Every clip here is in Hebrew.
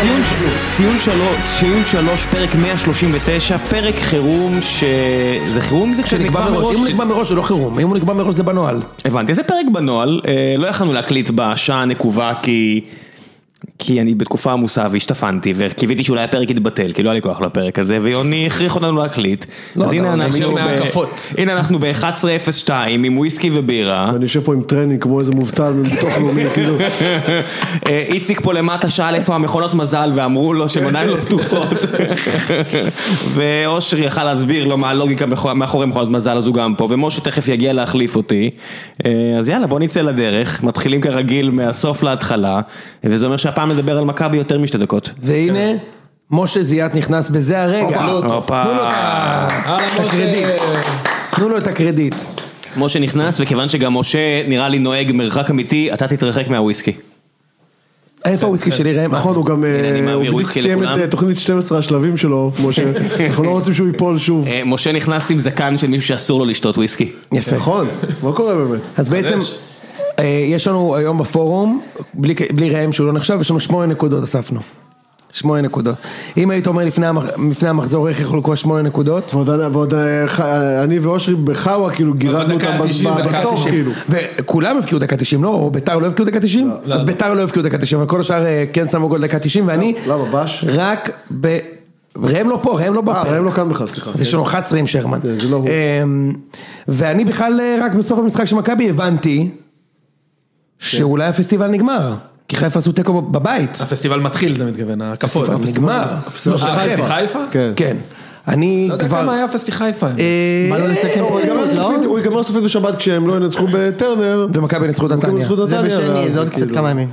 ציון ש- ציון שלוש, ציון שלוש, פרק 139, פרק חירום ש... זה חירום זה שנקבע מראש, אם הוא נקבע מראש זה לא חירום, אם הוא נקבע מראש זה בנוהל. הבנתי, זה פרק בנוהל, אה, לא יכלנו להקליט בשעה הנקובה כי... כי אני בתקופה עמוסה והשתפנתי וקיוויתי שאולי הפרק יתבטל, כי לא היה לי כוח לפרק הזה, ויוני הכריח אותנו להקליט. לא, אז לא, הנה נקשיב אנחנו, מההקפות. ב- הנה אנחנו ב-11:02 עם וויסקי ובירה. ואני יושב פה עם טרנינג כמו איזה מובטל מביטוח לאומי, כאילו, אה, איציק פה למטה שאל איפה המכונות מזל ואמרו לו שהן עדיין לא פתוחות. ואושרי יכל להסביר לו מה הלוגיקה מאחור- מאחורי מכונות מזל אז הוא גם פה, ומשה תכף יגיע להחליף אותי. אה, אז יאללה בוא נצא לדרך, מתחילים כרגיל מהסוף להתחלה, וזה אומר שהפעם נדבר על מכבי יותר משתי דקות. והנה, משה זיאת נכנס בזה הרגע. הופה. הופה. תנו לו את ה- אהלן, את הקרדיט. תנו לו את הקרדיט. משה נכנס, וכיוון שגם משה נראה לי נוהג מרחק אמיתי, אתה תתרחק מהוויסקי. איפה הוויסקי שלי ראם? נכון, הוא גם, הנה, אני אה, מעביר הוא בדיוק וויסקי סיים את לכולם. אה, תוכנית 12 השלבים שלו, כמו ש... אנחנו לא רוצים שהוא ייפול שוב. אה, משה נכנס עם זקן של מישהו שאסור לו לשתות וויסקי. יפה. נכון, מה קורה באמת? אז בעצם, אה, יש לנו היום בפורום, בלי ק- בלי ראם שהוא לא נחשב, יש לנו שמונה נקודות אספנו. שמונה נקודות. אם היית אומר לפני המח- לפני המחזור איך יכלו לקרוא שמונה נקודות, ועוד- ועוד אה, ח- אני ואושרי בחאווה, כאילו, גירדנו בדקה אותם ה-תשעים, ב- בדקה בסוף, ה-תשעים. כאילו. וכולם הבקיעו דקה 90, לא? או ביתר לא הבקיעו דקה 90? אז ביתר לא הבקיעו דקה 90, אבל כל השאר אה, כן שמו גול דקה 90, ואני... למה, בש? רק ב... ראם לא פה, ראם לא אה, בפרק. ראם לא כאן בכלל, סליחה. אז יש לנו 11 עם שרמן. זה- זה לא הוא. אמ, ואני בכלל אה, רק בסוף המשחק של מכבי הבנתי שאולי הפסטיבל נגמר. כי חיפה עשו תיקו בב- בבית. הפסטיבל מתחיל, זה מתכוון, ההקפות. אבל נגמר. אה, נכון, הפסטיבל לא, של של אה, חיפה. חיפה? כן. כן. אני לא יודע כבר... כמה היה פסטי חיפה. אה, בא לו לסכם הוא פה ייגמר אליפות, לא? סופית- הוא ייגמר סופית בשבת כשהם לא ינצחו בטרנר. ומכבי ניצחו את הם נתניה. ינצחו את זה נתניה, בשני, ואז זה עוד קצת כאילו- כמה ימים.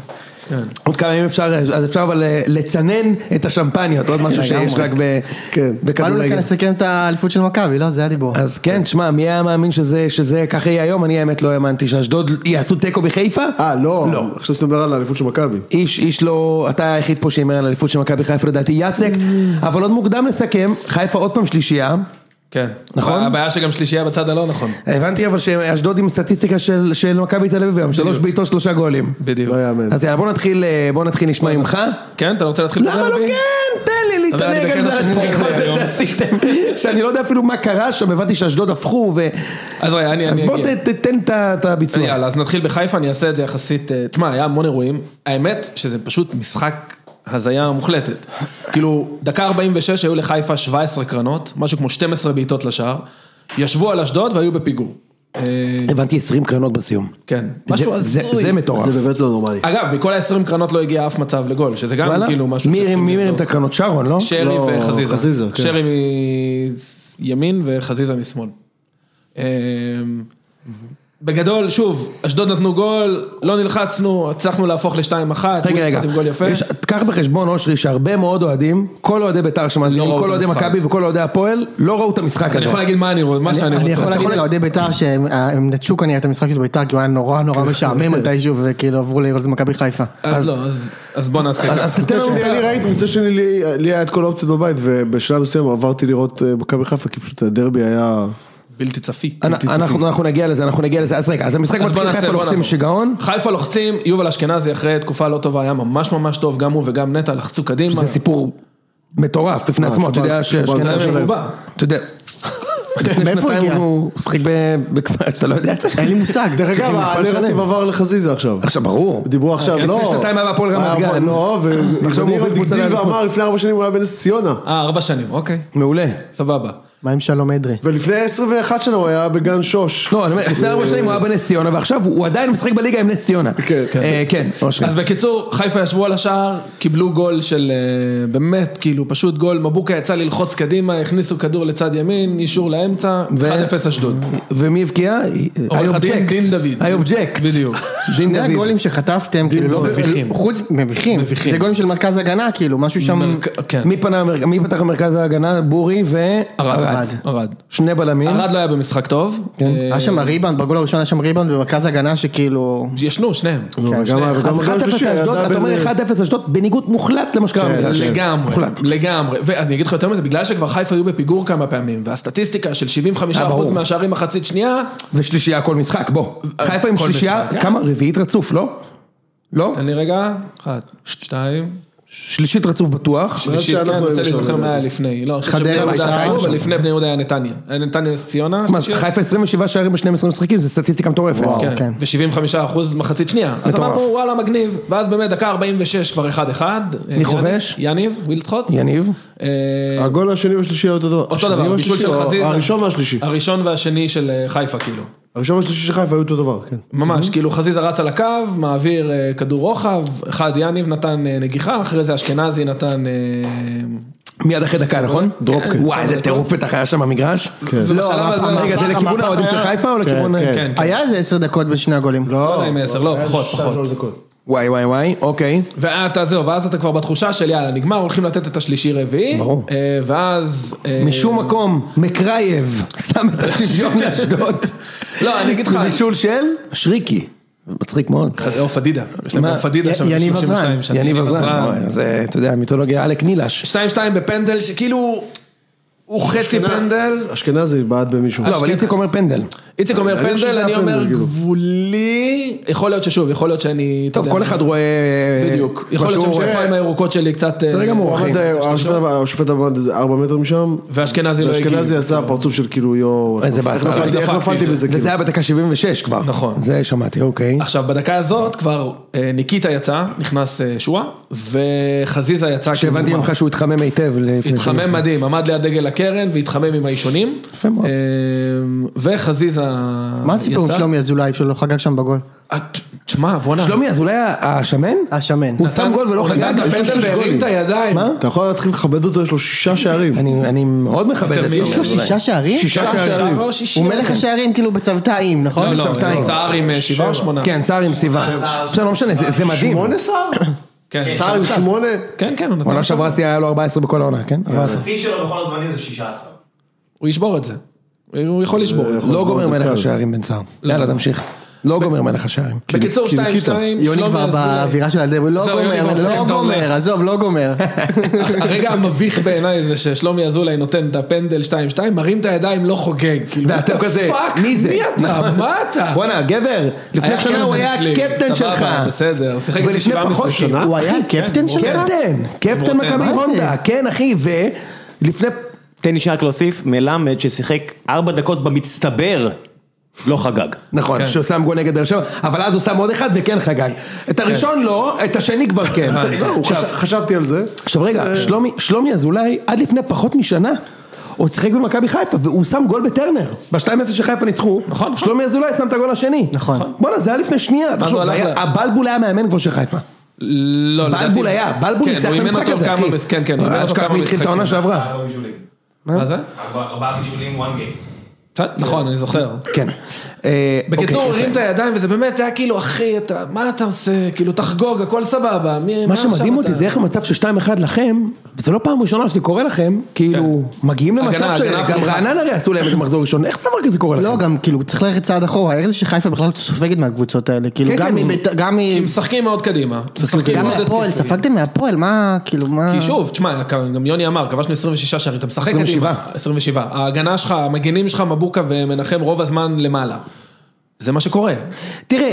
עוד כמה ימים אפשר, אז אפשר אבל אה, לצנן את השמפניות, עוד משהו לגמרי. שיש רק ב- כן. באנו לכאן בכדורגל. לסכם את האליפות של מכבי, לא? זה הדיבור. אז כן, תשמע, מי היה מאמין שזה, שזה ככה יהיה היום? אני האמת לא האמנתי שאשדוד יעשו תיקו בחיפה? אה, לא, עכשיו שאתה מדבר על האליפות של מכבי. איש, איש לא, אתה היחיד פה שהימר על אליפות של מכבי חיפה לדעתי, יאצק, אבל עוד מוקדם לסכם, חיפה עוד פעם שלישייה, כן. נכון? הבעיה שגם שלישייה בצד הלא נכון. הבנתי אבל שאשדוד עם סטטיסטיקה של, של מכבי תל אביב היום, שלוש בעיטות שלושה גולים. בדיוק. לא יאמן. אז יאללה בוא נתחיל, אה, בוא נתחיל נשמע ממך. כן, אתה לא רוצה להתחיל למה לא כן? תן לי אתה יודע, אני להתענג על בקטע זה שאני עצמי, נגמר כל זה היום. שעשיתם, שאני לא יודע אפילו מה קרה שם, הבנתי שאשדוד הפכו ו... אז רגע, אני אז אני בוא אגיע. ת- תתן את ה- את הביצוע. יאללה, אז נתחיל בחיפה, אני אעשה את זה יחסית, אה, תשמע, היה המון אירועים, האמת שזה פשוט משחק הזיה מוחלטת. כאילו, דקה 46 היו לחיפה 17 קרנות, משהו כמו 12 בעיטות לשער, ישבו על אשדוד והיו בפיגור. אה, הבנתי 20 קרנות בסיום. כן, זה- משהו זה- הזוי. זה מטורף. זה באמת לא נורמלי. אגב, מכל ה-20 קרנות לא הגיע אף מצב לגול, שזה גם וואלה? כאילו משהו מי הרים- שצריכים מי מרים לבדוק. את הקרנות? שרון, לא? שרי לא, וחזיזה. חזיזה, כן. שרי מימין וחזיזה משמאל. אמ, בגדול, שוב, אשדוד נתנו גול, לא נלחצנו, הצלחנו להפוך ל-2-1, רגע, רגע, עם גול יפה. יש- קח בחשבון אושרי שהרבה מאוד אוהדים, כל אוהדי בית"ר שמאזינים, לא ראו כל את אוהדי המשחק. מכבי וכל אוהדי הפועל, לא ראו את המשחק אני הזה. יכול להגיד מה אני רוצה, מה שאני אני יכול רוצה. להגיד לאוהדי בית"ר שהם אה, הם נטשו כנראה את המשחק של בית"ר, כי הוא היה נורא נורא משעמם מתישהו, וכאילו עברו לראות את מכבי חיפה. אז לא, אז- אז בוא נעשה אז ככה. תתן לנו... אני ראיתי, מצד שני, לי- לי היה את כל האופציות בבית, ובשלב מסוים עברתי לראות אה, מכבי חיפה, כי פשוט הדרבי היה... בלתי צפי. אנ- אנחנו אנחנו נגיע לזה, אנחנו נגיע לזה, אז רגע, אז המשחק אז בוא מתחיל נעשה, חיפה בוא לוחצים נעבור. שיגעון, חיפה לוחצים, יובל אשכנזי אחרי תקופה לא טובה היה ממש ממש טוב, גם הוא וגם נטע לחצו קדימה. זה סיפור מטורף בפני אה, עצמו, אתה שבא- יודע שבא- שאשכנזי... זה מבובע. אתה יודע, לפני מאיפה הוא שנתיים הגיע? הוא שיחק ב- בכפר, אתה לא יודע את זה? אין לי מושג. דרך אגב, מפעל הנרטיב שלם. עבר לחזיזה עכשיו. עכשיו ברור. דיברו עכשיו, כן, לא. לפני שנתיים היה בהפועל רמת היה- גן. לא, עכשיו ועכשיו הוא הוא עובר קבוצה הגדיל לאליפות. ואמר, לפני ארבע שנים הוא היה בנס ציונה. אה, ארבע שנים, אוקיי, מעולה. סבבה. מה עם שלום אדרי? ולפני 21 שנה הוא היה בגן שוש. לא, אני אומר, לפני ארבע שנים הוא היה בנס ציונה, ועכשיו הוא הוא עדיין משחק בליגה עם נס ציונה. כן, כן. אה, כן, אושרי. אז בקיצור, חיפה ישבו על השער, קיבלו גול של אה, באמת, כאילו, פשוט גול, מבוקה יצא ללחוץ קדימה, הכניסו כדור לצד ימין, אישור לאמצע, ו- 1-0 אשדוד. ומי הבקיע? עורך הדין דין דוד. I object. בדיוק. דין שני דוד. הגולים שחטפתם, כאילו, לא מביכים. חוץ, מביכים. מביכים. זה גולים של מרכז הגנה, כאילו, משהו שם... כן, מי פנה, המר- מי פתח במרכז ההגנה? בורי ארד. וערד. ארד. שני בלמים. ארד לא היה במשחק טוב. כן. אה, היה שם ריבאונד, בגול הראשון היה שם ריבאונד במרכז הגנה שכאילו... ישנו, שניהם. כן, וגם ה- אז וגם 1-0 הגול השלישי היה אשדוד, אתה דאבל- אומר 1-0 אשדוד בניגוד מוחלט למה שקרה. במגרש. לגמרי, מוחלט. לגמרי, ואני אגיד לך יותר מזה, בגלל שכבר חיפה היו בפיגור כמה פעמים, והסטטיסטיקה של 75% אה, ברור. מהשערים מחצית שנייה, ושלישייה כל משחק, בוא. חיפה עם כל אה. שלישייה, משחק. כמה? רביעית רצוף, לא? לא? תן לי רגע, אחת, שתיים, שלישית רצוף בטוח. שלישית, שאנחנו כן, אני רוצה היינו שם, להיזכר מה היה לדעתי. לפני. לא, אני חושב חדרה שבני יהודה בשתיים, היה טוב, אבל שם. לפני בני יהודה היה נתניה. היה נתניה נס ציונה, מה, שלישית, חיפה 27 שערים ב-12 משחקים, זה סטטיסטיקה מטורפת. וואו. כן, כן. ו-75 אחוז מחצית שנייה. אז מטורף. אמרנו, וואלה, מגניב. ואז באמת, דקה 46 כבר 1-1. מי חובש? יניב, וילדחוט. יניב. אה, הגול השני והשלישי היה אותו דבר. אותו השני דבר, בישול של והשלישי, או חזיזה. הראשון והשלישי. הראשון והשני של אה, חיפה, כאילו. הראשון והשלישי של חיפה היו אותו דבר, כן. ממש, כאילו חזיזה רץ על הקו, מעביר אה, כדור רוחב, אחד יניב נתן אה, נגיחה, אחרי זה אשכנזי נתן... אה, מיד אחרי דקה, נכון? דרופקה. וואי, איזה דקה. טירוף בטח היה שם במגרש. ובשלב לא הזה- המ- רגע, זה המהפך, לכיוון המהפך האוהדים של היה- חיפה או כן, לכיוון... כן. כן, כן. היה איזה עשר דקות בין שני הגולים. לא יודע אם עשר, לא, פחות, פחות. וואי, וואי, וואי, אוקיי. ואתה זהו, ואז אתה כבר בתחושה של יאללה, נגמר, הולכים לתת את השלישי רביעי. ברור. אה, ואז... אה, משום מקום, מקרייב שם את השוויון לאשדוד. לא, אני אגיד לך- בבישול של שריקי. מצחיק מאוד. עוף אדידה, יש להם מה? עוף אדידה י- שם, יניב 32 עזרן. שנה. יניב עזרן. אוי, זה, אתה יודע, מיתולוגיה עלק נילש. 2-2 בפנדל, שכאילו, הוא חצי פנדל. אשכנזי בעט במישהו. לא, אבל אשכנ- איציק אומר פנדל. איציק אומר אני חושב פנדל, שזה אני היה אומר פנדל, כאילו. גבולי, יכול להיות ששוב, יכול להיות שאני... אתה טוב, יודע, כל אחד רואה... אה, בדיוק, מה יכול להיות שהוא רואה. שהמשקפיים הירוקות שלי קצת... בסדר אה, גמור, הוא אחי. עמד, השופט עמד- השופט עמד איזה ארבע מטר משם, ואשכנזי לא הגיב. ואשכנזי עשה פרצוף של כאילו יואו, איזה איך באסה. נפלתי- איך דפקתי נפלתי את זה. בזה כאילו. וזה היה בדקה 76 כבר. נכון. זה שמעתי, אוקיי. עכשיו, בדקה הזאת כבר אה, ניקיטה יצא, נכנס אה, שואה, וחזיזה יצא כאילו שהבנתי מה? ממך שהוא התחמם היטב. לפני התחמם שנכנס. מדהים, עמד ליד דגל הקרן והתחמם עם האישונים. יפה מאוד. אה, וחזיזה מה הסיפור עם יצא. שלומי אזולאי שלא חגג שם בגול? אה, תשמע, בואנה. שלומי, אז אולי השמן? השמן. הוא שם גול ולא הוא נתן חגג? את הפנדל והרים את הידיים. מה? אתה יכול להתחיל לכבד אותו, יש לו שישה שערים. אני אני מאוד מכבד את זה. יותר מי? יש לו יש לו שישה שערים? אה, שישה שער, שערים. שער או לא, שישי? אוקיי. הוא מלך השערים כאילו בצוותאים, נכון? לא, לא, צוותיים. סער עם אה, שבעה או שמונה. כן, סער עם סיבה. בסדר, לא משנה, זה- זה מדהים. שמונה שר? כן, שר עם אה, שמונה? כן, כן, הוא נתן. עונה שעברה היה לו 14 בכל העונה, כן? 14. השיא שלו בכל הזמנים זה 16. הוא ישבור את זה. הוא יכול לשבור את זה. לא גומר זה מלך קל. השערים בן סער. יאללה, תמשיך. לא גומר מלך השערים. בקיצור, 2-2, כי ניקיטה. יוני שלומי כבר אזולאי. באווירה של הדבר, לא לא זהו, יוני גומר, כבר לא משחק את העונה. גומר, עזוב, לא גומר. הרגע המביך בעיניי זה ששלומי אזולאי נותן את הפנדל 2-2, מרים את הידיים, לא חוגג. כאילו, ואתם what the כזה, fuck? מי זה? מי אתה? נכון. מה אתה? בואנה, גבר, לפני שנה הוא היה שלי, הקפטן סבבה, שלך. בסדר, שיחק איזה ולפני שבעה פחות משחקים. שנה? הוא היה כן, קפטן שלך? כן, קפטן, קפטן מכבי מה זה? הונדה, כן אחי, ולפני... תן לי שרק להוסיף, מלמד ששיחק ארבע דקות במצטבר, לא חגג. כן. נכון, שהוא שם גול נגד באר שבע, אבל אז הוא שם עוד אחד וכן חגג. את כן. הראשון לא, את השני כבר כן. לא, הוא עכשיו- חשב- חשבתי על זה. עכשיו רגע, שלומי- שלומי אזולאי עד לפני פחות משנה עוד שיחק במכבי חיפה והוא שם גול בטרנר. ב-2-0 שחיפה ניצחו, נכון, נכון. שלומי אזולאי שם את הגול השני. נכון. בואנה זה היה לפני שנייה, תחשוב, הוא זה הלך היה- ל- הבלבול היה מאמן כבר של חיפה. לא, לדעתי... בלבול היה, בלבול כן, ניצח הוא את אימן המשחק אותו הזה, כמה אחי. מס- כן, כן, הוא אימן אל אותו תשכח כמה מי התחיל את העונה משחקים. שעברה. ארבעה בישולים. מה זה? ארבעה ארבעה בישולים, one game. טוב, נכון, אני זוכר. כן. אה, בקיצור, הוא אוקיי, הרים את הידיים, וזה באמת היה כאילו, אחי, אתה, מה אתה עושה? כאילו, תחגוג, הכל סבבה. מי- מה עכשיו שמדהים אתה- אותי זה איך המצב של 2-1 לכם, וזה לא פעם ראשונה שזה קורה לכם, כאילו, מגיעים למצב כן. הגנה, של... הגנה גם פריחה. רעננה הרי עשו להם את המחזור הראשון, איך דבר כזה קורה לכם? לא, גם כאילו צריך ללכת צעד אחורה, איך זה שחיפה בכלל סופגת מהקבוצות האלה? כאילו כן, גם כן, מביתר, גם כי מ- משחקים מאוד קדימה. משחקים גם מאוד מהפועל, התקפי. ספגתם מהפועל, מה, כאילו, מה... כי שוב, תשמע, גם יוני אמר, כבשנו 26 שערים, אתה משחק 27. קדימה. 27. ההגנה שלך, המגנים שלך, מבוקה ומנחם רוב הזמן למעלה. זה מה שקורה. תראה,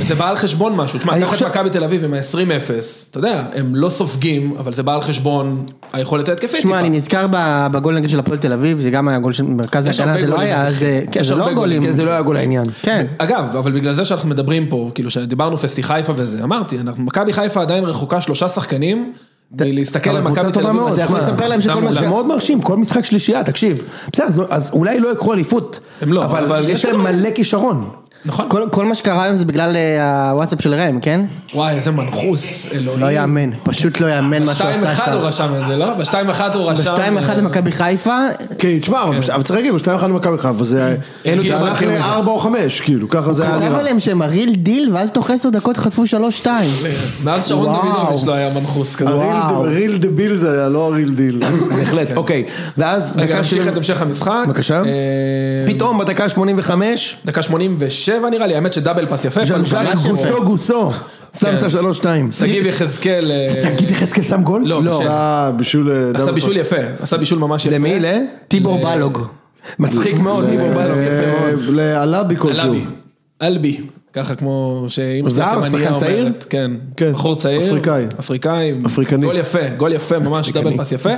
זה בא על חשבון משהו. תשמע, אני קח את חושב- מכבי תל אביב עם ה-20-0, אתה יודע, הם לא סופגים, אבל זה בא על חשבון היכולת ההתקפית. שמע, טיפה. אני נזכר ב- בגול נגיד של הפועל תל אביב, זה גם היה גול של מרכז יש ההגנה, הרבה זה לא גולים, היה, אחי. זה כן, יש זה לא הרבה גולים. כן, זה לא היה גול העניין. כן, אגב, אבל בגלל זה שאנחנו מדברים פה, כאילו שדיברנו פסטי חיפה וזה, אמרתי, אנחנו- מכבי חיפה עדיין רחוקה שלושה שחקנים, מלהסתכל אבל על קבוצה מכבי תל טובה אביב. מאוד. אתה יכול שמע, לספר להם שכל מה ש... זה מאוד מרשים, כל משחק שלישייה, תקשיב. בסדר, אז- אז אולי לא יקחו אליפות, הם לא, אבל אבל יש יש להם כדורגל. מלא כישרון. נכון. כל- כל מה שקרה היום זה בגלל אה, הוואטסאפ של ראם, כן? וואי, איזה מנחוס, אלוהים. לא יאמן, פשוט לא יאמן מה שהוא עשה 2-1 שם. הוא רשם את זה, לא? ב-2-1 הוא רשם... אה, ב-2-1 למכבי חיפה, כן, תשמע, אבל אבל צריך להגיד, שתיים אחד למכבי חיפה, זה אלו זה הלך שהולכים לזה. לארבע או חמש, כאילו, ככה זה היה לא. כתב נראה. עליהם שהם הריל דיל, ואז תוך 10 דקות חטפו 3-2. אה, מאז שרון וואו. דוידוביץ' לא היה מנחוס כזה. וואו. ריל דה ביל זה היה, לא הריל דיל. בהחלט, אוקיי. ואז רגע, דקה נמשיך את שבעים- המשך המשחק. בבקשה. אה, פתאום בדקה 85, דקה 87 נראה לי, האמת שדאבל פס יפה. אבל ז'אנז'אן ממש יפה. גוסו גוסו, שם את כן. השלוש-שתיים. שגיב יחזקאל... אה, שגיב יחזקאל שם גול? לא, בסדר. עשה בישול... אה, עשה דאבל בישול פס. יפה, עשה בישול ממש יפה. למי? ל? טיבור אה, בלוג. מצחיק מאוד, טיבור בלוב, יפה מאוד. אה, לעלבי כלשהו. אלבי. אלבי. ככה כמו שאימא שלי זר? תימניה שחקן צעיר? אומרת, כן, כן, בחור צעיר, אפריקאי. אפריקאי, אפריקני. גול יפה, גול יפה ממש, דאבל פס יפה,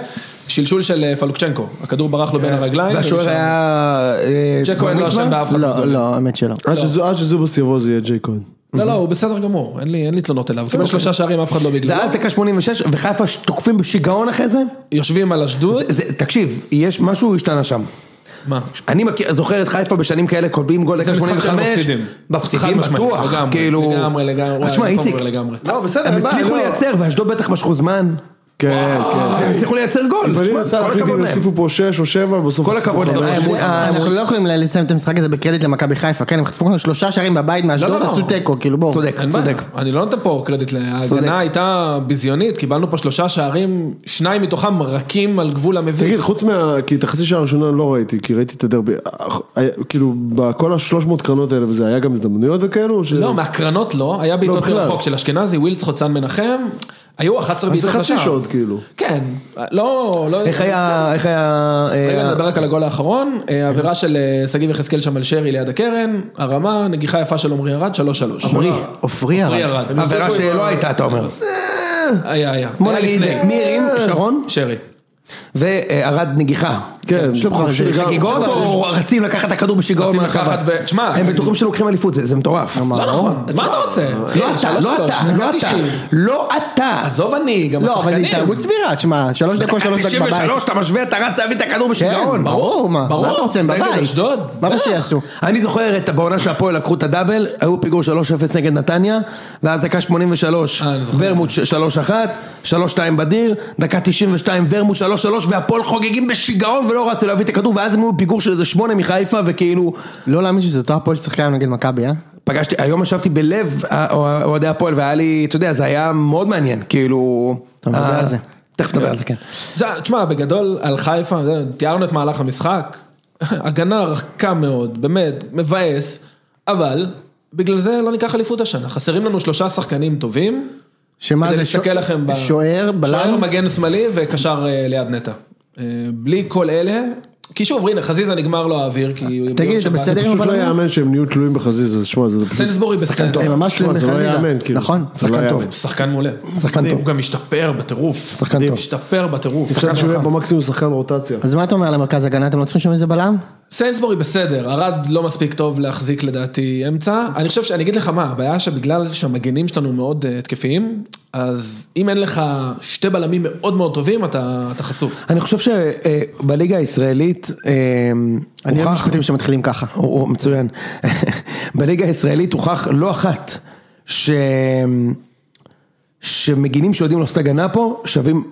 שלשול של אה, פלוקצ'נקו, הכדור ברח לו בין הרגליים, כן. והשוער ונשאר. היה... אה, ג'ק כהן לא גוטמן? אשם באף אחד, לא, לא, האמת שלא. עד שזו- עד שזובוס יבוא זה יהיה ג'יי כהן. לא לא הוא בסדר גמור, אין לי אין לי תלונות אליו, קיבל שלושה שערים אף אחד לא בגללו, כן, אוקיי. ואז דקה 86, וחיפה תוקפים בשיגעון אחרי זה? יושבים על אשדוד, זה- תקשיב, יש משהו השתנה שם. מה, אני מכיר, זוכר את חיפה בשנים כאלה, קולבים גול זה דקה משחק 85. שלא מפסידים. חד מפסידים משמעית, בטוח, לגמרי, כאילו... לגמרי לגמרי, אז תשמע, אני איציק, לגמרי, לגמרי, לא, בסדר, הם הצליחו לייצר, ואשדוד בטח משכו זמן, כן, כן. הם הצליחו לייצר גול. אבל אם תשמע, יצא כל להחליט הכבוד אם להם. יוסיפו פה 6 או 7, בסוף... כל יוסיפו הכבוד חמש. להם. אה, אה, האמון- אה, אנחנו האמון- לא יכולים לסיים את המשחק הזה בקרדיט למכבי חיפה, כן? הם חטפו לנו שלושה שערים בבית לא, מאשדוד, לא, לא. עשו תיקו, כאילו בואו. צודק, אין בעיה. צודק. אני לא נותן פה קרדיט, צודק. ההגנה הייתה ביזיונית, קיבלנו פה שלושה שערים, שניים מתוכם רכים על גבול תגיד, המביך, חוץ מה... כי את החצי שעה הראשונה לא ראיתי, כי ראיתי את הדרבי. אה, כאילו, בכל השלוש מאות קרנות האלה, וזה היה גם הזדמנויות וכאלו? ש- לא מהקרנות לא, היה בעיטות בכלל. מרחוק של אשכנזי, ווילץ חוצן מנחם, היו 11 אז זה בעיטות לשער, חצי שעות, כאילו. כן, לא, לא, איך בסדר. היה, איך היה... רגע אה, נדבר רק על הגול האחרון, אה, עבירה של אה, שגיב יחזקאל שם על שרי ליד הקרן, הרמה, נגיחה יפה של עמרי ארד, 3-3. עמרי, עופרי עמרי ירד. ארד, עבירה שלא הייתה, אתה אומר. היה, היה. בוא היה נגיד, לפני. מי הרים? שרון? שרי. וערד נגיחה. כן, שלום חופשי חופשי. גם- חגיגות או רצים לקחת את הכדור בשיגעון רצים מהרחבה? לקחת ו- תשמע, הם אני- בטוחים שלוקחים אליפות, זה זה מטורף. לא אה, נכון, מה אתה רוצה? לא אתה, לא אתה, לא אתה, לא אתה. עזוב אני, גם לא, אבל זה השחקנים. התערבות סבירה, תשמע, שלוש דקות, שלוש דקות בבית. 93, אתה משווה, אתה רץ להביא את הכדור כן, בשיגעון. ברור, מה ברור, מה אתה רוצה, הם נגד בבית. אשדוד, אה. מה אתה בטח. שיעשו? אני זוכר את בעונה שהפועל לקחו את הדאבל, היו פיגור 3-0 נגד נתניה, ואז דקה 83, אה, אני זוכר. ורמוט 3-1, 3-2 בדיר, דקה 92 ורמוט 3-3, והפועל חוגגים בשיגעון ולא רצו להביא את הכדור, ואז הם היו בפיגור של איזה 8 מחיפה, וכאילו, לא להאמין שזה אותו הפועל ששחקה היום נגד מכבי, אה? פגשתי, היום ישבתי בלב אה, אוה- אוהדי הפועל, והיה לי, אתה יודע, זה היה מאוד מעניין, כאילו... אתה מדבר אה, על זה. תכף נדבר על זה, כן. זה- תשמע, בגדול, על חיפה, זה, תיארנו את מהלך המשחק, הגנה רכה מאוד, באמת, מבאס, אבל בגלל זה לא ניקח אליפות השנה. חסרים לנו שלושה שחקנים טובים, שמה כדי זה להסתכל לכם ב... שוער, שוער, בלם, מגן שמאלי וקשר אה, ליד נטע. אה, בלי כל אלה, כי שוב, הנה, חזיזה נגמר לו האוויר, כי... הוא- תגיד, ביום אתה שבת- בסדר? פשוט לא אבל- יאמן שהם נהיו תלויים בחזיזה, אז שמע, זה פשוט... סנסבורי בסדר. הם ממש תלויים שמע, זה לא יאמן, בחזיזה. כאילו. נכון. זה לא שחקן טוב. יאמן. שחקן מעולה. שחקן טוב. הוא גם השתפר בטירוף. שחקן טוב. השתפר בטירוף. אפשר שהוא יהיה במקסימום שחקן רוטציה. אז מה אתה אומר למרכז הגנה? אתם לא צריכים לשמור איזה בלם? סיינסבורי בסדר, ארד לא מספיק טוב להחזיק לדעתי אמצע. אני חושב ש... אני אגיד לך מה, הבעיה שבגלל שהמגנים שלנו מאוד אה, התקפיים, אז אם אין לך שתי בלמים מאוד מאוד טובים, אתה אתה חשוף. אני חושב שבליגה הישראלית, אה, אני אוהב הוכח- משפטים שמתחילים ככה. הוא- הוא מצוין. בליגה הישראלית הוכח לא אחת ש... שמגינים שיודעים לעשות הגנה פה שווים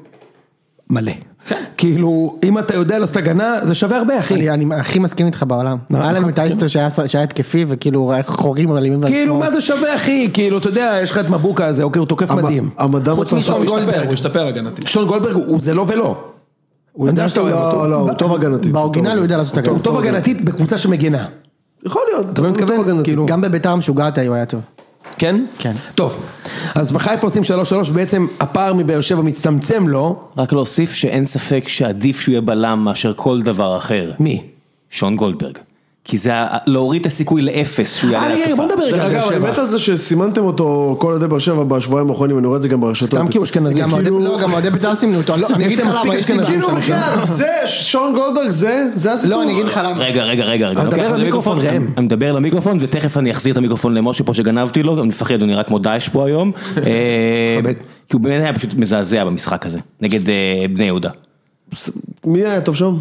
מלא. כאילו, אם אתה יודע לעשות הגנה, זה שווה הרבה, אחי. אני אני הכי מסכים איתך בעולם. נכון, היה לנו את אייסטר שהיה שהיה התקפי וכאילו איך חורים על ימין ועל כאילו, שמאל. מה זה שווה, אחי? כאילו, אתה יודע, יש לך את מבוקה הזה, אוקיי, הוא תוקף המ- מדהים. המדע חוץ מצא- משון הוא גולדברג. השתפר, הוא השתפר הגנתי. שון גולדברג הוא זה לא ולא. הוא יודע יודע שאתה שהוא אוהב אותו. לא, לא, הוא טוב הגנתית. באורגינל הוא יודע לעשות הגנה. הוא טוב הגנתית בקבוצה שמגינה. יכול להיות, אתה מבין מה אני הוא טוב מתכוון? הגנתית. כאילו, גם בביתר המשוגעת הוא היה טוב. כן? כן. טוב, אז בחיפה עושים 3-3, בעצם הפער מבאר שבע מצטמצם לו, רק להוסיף שאין ספק שעדיף שהוא יהיה בלם מאשר כל דבר אחר. מי? שון גולדברג. כי זה ה- להוריד את הסיכוי לאפס שהוא יעלה אה, רגע, רגע, בוא נדבר רגע דרך על באר אגב, שבע. האמת על זה שסימנתם אותו כל עדי באר שבע בשבועיים האחרונים, אני רואה את זה גם ברשתות. סתם כי הוא אשכנזי. גם אוהדי- לא, גם אוהדי ביתר סימנו אותו. לא, אני כאילו- יש אגיד לך להם למה. מספיק יש לי אשכנזים בעיה כאילו שם. בכלל, זה, שון גולדברג זה, זה הסיפור. לא, אני אגיד לך למה. רגע, רגע, רגע, רגע. אבל לוקח דבר את למיקרופון, המיקרופון, ראם. אני מדבר למיקרופון ותכף אני אחזיר את המיקרופון למשה פה שגנבתי לו, אני מפחד, הוא נראה כמו דאעש פה היום. אה, מכבד. כי הוא באמת היה פשוט מזעזע במשחק הזה, נגד אה, בני יהודה. מי היה טוב שם?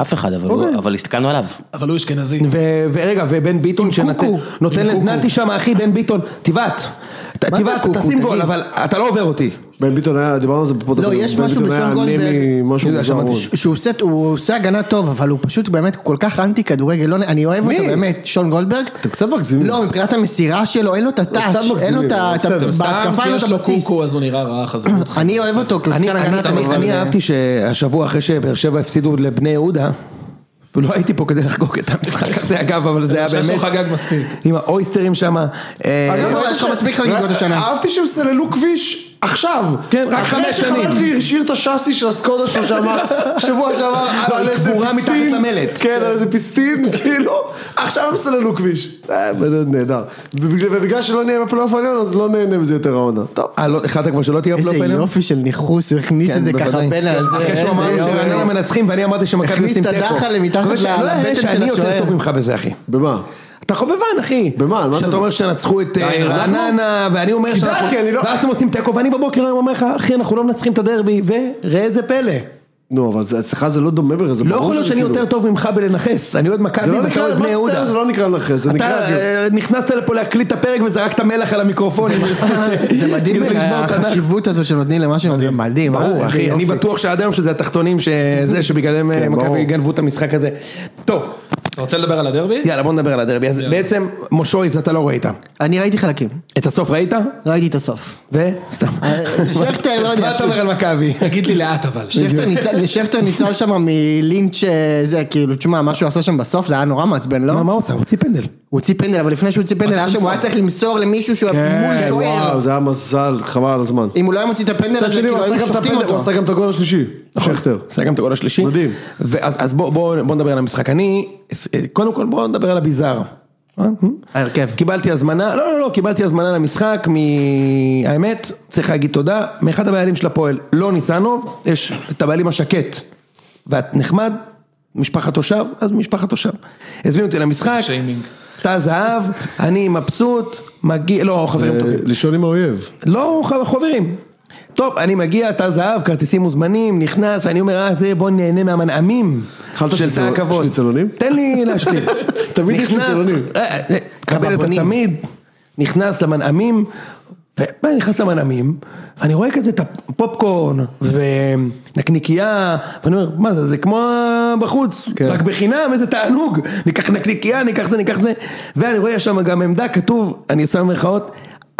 אף אחד, אבל אוקיי. הוא- אבל הסתכלנו עליו. אבל הוא אשכנזי. ו- ורגע, ובן ביטון שנותן לזנתי שם, אחי, בן ביטון, תיבת. ת- מה זה תיבת, קוקו? תשים גול, תגיד. אבל אתה לא עובר אותי. בן ביטון היה, דיברנו על זה בפודקאסט. לא, יש משהו בשון גולדברג- בן ביטון היה אנמי, משהו יודע, מוזר. שמעתי מאוד. ש- שהוא עושה, הוא עושה הגנה טוב, אבל הוא פשוט באמת כל כך אנטי כדורגל, לא, אני אוהב מי? אותו באמת, שון גולדברג. אתם קצת מגזימים. לא, מבחינת המסירה שלו, אין לו את הטאץ', קצת אין לו את ה... מגזימים, את ה- בסדר. סתם בהתקפה כי אין לו יש את לו הבסיס. קוקו אז הוא נראה רע, חזרו אותך. אני אוהב אותו כשחקן אני- אני- הגנה טוב, אני- אבל- אה, אני אהבתי שהשבוע אחרי שבאר שבע הפסידו לבני יהודה, ולא הייתי פה כדי לחגוג את המשחק הזה אגב, אבל זה היה אני חושב שהוא באמת, חגג מספיק. עם האויסטרים שם, אה, אגב, יש לך מספיק חגיגות השנה. אהבתי שהם סללו כביש עכשיו, כן, רק אחרי חמש שנים. שחבר שלי השאיר את השאסי של הסקודה שלו שאמר, שבוע שעבר, לא, על היא איזה קבורה מתחת פיסטין, למלט. כן, על איזה פיסטין, כאילו, עכשיו הם סללו כביש, אה, באמת נהדר, ובגלל- ובגלל שלא נהיה בפלייאוף העליון, אז לא נהנה מזה יותר העונה, טוב, אה, לא, החלטת כבר שלא תהיה איזה בפלייאוף העליון? יופי של ניכוס, הוא הכניס את זה ככה בוודאי. בין הזה. אחרי כן, איזה שהוא אמר יופי. שרעננה מנצחים ואני אמרתי שמכבי הכניס עושים את תיקו. הדחל למתחת אבל שאני- ל- לא, לבטן של שאני יותר השוער. טוב ממך בזה אחי. במה? אתה חובבן אחי. במה? על מה שאתה אתה- אומר שתנצחו את אה, אנחנו- רעננה ואני אומר כדאי, שאנחנו... כי אני לא- ואז אתם עושים תיקו ואני בבוקר היום אומר לך אחי אנחנו לא מנצחים את הדרבי וראה איזה פלא. נו, אבל זה- אצלך זה לא דומה בכלל, זה לא ברור יכול להיות שזה שאני כאילו- יותר טוב ממך בלנכס. אני עוד זה מכבי לא ואתה נקרא, עוד מה בני זה יהודה. סטייל זה לא נקרא לך, זה אתה נקרא, כאילו- אה, נכנסת לפה להקליט את הפרק וזרקת מלח על המיקרופון. זה מדהים, אה, כדי כאילו לשבור את הנח. החשיבות הזו שנותנים למשהו, זה מדהים. אה? ברור, איזה אחי, אני יופי. בטוח שעד היום שזה התחתונים שזה, שבגללם אה, מכבי ברור. גנבו את המשחק הזה. טוב, אתה רוצה לדבר על הדרבי? יאללה בוא נדבר על הדרבי. אז בעצם, מושויז אתה לא ראית. אני ראיתי חלקים, את הסוף ראית? ראיתי את הסוף. ו... סתם. שכטר, לא יודע, מה אתה אומר על מכבי? תגיד לי לאט אבל. שכטר ניצל- שכטר ניצל שם מלינץ' אה, זה, כאילו, תשמע, מה שהוא עשה שם בסוף זה היה נורא מעצבן, לא? מה מה הוא עושה? הוא הוציא פנדל. הוא הוציא פנדל, אבל לפני שהוא הוציא פנדל, היה שם, הוא היה צריך למסור למישהו שהוא היה מול כן, שוער. וואו, זה היה מזל, חבל על הזמן. אם הוא לא היה מוציא את הפנדל מצד הזה, שני, הוא כאילו, עשה היו גם את שופטים הפנדל- הוא אותו. נכון. עשה גם את הגול השלישי, שכטר. עשה גם את הגול השלישי. מדהים. ואז אז בוא- בוא בוא נדבר על המשחק. אני, אה, קודם כל בוא נדבר על הביזאר. אה? ההרכב. קיבלתי הזמנה, לא לא לא, קיבלתי הזמנה למשחק מ... האמת, צריך להגיד תודה, מאחד הבעלים של הפועל, לא ניסנוב, יש את הבעלים השקט. ואת נחמד, משפחת תושב, אז משפחת תושב. הזמינו אותי למשחק, שיימינג. תא זהב, אני מבסוט, מגיע, לא, חברים אה, טובים. לישון עם האויב. לא ח- חברים. טוב, אני מגיע, תא זהב, כרטיסים מוזמנים, נכנס, ואני אומר, אה, זה, בוא נהנה מהמנעמים אכלת של תא שניצל- הכבוד. שניצלונים? תן לי להשלים. תמיד יש נכנס, שניצלונים. אה, אה, קבל את קבבונים. הצמיד, נכנס למנעמים, ואני נכנס למנעמים, ואני רואה כזה את הפופקורן, ונקניקייה, ואני אומר, מה זה, זה כמו בחוץ, רק בחינם, איזה תענוג, ניקח נקניקייה, ניקח זה, ניקח זה, ואני רואה יש שם גם עמדה, כתוב, אני שם מירכאות,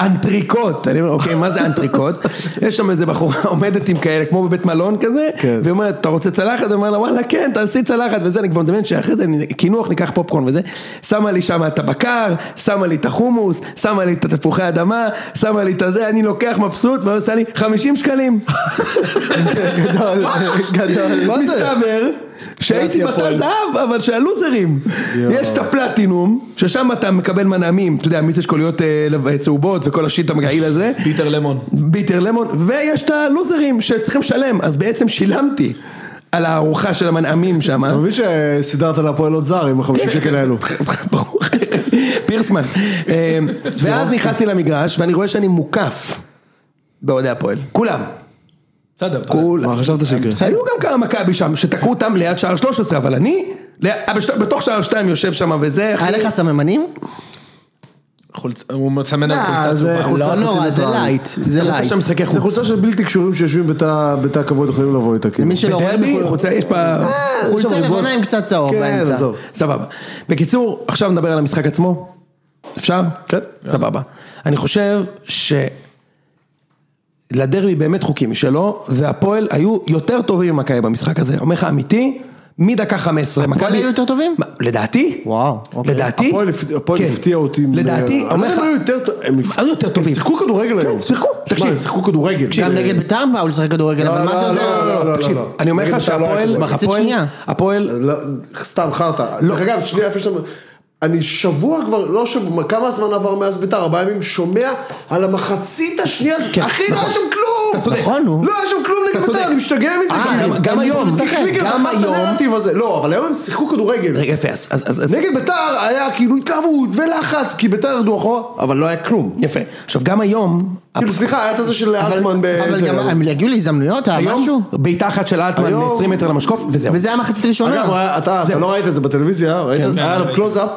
אנטריקוט, אני אומר, אוקיי, מה זה אנטריקוט? יש שם איזה בחורה עומדת עם כאלה, כמו בבית מלון כזה, כן. והיא אומרת, אתה רוצה צלחת? אני אומר לה, וואלה, כן, תעשי צלחת, וזה, אני כבר מדמיין שאחרי זה אני- קינוח, ניקח פופקורן וזה. שמה לי שם את הבקר, שמה לי את החומוס, שמה לי את התפוחי אדמה, שמה לי את הזה, אני לוקח מבסוט, והיא עושה לי 50 שקלים. גדול, גדול. מה זה? מסתבר שהייתי בתא זהב, אבל של הלוזרים. יש את הפלטינום, ששם אתה מקבל מנעמים, אתה יודע, מיץ אשכוליות אה, לב- צהובות וכל השיט המגעיל הזה. פיטר למון. ביטר למון, ויש את הלוזרים שצריכים לשלם, אז בעצם שילמתי על הארוחה של המנעמים שם. אתה מבין שסידרת להפועל עוד זר עם החמישים כן. שקל האלו. ברור. פירסמן. אה, ואז נכנסתי למגרש, ואני רואה שאני מוקף באוהדי הפועל. כולם. בסדר. אתה יודע. כולם. מה חשבת שיקרה? היו גם כמה מכבי שם, שתקעו אותם ליד שער 13, אבל אני, ליד- בש- בתוך שער 2 יושב שם וזה, אחי. היה לך סממנים? חולצ- הוא מסמן על אה, חולצה זה צהובה. חולצה לא חצי נורא, זה ניטרלי. לייט. זה אתה רוצה לייט. שם משחקי זה חוץ. חולצה של בלתי קשורים שיושבים בתא בתא הכבוד יכולים לבוא איתה, כאילו. למי שלא רואה בי, חולצה, יש בה... אה, חולצה ריבון. לבנה עם קצת צהוב כן, באמצע. עזוב. סבבה. בקיצור, עכשיו נדבר על המשחק עצמו. אפשר? כן. סבבה. אני חושב ש... לדרבי באמת חוקים משלו, והפועל היו יותר טובים ממכבי במשחק הזה. אומר לך אמיתי, מדקה 15. מכבי- היו יותר טובים? מה, לדעתי. וואו, אוקיי. לדעתי. הפועל הפ- הפועל כן. הפתיע אותי. עם- לדעתי, אה, אומר הם לך... היו יותר טוב- הם הפ- היו יותר טובים. כן, הם שיחקו כדורגל היום. שיחקו, תקשיב. תקשיב. הם שיחקו כדורגל. גם נגד בית"ר באו לשחק כדורגל, כן. לא, אבל מה לא, זה לא, עוזר? לא, לא, תקשיב, לא, לא. אני אומר לך נגד בית"ר לא היה שהפועל, כדורגל. מחצית הפועל- שנייה. הפועל, אז לא, סתם חרטא. לא. דרך אגב, שנייה, איפה שאתה... אני שבוע כבר, לא שבוע, כמה זמן עבר מאז ביתר? ארבעה ימים, שומע על המחצית השנייה הזאת. כן, אחי, לא נכון. היה שם כלום! אתה צודק. נכון, נו. לא היה שם כלום נגד צודק. ביתר, אני משתגע מזה. אה, כאילו. גם- גם אני היום. כן, משחק ליגה, גם דחף את היום. הנרטיב הזה. לא, אבל היום הם שיחקו כדורגל. רגע יפה, אז- אז... אז- נגד ביתר היה כאילו התלהבות ולחץ, כי ביתר ירדו אחורה, אבל לא היה כלום. יפה. עכשיו גם היום, כאילו, סליחה, היה את הזה של אבל- אלטמן אבל באיזה- גם הם הגיעו להזדמנויות, היה משהו? היום בעיטה אחת של אלטמן היום- מ-20 מטר למשקוף, וזהו. וזה היה מחצית ראשונה. אגב, הוא היה- אתה אתה לא ראית את זה בטלוויזיה, ראית? היה עליו קלוזאפ,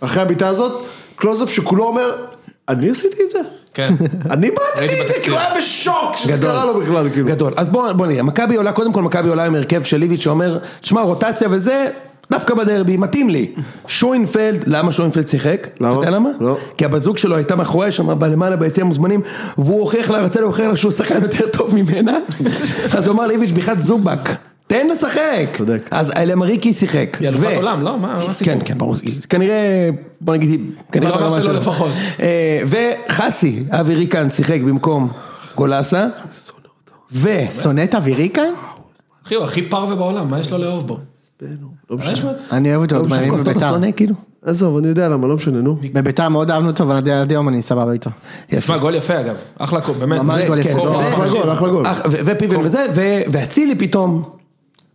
אחרי הבעיטה הזאת, קלוזאפ שכולו אומר, אני עשיתי את זה? כן. אני בעטתי ראיתי את זה, בתקציר. כאילו היה בשוק שזה גדול. קרה לו בכלל, כאילו. גדול. אז בואו בוא נראה, מכבי עולה, קודם כל מכבי עולה עם הרכב של ליביץ' שאומר, תשמע, רוטציה וזה, דווקא בדרבי, מתאים לי. שוינפלד, למה שוינפלד שיחק? למה? אתה יודע למה? לא. כי הבת זוג שלו הייתה מאחורי שם, למעלה ביציע המוזמנים, והוא הוכיח לה, רצה להוכיח לה שהוא שחקן יותר טוב ממנה, אז הוא אמר ליביץ' בכלל זובק. תן לשחק! צודק. אז אלמריקי שיחק. היא ו- אלופת עולם, לא? מה מה הסיפור? כן, כן, ברור, זה- כנראה, בוא נגיד, כנראה ברמה שלו לפחות. אה, וחסי, אבי ריקן שיחק במקום גולסה. ו... שונא את אוויריקה? אחי, הוא הכי פרווה בעולם, מה יש לו לאהוב בו? לא מה יש משנה. לו? אני אוהב אותו עוד שוב, מהימים כל זאת אתה בביתר. שונא, כאילו. עזוב, אני יודע למה, לא משנה, נו. בביתר מאוד אהבנו אותו, אבל עד עד היום אני סבבה איתו. תשמע, גול יפה אגב, אחלה קול, באמת. ממש אה, זה- גול יפה. כן, זה לא, זה אחלה ממש אחלה גול, יפה. אחלה גול. אח- ו- ופיבן וזה, ו- ואצילי פתאום. פס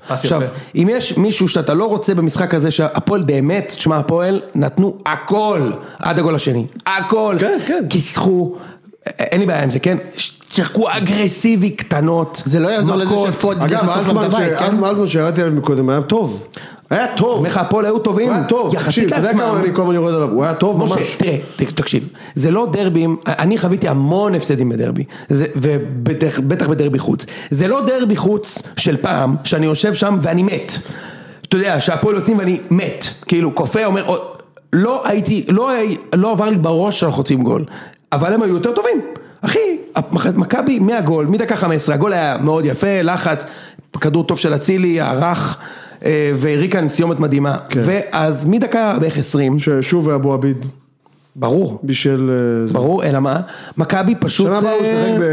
יפה. עכשיו, אם יש מישהו שאתה לא רוצה במשחק הזה, שהפועל באמת, תשמע, הפועל נתנו הכל עד הגול השני. הכל. כן, כן. כיסחו, א- אין לי בעיה עם זה, כן? ש- שיחקו אגרסיבי, קטנות. זה לא יעזור לזה מכות. שפוד אגב, נכנס לו אלטמן לבית, ש- כן? אלטמן אלטמן שירדתי עליו מקודם היה טוב. היה אני טוב. אומר לך, הפועל היו טובים. הוא היה טוב. תקשיב, יחסית אתה יודע כמה לעצמם. אני כל הזמן יורד עליו. הוא היה טוב משה, ממש. תראה, ת- תקשיב, זה לא דרבים, אני חוויתי המון הפסדים בדרבי, זה- ובטח בטח בדרבי חוץ. זה לא דרבי חוץ של פעם, שאני יושב שם ואני מת. אתה יודע, שהפועל יוצאים ואני מת. כאילו, כופה אומר, "או, לא הייתי, לא, הי- לא עבר לי בראש שאנחנו חוטפים גול, אבל הם היו יותר טובים. אחי, המכ- מכבי מהגול, מדקה 15, הגול היה מאוד יפה, לחץ, כדור טוב של אצילי, ערך. אה, והריקן סיומת מדהימה, ואז מדקה בערך 20, ששוב אבו עביד ברור, בישל... אה, זה. ברור, אלא מה? מכבי פשוט... שנה הבאה הוא אה, שיחק ב...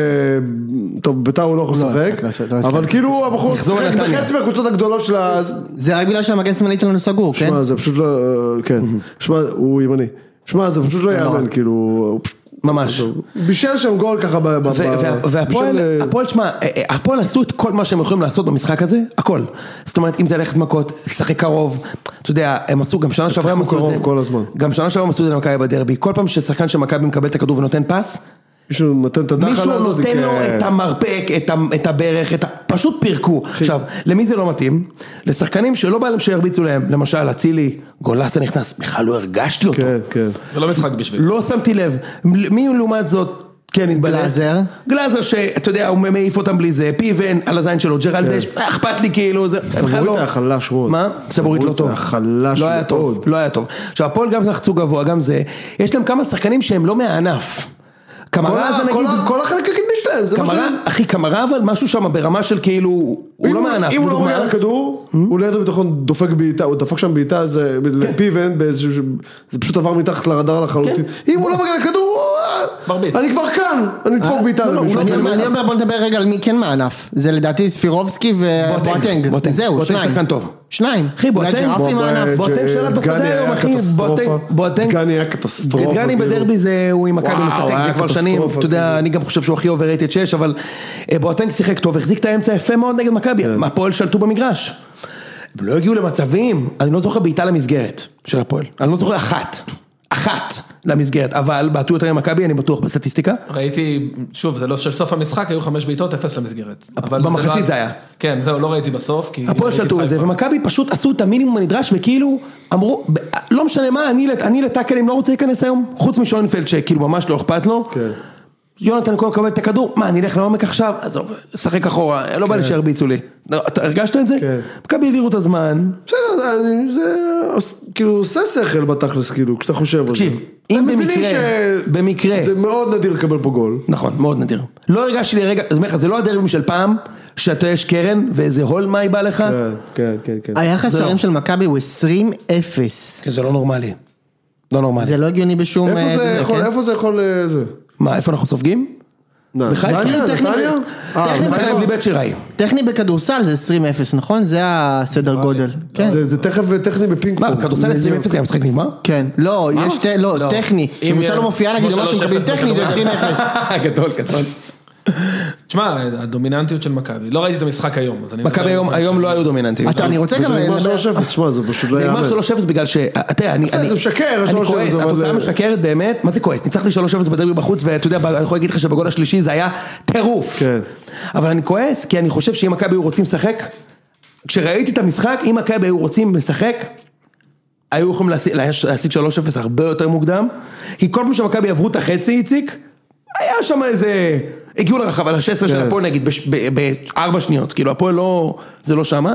טוב, ביתר הוא לא יכול לשחק, ישחק, לא ישחק, לא ישחק. אבל כאילו הבחור יחזור שיחק לנתניה. בחצי מהקבוצות הגדולות של ה... זה רק בגלל שהמגן שמאלי שלנו סגור, כן? שמע, זה פשוט לא... אה, כן. שמע, הוא ימני. שמע, זה פשוט לא יאמן, כאילו... הוא פשוט- ממש. ו- בישל שם גול ככה ב... ב- ב- וה- בישל, והפועל, אה, הפועל, שמע, אה, אה, הפועל עשו את כל מה שהם יכולים לעשות במשחק הזה, הכל. זאת אומרת, אם זה ללכת מכות, לשחק קרוב, אתה יודע, הם עשו, גם שנה שעברה הם שיחקו עשו את זה. קרוב כל הזמן. גם שנה שעברה הם עשו את זה למכבי בדרבי. כל פעם ששחקן של מכבי מקבל את הכדור ונותן פס, מישהו נותן את הדחלה מישהו הזאת. נותן לו כן. את המרפק, את ה- את הברך, את ה... פשוט פירקו. עכשיו, למי זה לא מתאים? לשחקנים שלא בא להם שירביצו להם. למשל, אצילי, גולסה נכנס, בכלל לא הרגשתי אותו. כן, כן. זה לא משחק בשבילי. לא שמתי לב. מ- מי לעומת זאת כן התבלט? גלאזר. גלאזר שאתה יודע, הוא מעיף אותם בלי זה, פיבן על הזין שלו, ג'רלדש, מה אכפת לי כאילו, זה בכלל כן. סבורית לא- היה חלש מאוד. מה? סבורית לא סבורית טוב. היה חלש לא היה טוב, מאוד. לא היה טוב. עכשיו הפועל גם לחצו גבוה, גם זה. יש להם כמה שחקנים שהם לא מהענף. כל קמרה ה- זה כל נגיד, ה- כל החלק הקדמי שלהם, זה מה ש... קמרה, אחי קמרה אבל משהו שם ברמה של כאילו, הוא אם לא מהענף, אם הוא לא לדוגמה. Hmm? מגיע לכדור, הוא ליד הביטחון דופק בעיטה, הוא דפק שם בעיטה, זה כן. לפיבן, באיזשהו- זה פשוט עבר מתחת לרדאר לחלוטין. אם הוא לא מגיע לכדור, הוא- מרביץ. אני כבר כאן, אני אדפוק בעיטה לא, לא, למישהו. אני אומר- אני אומר בוא נדבר רגע על מי כן מהענף, זה לדעתי ספירובסקי ובואטנג, בואטנג. זהו בואטנג שניים, שחקן טוב. שניים, אחי, אולי בואטנג, ג'רפי בוא, מהענף, בוא, בואטנג שלט בשדה דגני היה היום, אחי, קטסטרופה. בואטנג- בואטנג- דגני היה קטסטרופה. דגני כאילו. בדרבי זה, הוא עם מכבי וואו, משחק, זה היה כבר שנים, קטסטרופה, אתה יודע, כאילו. אני גם חושב שהוא הכי אובררייטד שיש, אבל אה, בואטנג שיחק טוב, החזיק את האמצע יפה מאוד נגד מכבי, כן. הפועל שלטו במגרש. הם לא הגיעו למצבים, אני לא זוכר בעיטה למסגרת של הפועל, אני לא זוכר אחת, אחת למסגרת, אבל בעטו יותר ממכבי, אני בטוח בסטטיסטיקה. ראיתי, שוב, זה לא של סוף המשחק, היו חמש בעיטות, אפס למסגרת. אבל במחצית לא- זה היה. כן, זהו, לא ראיתי בסוף, כי... הפועל ראיתי שלטו את זה, בחיפה. ומכבי פשוט עשו את המינימום הנדרש, וכאילו אמרו, ב- לא משנה מה, אני לט- אני לטאקלים לא רוצה להיכנס היום, חוץ משוינפלד שכאילו ממש לא אכפת לו. כן. יונתן כהן מקבל את הכדור, מה אני אלך לעומק עכשיו? עזוב, שחק אחורה, לא בא לי שירביצו לי. לא, אתה הרגשת את זה? כן. מכבי העבירו את הזמן, בסדר, אני- זה כאילו עושה שכל בתכלס, כאילו, כשאתה חושב על זה. תקשיב, הם אם מבינים במקרה, ש- במקרה. זה מאוד נדיר לקבל פה גול. נכון, מאוד נדיר. לא הרגשתי לרגע, אז אני אומר לך, זה לא הדרבים של פעם, שאתה יש קרן ואיזה הולמאי בא לך, כן, כן, כן, כן. היחס זהו. שערים של מכבי הוא 20-0, זה לא נורמלי. לא נורמלי. זה לא הגיוני בשום, איפה אה, זה זה, יכול, כן? איפה זה יכול, אה, זה? מה, איפה אנחנו סופגים? בחיפה. נתניה? טכנית- נתניה? אה, טכנית- נתניה בלי בית שיראי. טכני בכדורסל זה 20-0 נכון? זה הסדר גודל, כן, זה, זה תכף אה, טכני בפינג מה, פונג. בכדורסל 20-0 היה משחק נגמר? כן, לא, יש, ת- לא, לא. טכני, אם כשקבוצה יהיה- לא מופיעה כמו נגיד או משהו 3-0 מקבלים טכני זה 20-0, אה, גדול, גדול. תשמע, הדומיננטיות של מכבי, לא ראיתי את המשחק היום, אז אני... מכבי היום- היום לא היו דומיננטיים. אתה, אני רוצה וזה גם נגמר לדבר, 3-0, שמע, זה פשוט לא זה יאמן. נגמר 3-0 בגלל ש... אה, אתה יודע, אני... בסדר, אני- זה משקר, אני 3-0, כועס, אבל- התוצאה משקרת באמת, מה זה כועס? ניצחתי 3-0 בדרבי בחוץ, ואתה יודע, אני יכול להגיד לך שבגול השלישי זה היה טירוף. כן. אבל אני כועס, כי אני חושב שאם מכבי היו רוצים לשחק, כשראיתי את המשחק, אם מכבי היו רוצים לשחק, היו יכולים להשיג להש- להשיג 3-0 הרבה יותר מוקדם, כי כל פעם שמכבי עברו את החצי, איציק, היה שם איזה... הגיעו לרחבה, ל-16 של כן. הפועל נגיד, בש- ב- בארבע שניות, כאילו הפועל לא, זה לא שמה,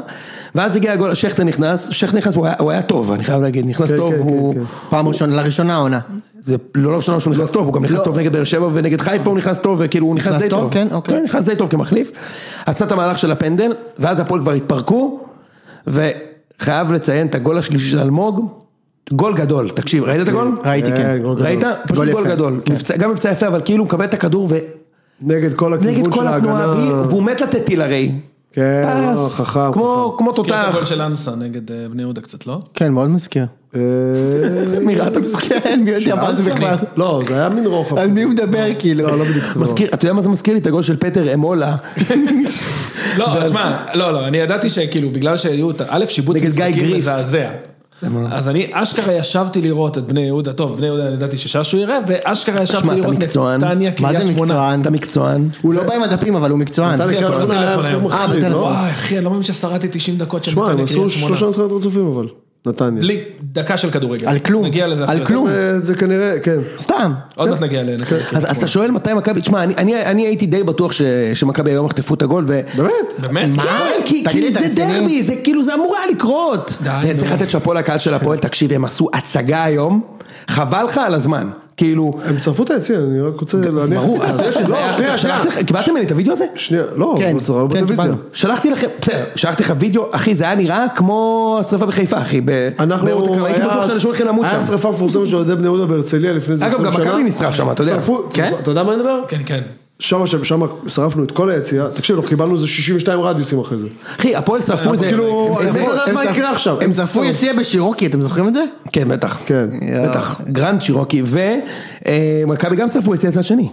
ואז הגיע הגול, שכטר נכנס, שכטר נכנס, הוא היה- הוא היה טוב, אני חייב להגיד, נכנס כן, טוב, כן, הוא... כן, כן. פעם ראשונה, לראשונה העונה, זה לא לראשונה שהוא נכנס טוב, הוא גם נכנס טוב נגד באר שבע ונגד חיפה הוא נכנס טוב, וכאילו הוא נכנס לא. נכנס די טוב, טוב. כן, אוקיי. נכנס די טוב כמחליף. עשה את המהלך של הפנדל, ואז הפועל כבר התפרקו, וחייב לציין את הגול השלישי של אלמוג, גול גדול, תקשיב, ראית את הגול? ראיתי כן, אה, גול גדול. ראית? פשוט גול גול יפה, כן. גדול. מבצע- גם מבצע יפה, אבל כאילו הוא מקבל את הכדור נגד כל הכיוון נגד של כל התנועה, ההגנה. בלי- והוא מת לתת טיל הרי. כן, פס, לא, חכם, כמו כמו הזכיר את הגול תותח. של אנסה נגד אה, בני יהודה קצת, לא? כן, מאוד מזכיר. אה, מי ראה את המשחק? כן, מי יודע מה זה בכלל. לא, זה היה מין רוחב. על מי הוא מדבר כאילו? לא, לא בדיוק. חזרה. מזכיר, אתה יודע מה זה מזכיר לי? את הגול של פטר אמולה. לא, תשמע, לא, לא, אני ידעתי שכאילו, בגלל שהיו, את ה- א', שיבוץ נגד גיא משחקים גריף. מזעזע. אז אני אשכרה ישבתי לראות את בני יהודה, טוב, בני יהודה אני ידעתי שששו יראה, ואשכרה שמע, ישבתי אתה לראות מקצוען. נתניה, מה זה קריית שמונה. מקצוען? אתה מקצוען. הוא לא בא עם הדפים, אבל הוא מקצוען. כן, כן, נתניה קריית שמונה היה משחק בטלפון. אה, מחריד, לא? בטלפון. וואי, אחי, אני לא מאמין ששרדתי 90 דקות של שמע, הם נתניה, עשו קריית שמונה. שלושה משחקים רצופים אבל, נתניה. בלי דקה של כדורגל. על כלום. נגיע לזה על אחרי כלום. אה, זה כנראה, כן. סתם. זה. עוד מעט נגיע כן, לנתניה. אז אז אתה שואל מתי מכבי, תשמע, אני- אני אני הייתי די בטוח ש- שמכבי היום יחטפו את הגול, ו... באמת? באמת? כן, כי, תגיד לי, כי אתה זה רציני? דרבי, זה כאילו זה אמור היה לקרות. די, אני צריך נו. לתת שאפו לקהל של הפועל, תקשיב, הם עשו הצגה היום, חבל לך על הזמן. כאילו, הם שרפו את היציע, אני רק רוצה להניח. ברור, אתה יודע שזה לא, היה... שנייה, שנייה. שלחתי לך- קיבלתם ממני את הוידאו הזה? שנייה, לא, כן, זה ראו כן, בטלוויזיה. קיבלנו. שלחתי לכם, בסדר, שלחתי לך וידאו, אחי, זה היה נראה כמו השרפה בחיפה, אחי. ב- באורט אנחנו, הקרב. הייתי בטוח שזה שולחן למות היה שם. שרפה מפורסמת של אוהדי בני יהודה בהרצליה לפני איזה אגב, 20 גם שנה. מכבי נשרף שם, אתה יודע. שרפו- כן? אתה יודע מה אני מדבר? כן, כן. שם, שם, שם שרפנו את כל היציאה, תקשיב, אנחנו קיבלנו איזה 62 רדיוסים אחרי זה. אחי, הפועל שרפו את אז זה. כאילו, הם- אני הם- לא יודעת הם מה זרפו- יקרה עכשיו. הם זרפו שרפו- יציאה בשירוקי, אתם זוכרים את זה? כן, בטח. כן. יואו. בטח, גרנד שירוקי, ומכבי גם שרפו את זה הצד שני.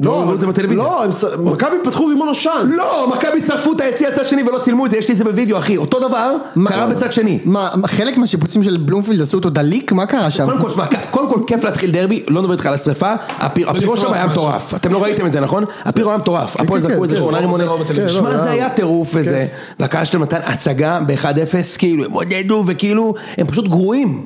לא, ראו את זה בטלוויזיה. לא, הם ש- מכבי פתחו רימון עשן. לא, מכבי שרפו את היציע הצד שני ולא צילמו את זה, יש לי את זה בווידאו אחי, אותו דבר קרה נכון. בצד שני. מה, חלק מהשיפוצים של בלומפילד עשו אותו דליק? מה קרה שם? קודם כל, שמע, קודם כל כיף להתחיל דרבי, לא נדבר איתך על השרפה, הפיר- הפירו שם היה מטורף, אתם לא ראיתם את זה נכון? הפירו היה מטורף, הפועל לא כן, זרקו את זה כן, שמונה זה רימונים, ראו בטלוויזיה. שמע כן, לא, זה היה היה- טירוף וזה, והקהל שלהם נתן הצגה ב-1-0, כאילו הם עודדו וכאילו, הם פשוט גרועים,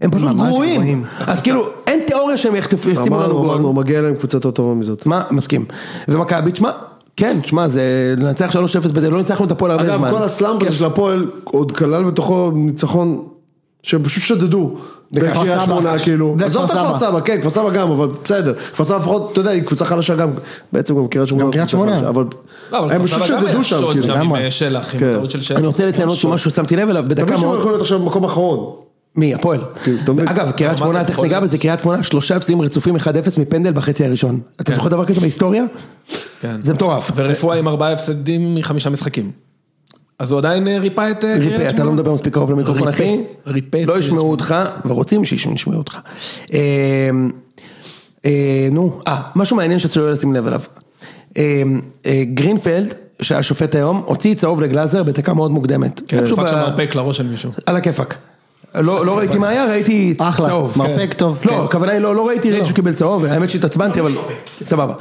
הם פשוט ממש גרועים, גרועים. אז כאילו אין תיאוריה שהם יחטפו, ישימו לנו אמרנו, גול, אמרנו, מגיע להם קבוצה יותר טובה מזאת. מה, מסכים, ומכבי, תשמע, כן, תשמע, זה לנצח 3-0 בדרבי, לא ניצחנו את הפועל הרבה אגב, זמן, כן. כל הסלאמפ הזה של הפועל עוד כלל בתוכו ניצחון שהם פשוט שדדו. בקריית סבא. שמונה כאילו. וכפר עזוב את כפר סבא. סבא, כן, כפר סבא גם, אבל בסדר. כפר סבא לפחות, אתה יודע, היא קבוצה חלשה גם, בעצם גם קריית שמונה. גם קריית קבוצה שמונה. חלשה, אבל לא, אבל הם כפר פשוט סבא גם היה שדדו שם, שוד כאילו. שם עם לגמרי. אה, שלח, עם כן. טעות של שלח. אני רוצה לציין עוד משהו ששמתי לב אליו, אתה בדקה מבין שהם מאוד, יכולים להיות עכשיו במקום האחרון. מי? הפועל. כן, כאילו, אתה מבין? אגב, קריית שמונה, רמת תכף ניגע היכולת. בזה, קריית שמונה, שלושה הפסדים רצופים 1-0 מפנדל בחצי הראשון. אתה זוכר דבר כזה בהיסטוריה? כן. זה מטורף. ורפואה עם ארבעה הפסדים מחמישה משחקים. אז הוא עדיין אה, ריפא את אה, ריפה, קריית אתה שמונה? לא מדבר מספיק קרוב למיקרופון, ריפה, אחי. ריפה את לא קריית ישמעו שמונה. אותך, ורוצים שישמעו אותך. אה, אה, נו, אה, משהו מעניין שצריך לשים לב אליו. אה, אה, גרינפלד, שהיה שופט היום, הוציא צהוב לגלאזר בדקה מאוד מוקדמת. כן, איפשהו דפק שם ב- מרפק לראש של מישהו. על הכיפאק. לא לא ראיתי מה היה, ראיתי אחלה, צהוב. מרפק טוב. לא, כן. הכוונה היא לא, לא ראיתי, ראיתי שהוא קיבל צהוב, האמת שהתעצבנתי, אבל סבבה.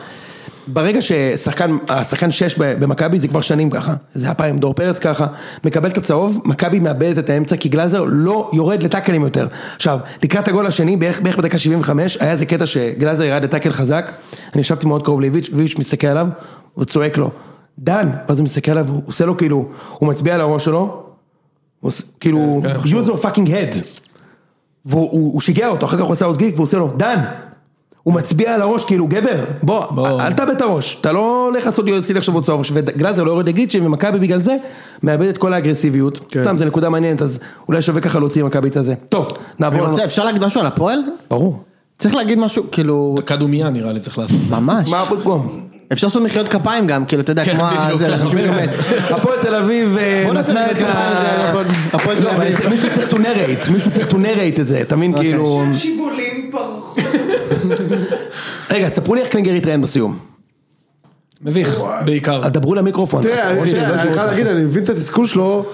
ברגע ששחקן, השחקן 6 במכבי זה כבר שנים ככה, זה היה פעם דור פרץ ככה, מקבל את הצהוב, מכבי מאבדת את האמצע כי גלאזר לא יורד לטאקלים יותר. עכשיו, לקראת הגול השני, בערך, בערך בדקה 75, היה איזה קטע שגלאזר ירד לטאקל חזק, אני ישבתי מאוד קרוב לאיביץ', ואיביץ' מסתכל עליו, הוא צועק לו, דן, ואז הוא מסתכל עליו, הוא עושה לו כאילו, הוא מצביע על הראש שלו, הוא עושה- כאילו, כן, כן, use your fucking head. והוא הוא- הוא שיגע אותו, אחר כך הוא עושה עוד גיק והוא עושה לו, דן. הוא מצביע על הראש, כאילו, גבר, בוא, בוא. אל תאבד את הראש, אתה לא הולך לעשות יוסי עכשיו עוד צהוב, וגלאזר לא יורד לגליצ'ים, ומכבי בגלל זה, מאבד את כל האגרסיביות. כן. סתם, זו נקודה מעניינת, אז אולי שווה ככה להוציא ממכבי את הזה. טוב, אני נעבור לנו. רוצה, אפשר להגיד משהו על הפועל? ברור. צריך להגיד משהו, כאילו, דקה דומייה נראה לי צריך לעשות. ממש. מה הפגום? אפשר לעשות מחיאות כפיים גם, כאילו, אתה יודע, כן, כמו בדיוק, הזה, ככה. אנשים באמת. הפועל תל אביב אה, בוא נעשה נתנה את מחיאות כפיים, זה ה... הפועל- הפועל תל לא, אבל אביב. אוקיי. מישהו צריך to narrate, מישהו צריך to narrate את זה, אתה מבין, כאילו... שיבולים ברחוב. רגע, תספרו לי איך קלינגר התראיין בסיום. מביך, בעיקר. אז דברו למיקרופון. תראה, אני- אוקיי, לא תראה, אני ישמעו חייב אותך. להגיד, אני מבין את התסכול שלו,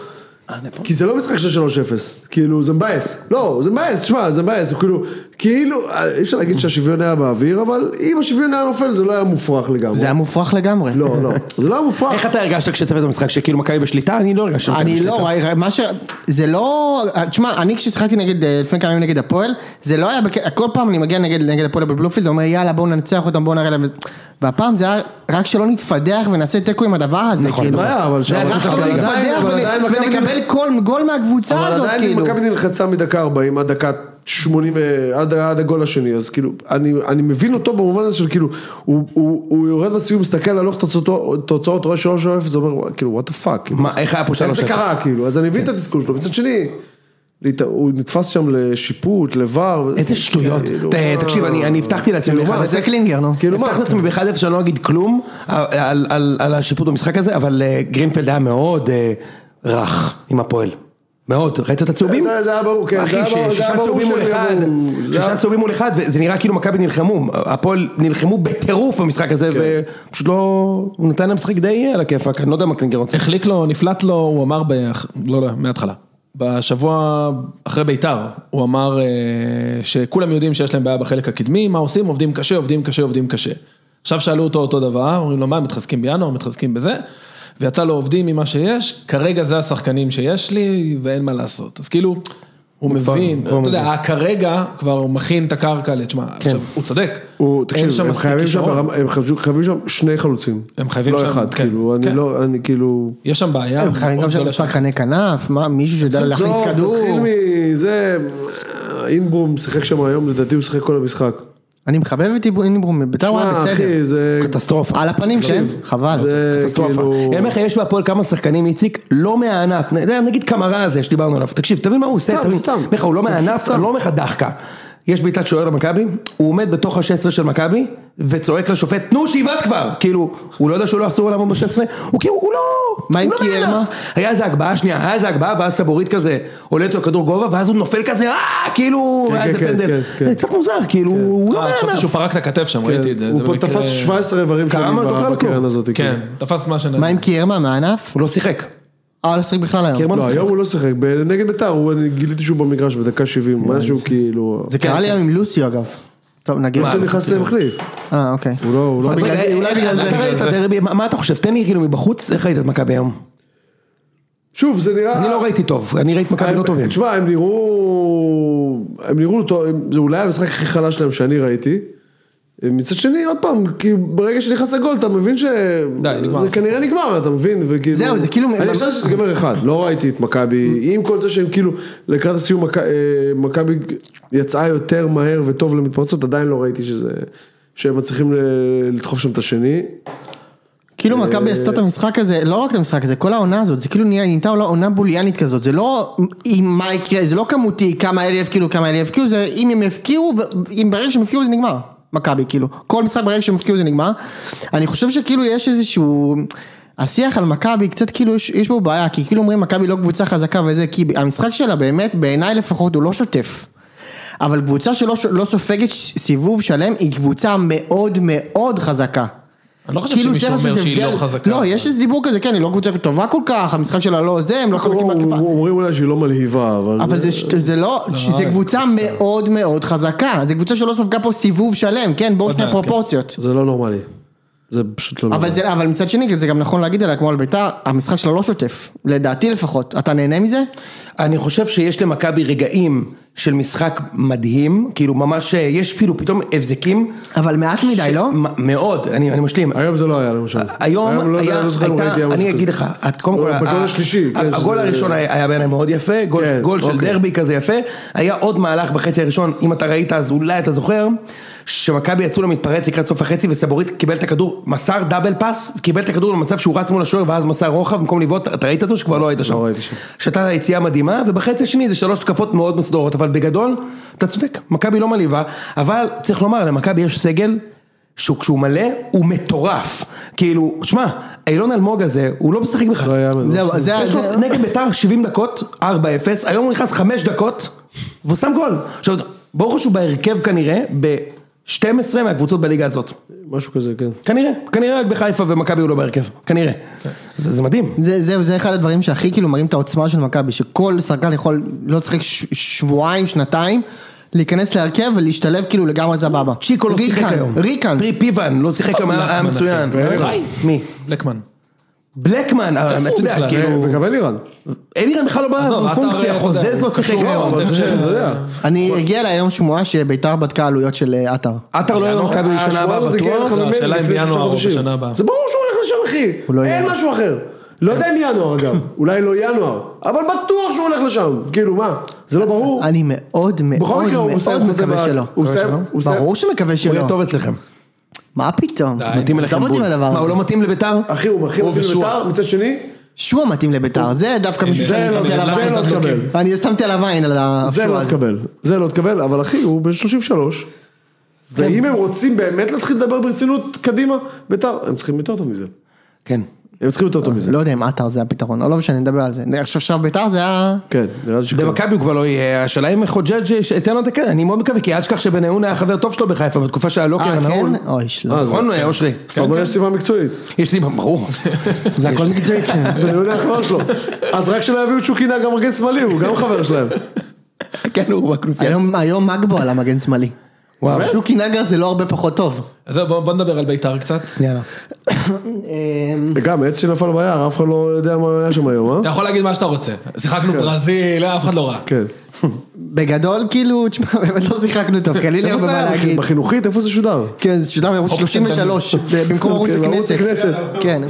כי זה לא משחק של 3-0, כאילו זה מבאס, לא, זה מבאס, תשמע, זה מבאס, הוא כאילו, כאילו, אה, אי אפשר להגיד שהשוויון היה באוויר, אבל אם השוויון היה נופל זה לא היה מופרך לגמרי. זה היה מופרך לגמרי. לא, לא, זה לא היה איך מופרך. אתה הרגשת כשצוות במשחק שכאילו מכבי בשליטה? אני לא הרגשתי מכבי אני בשליטה. לא, ראי- ראי- מה ש... זה לא... תשמע, אני כששיחקתי נגד, אה, לפני כמה ימים נגד הפועל, זה לא היה... בק- כל פעם אני מגיע נגד נגד הפועל בבלומפילד, אומר יאללה בואו ננצח אותם, בואו נראה להם... את זה." והפעם זה היה רק שלא נתפדח ונעשה תיקו עם הדבר הזה, נכון, כאילו. מה היה, אבל היה שם, רק אבל שלא עדיין- נתפדח אבל ונ- עדיין מכבי ונקבל נלחצה- כל גול מהקבוצה אבל הזאת, עדיין כאילו. מכבי נלחצה מדקה 40 עד דקה 80 ו- עד, עד הגול השני, אז כאילו, אני, אני מבין אותו במובן הזה של כאילו, הוא, הוא, הוא יורד בסיום, מסתכל על לוח תוצאות, תוצאות רואה 3-0, אומר, "וואי, כאילו, what the fuck. כאילו, מה, איך היה פה איך זה 3-0? קרה, כאילו, אז אני מבין את התסכול שלו, מצד שני, להת- הוא נתפס שם לשיפוט, לבר. איזה שטויות. כאילו, ת- מה? תקשיב, אני אני הבטחתי לעצמי כאילו, באחד מה, אפס. זה קלינגר, נו. כאילו, מה? הבטחתי לעצמי באחד אפס שאני לא אגיד כלום על- על- על- על השיפוט במשחק הזה, אבל אה, גרינפלד היה מאוד אה, רך עם הפועל. מאוד, ראית את הצהובים? זה- זה היה ברור, כן, זה אחי, היה ש- ברור- זה שישה היה ברור צהובים מול שהם אחד, יבואו, זה שישה היה- צהובים מול אחד, וזה נראה כאילו מכבי נלחמו, הפועל נלחמו בטירוף במשחק הזה, כן. ופשוט לא, הוא נתן להם משחק די על הכיפאק, אני לא יודע מה קלינגר רוצה. החליק לו, נפלט לו, הוא אמר, ב... לא, לא, מההתחלה. בשבוע אחרי ביתר, הוא אמר אה, שכולם יודעים שיש להם בעיה בחלק הקדמי, מה עושים? עובדים קשה, עובדים קשה, עובדים קשה. עכשיו שאלו אותו אותו דבר, אומרים לו, מה, מתחזקים בינואר, מתחזקים בזה, ויצא לו עובדים ממה שיש, כרגע זה השחקנים שיש לי, ואין מה לעשות. אז כאילו, הוא מבין, הוא אתה יודע, מבין. כרגע כבר הוא מכין את הקרקע, לתשמע, עכשיו, הוא צודק, כן. הוא, אין תקשיב, שם הם מספיק חייבים שם, כישרון, ברמה- הם חייבים- חייבים שם שני חלוצים. הם חייבים שם- לא אחד, כן, כאילו, אני כן. לא, אני כאילו... יש שם בעיה. הם חייבים אוקיי, גם מאוד שם גדולה. שחקני כנף, מה, מישהו שיודע להכניס עזוב, כדור. לא, תתחיל מזה, אינברום שיחק שם היום, לדעתי הוא שיחק כל המשחק. אני מחבב את אינברום, ביתר הוא היה שמע, לא, בסדר. אחי, זה... קטסטרופה. על הפנים שהם, חבל. זה קטסטרופה. כאילו- אני אומר לך, יש בהפועל כמה שחקנים, איציק, לא מהענף, נ- נגיד קמרה הזה שדיברנו עליו, תקשיב, תבין מה הוא עושה, סתם, תבין, סתם. אני אומר לך, הוא לא זה פשוט מהענף, סתם. אני לא אומר לך דחקה. יש בעיטת שוער למכבי, הוא עומד בתוך ה-16 של מכבי, וצועק לשופט, תנו שיבעט כבר! כאילו, הוא לא יודע שהוא לא אסור עליו ב-16, הוא כאילו, הוא לא... מה הוא עם לא קיאמה? מהענף. היה איזה הגבהה שנייה, היה איזה הגבהה, ואז סבורית כזה, עולה איתו כדור גובה, ואז הוא נופל כזה, אה, כאילו, כן, היה כן, איזה כן, פנדל. כן, זה כן. קצת מוזר, כאילו, הוא לא אה, חשבתי מהענף. שהוא פרק את הכתף שם, ראיתי את זה. הוא זה פה במקרה- תפס 17 איברים קרה שונים מה, לא קרה בקרן כלום. הזאת. כאילו. כן, תפס מה שנ... מה עם קיירמה מהענף? הוא לא שיחק. אה, לא שיחק בכלל היום. קיירמה לא, שיחק. היום הוא לא שיחק, ב- נגד ביתר, הוא- אני גיליתי שהוא במגרש בדקה 70, משהו כאילו... זה קרה לי היום עם לוסיו אגב. טוב, נגיד. הוא נכנס למחליף, אה, אוקיי. הוא לא... הוא לא- בגלל זה- אולי בגלל זה. אתה ראית את הדרבי, מה מה אתה חושב? תן לי כאילו מבחוץ, איך ראית את מכבי היום? שוב, זה נראה... אני לא ראיתי טוב, אני ראיתי מכבי הם- אה, לא טובים. תשמע, הם נראו... הם נראו לא טוב, הם- זה אולי המשחק הכי חלש שלהם שאני ראיתי. מצד שני, עוד פעם, כי ברגע שנכנס לגול, אתה מבין ש... די, נגמר. זה כנראה נגמר, אתה מבין, וכאילו... זהו, זה כאילו- אני חשבתי שזה ייגמר אחד, לא ראיתי את מכבי, עם כל זה שהם כאילו, לקראת הסיום, מכ- אה, מכבי יצאה יותר מהר וטוב למתפרצות, עדיין לא ראיתי שזה... שהם מצליחים ל- לדחוף שם את השני. כאילו מכבי עשתה את המשחק הזה, לא רק את המשחק הזה, כל העונה הזאת, זה כאילו נהיה- נהייתה עולה- עונה בוליאנית כזאת, זה לא אם מה יקרה, זה לא כמותי, כמה אלה יבקיעו, כמה אלה יבקיעו, זה אם הם יבקיעו, ו- אם ברגע שהם יבקיעו זה נגמר, מכבי כאילו, כל משחק ברגע שהם יבקיעו זה נגמר, אני חושב שכאילו יש איזשהו, השיח על מכבי קצת כאילו יש, יש בו בעיה, כי כאילו אומרים מכבי לא קבוצה חזקה וזה, כי המשחק שלה באמת, בעיניי לפחות הוא לא שוטף. אבל קבוצה שלא ש- לא סופגת ש- סיבוב שלם היא קבוצה מאוד מאוד חזקה. אני לא חושב כאילו, שמישהו צריך אומר לעשות שהיא הבדל- לא חזקה. לא, יש איזה דיבור כזה, כן, היא לא קבוצה טובה כל כך, המשחק שלה לא זה, הם לא חזקים בהתקפה. אומרים אולי שהיא לא מלהיבה, אבל... אבל זה, ש- זה לא, זה קבוצה מאוד מאוד חזקה, זה קבוצה שלא ספגה פה סיבוב שלם, כן, בואו שני מעט, כן. פרופורציות. זה לא נורמלי. זה פשוט לא נורמלי. אבל, זה, אבל מצד שני, זה גם נכון להגיד עליה, כמו על ביתר, המשחק שלה לא שוטף, לדעתי לפחות. אתה נהנה מזה? אני חושב שיש למכבי רגעים של משחק מדהים, כאילו ממש, אה, יש כאילו פתאום הבזקים. אבל מעט מדי, ש- לא? מ- מאוד, אני אני משלים. היום זה לא היה למשל. היום לא יודע, היה, לא זוכר אם ראיתי היום הייתה, אני משהו אגיד כזה. לא, לך, את קודם כל, בגול ה- השלישי, כן, הגול שזה- הראשון היה היה בעיניי מאוד יפה, גול- כן, גול של אוקיי. דרבי כזה יפה, היה עוד מהלך בחצי הראשון, אם אתה ראית אז אולי אתה זוכר, שמכבי יצאו למתפרץ לקראת סוף החצי וסבורית קיבל את הכדור, מסר דאבל פאס, קיבל את הכדור למצב שהוא רץ מול השוער ואז מסר רוחב במקום לבעוט, אתה ראית את זה או שכבר לא היית שם? לא ראיתי שם. שהייתה יציאה מדהימה, ובחצי השני זה שלוש תקפות מאוד מסודרות, אבל בגדול, אתה צודק, מכבי לא מלהיבה, אבל צריך לומר, למכבי יש סגל, שהוא כשהוא מלא, הוא מטורף. כאילו, שמע, אילון אלמוג הזה, הוא לא משחק בכלל. לא היה מזה. זהו, זה... יש לו זה- נגד ביתר 70 דקות, 4-0, היום הוא נכנס 5 דקות, והוא שם גול. עכשיו, ברור שהוא בהרכב כנראה, ב-12 מהקבוצות בליגה הזאת. משהו כזה, כן. כנראה, כנראה רק בחיפה ומכבי הוא לא בהרכב, כנראה. זה זה מדהים. זה, זהו, זה אחד הדברים שהכי כאילו מראים את העוצמה של מכבי, שכל שחקן יכול לא לשחק ש- שבועיים, שנתיים, להיכנס להרכב ולהשתלב כאילו לגמרי סבבה. צ'יקו לא שיחק ריקן, היום. ריקן, פרי פיוון, לא שיחק היום, היה היה בלקמן, מצוין. אחי. אוקיי. חי. מי? בלקמן. בלקמן, אבל אתה הוא יודע, בכלל? אה, כאילו... וגם אלירן. אלירן בכלל לא עזוב, בא עטר, בפונקציה, אתה יודע, חוזז הוא לא שיחק קשור, היום. אבל אבל זה- זה- אתה לא יודע. אני הגיע אליי היום שמועה שביתר בדקה עלויות של אה, עטר. עטר לא יהיה למכבי אה, ראשונה הבאה השמועות כן. כאילו הגיעו בטוח. לך במייל לא, השאלה אם לפני שלושה בינואר או חודשים. בשנה הבאה. זה ברור שהוא הולך לשם לא אחי. אין ינואר. משהו אחר. לא יודע אם ינואר אגב, אולי לא ינואר, אבל בטוח שהוא הולך לשם, כאילו מה, זה לא ברור? אני מאוד בכל מאוד מקרה הוא מסיים מאוד חוזה מקווה בעד. שלא. הוא מסיים, הוא מסיים. ברור שמקווה הוא שלא. יהיה טוב אצלכם. מה פתאום? מתאים אליכם עזוב אותי בול. מהדבר מה, הוא הזה. אה. לא מתאים לביתר? אחי הוא הכי הוא מתאים ושועה. לביתר, מצד שני, שהוא המתאים לביתר, זה דווקא מישהו זה שאני לא- שמתי עליו זה עין. לא תקבל. אני שמתי עליו עין על זה הפשוע לא הזה. תקבל, זה לא תקבל, אבל אחי, הוא בן 33. ואם הם רוצים באמת להתחיל לדבר ברצינות קדימה, ביתר, הם צריכים יותר טוב מזה. כן. הם צריכים יותר טוב מזה. לא יודע אם עטר זה הפתרון, או לא משנה, נדבר על זה. עכשיו עכשיו ביתר זה היה... כן, נראה לי שכן. במכבי הוא כבר לא יהיה, השאלה אם חוג'ג' ייתן לו את הקרן, אני מאוד מקווה, כי אל תשכח שבניון היה חבר טוב שלו בחיפה, בתקופה שהיה לו אוקיי, אה, קרן ההון. כן? אוי, שלא. אה, זה- נכון, אושרי? אתה אומר יש סיבה מקצועית. יש לי, ברור. זה הכל מקצועי אצלנו. בניון היה חבר שלו. אז רק שלא יביאו צ'וקינה גם מגן שמאלי, הוא גם חבר שלהם. כן, הוא אה, בכנופיה. היום- היום מגבו על המגן שמאלי. וואו. שוקי נגר זה לא הרבה פחות טוב. אז זהו, בוא, בוא נדבר על בית"ר קצת. יאללה. אמ, גם עץ שנפל ביער, אף אחד לא יודע מה היה שם היום, אתה אה? יכול להגיד מה שאתה רוצה. שיחקנו ברזיל, אף אחד לא ראה. כן. בגדול, כאילו, תשמע, באמת לא שיחקנו טוב, כי אין לי איפה הרבה זה מה היה? להגיד. בחינוכית? איפה זה שודר? כן, זה שודר בערוץ 33, במקום ערוץ כן, ערוץ הכנסת. הכנסת. כן.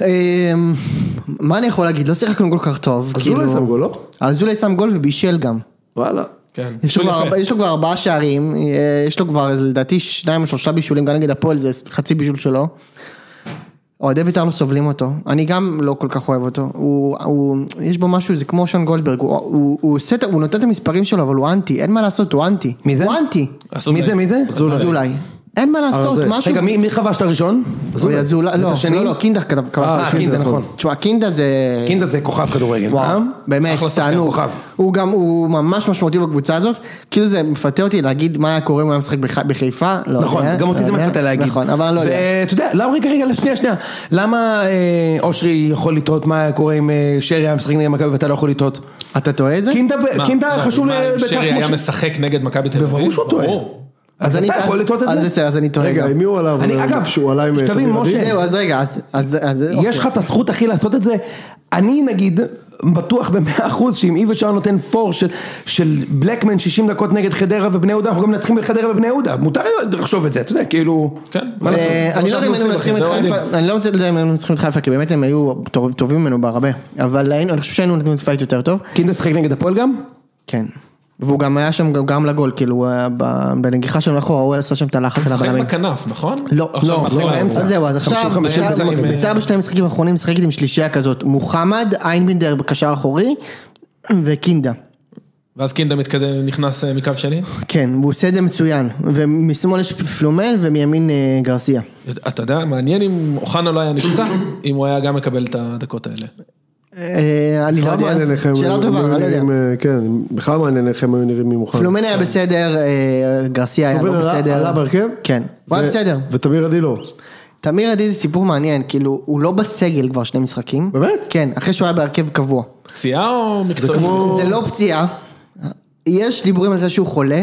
אמ, מה אני יכול להגיד? לא שיחקנו כל כך טוב. אזולאי כאילו- שם גול, לא? אזולאי שם גול ובישל גם. וואלה. כן. יש לו, שוב כבר, יפה. יש לו כבר ארבעה שערים, אה, יש לו כבר איזה, לדעתי שניים או שלושה בישולים, גם נגד הפועל זה חצי בישול שלו. אוהדי בית"ר לא סובלים אותו, אני גם לא כל כך אוהב אותו, הוא, הוא, יש בו משהו, זה כמו שון גולדברג, הוא, הוא, הוא, עושה, את- הוא נותן את המספרים שלו אבל הוא אנטי, אין מה לעשות, הוא אנטי. מי זה? הוא אנטי. מי זה, מי זה? אזולאי. אין מה לעשות, משהו... רגע, מי מי כבש את הראשון? אוי, אזולאי, לא, השני? לא, לא, קינדה כתב כבש. אה, קינדה, נכון. תשמע, קינדה זה... קינדה זה כוכב כדורגל. אה? וואו, באמת, אחלה שחקן, תענוג. כוכב. הוא גם, הוא ממש משמעותי בקבוצה הזאת. כאילו זה מפתה אותי להגיד מה היה קורה אם הוא היה משחק בח- בחיפה. לא יודע, נכון, גם אותי לא זה יודע. מפתה להגיד. נכון, אבל אני לא יודע. ואתה יודע, למה רגע, רגע, שנייה, שנייה. למה אה, אושרי יכול לטעות מה היה קורה אם אה, שרי היה משחק נגד מכבי ואתה לא יכול לטעות? אתה טועה את זה? קינדה ו- מה, קינדה מה, חשוב מה, אם לבית"ר שרי היה כמו ש... משחק נגד מכבי תל אביב. ברור שהוא טועה. ברור. אז אני- אתה יכול לטעות את אז זה? בסדר, אז אני טועה רגע, גם. אה, עם מי הוא עלה? אבל אני, אגב, כשהוא עלה עם... אה, שתבין, תמיר עדי? משה, זהו, אז רגע, אז... אז- אז- יש לך אוקיי. את הזכות אחי לעשות את זה. אני נגיד בטוח במאה אחוז שאם איבשאר נותן פור של, של בלקמן 60 דקות נגד חדרה ובני יהודה, אנחנו גם מנצחים בחדרה ובני יהודה, מותר לחשוב את זה, אתה יודע, כאילו... כן. מה לעשות? אה, אני לא יודע אם היינו מנצחים את חיפה, אני לא יודע אם היינו מנצחים את חיפה, כי באמת הם היו טוב- טובים ממנו בהרבה. אבל היינו- אני חושב שהיינו נותנים את פייט יותר טוב. קינדה שיחק נגד הפועל גם? כן. והוא גם היה שם גם- גם לגול, כאילו, הוא היה ב- בנגיחה שלו לאחורה, הוא עשה שם את הלחץ על משחק הבלמים. בכנף, נכון? לא, עכשיו לא, מתחיל לא, האירוע. באמצע. אז זהו, אז עכשיו, 50, ביתר- 50, כזה. ביתר בשני המשחקים האחרונים משחקת עם שלישייה כזאת, מוחמד, איינבינדר בקשר אחורי, וקינדה. ואז קינדה מתקדם, נכנס אה, מקו שני. כן, והוא עושה את זה מצוין, ומשמאל יש פלומן ומימין אה, גרסיה. אתה יודע, מעניין אם אוחנה לא היה נפצע, אם הוא היה גם מקבל את הדקות האלה. אה, אני לא בכלל מעניין יודע, איך הם שאלה היו טובה, אני לא יודע. נראים, אה, כן, בכלל מעניין איך הם היו נראים ממוכן. פלומן היה בסדר, אה, גרסיה היה לא פלומן עלה- בסדר. עלה בהרכב? כן, הוא היה בסדר. ותמיר עדי לא. תמיר עדי זה סיפור מעניין, כאילו, הוא לא בסגל כבר שני משחקים. באמת? כן, אחרי שהוא היה בהרכב קבוע. פציעה או מקצועית? זה לא פציעה. יש דיבורים על זה שהוא חולה,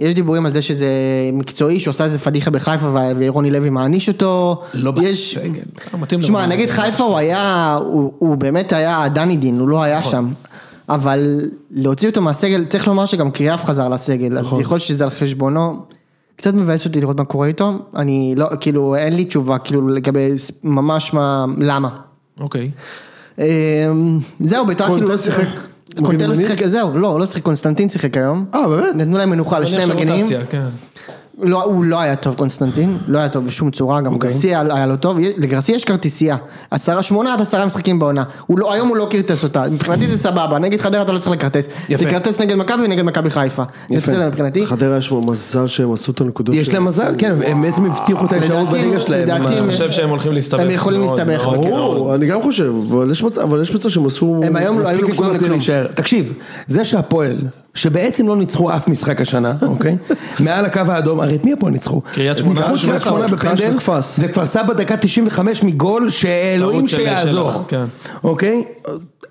יש דיבורים על זה שזה מקצועי, שהוא עשה איזה פדיחה בחיפה ו- ורוני לוי מעניש אותו. לא יש- בסגל. אה, מתאים תשמע, לרוני נגיד לוי. חיפה הוא היה, הוא- הוא באמת היה דני דין, הוא לא היה נכון. שם. אבל להוציא אותו מהסגל, צריך לומר שגם קריאף חזר לסגל, נכון. אז יכול להיות שזה על חשבונו. קצת מבאס אותי לראות מה קורה איתו, אני לא, כאילו, אין לי תשובה, כאילו, לגבי ס- ממש מה, למה. אוקיי. אמ, זהו, ביתר כאילו... קונטה לא- שיחק קונטה מגן לא ימני? שיחק, זהו, לא, לא שיחק, קונסטנטין שיחק היום. אה, באמת? נתנו להם מנוחה לשני אני עכשיו מגנים. רוטציה, כן. לא, הוא לא היה טוב קונסטנטין, לא היה טוב בשום צורה, גם אוקיי. גרסיה היה לא טוב, לגרסיה יש כרטיסייה, עשרה, שמונה עד עשרה משחקים בעונה, הוא לא, היום הוא לא כרטס אותה, מבחינתי זה סבבה, נגד חדרה אתה לא צריך לכרטס, יפה. תכרטס נגד מכבי ונגד מכבי חיפה, זה בסדר מבחינתי, חדרה יש לו מזל שהם עשו את הנקודות. יש להם שלהם. מזל, כן, הם בעצם הבטיחו את האפשרות לדעתי- בליגה שלהם. לדעתי מה- הם- אני חושב שהם הולכים להסתבך. הם יכולים מאוד, להסתבך, מאוד. ברור, אני גם חושב, אבל יש מצב- אבל יש מצב שהם עשו... הם היום לא היו מספיק נקודות נקודות כדי לכלום. להישאר. תקשיב, זה שהפועל, שבעצם לא ניצחו אף משחק השנה, אוקיי? מעל הקו האדום, הרי את מי הפועל ניצחו? קריית שמונה, ניצחו את קריית קרש שמונה וקרש בפנדל, וקפץ. וכפר סבא דקה 95 מגול שאלוהים טעות של שיעזור. שלח, כן. אוקיי?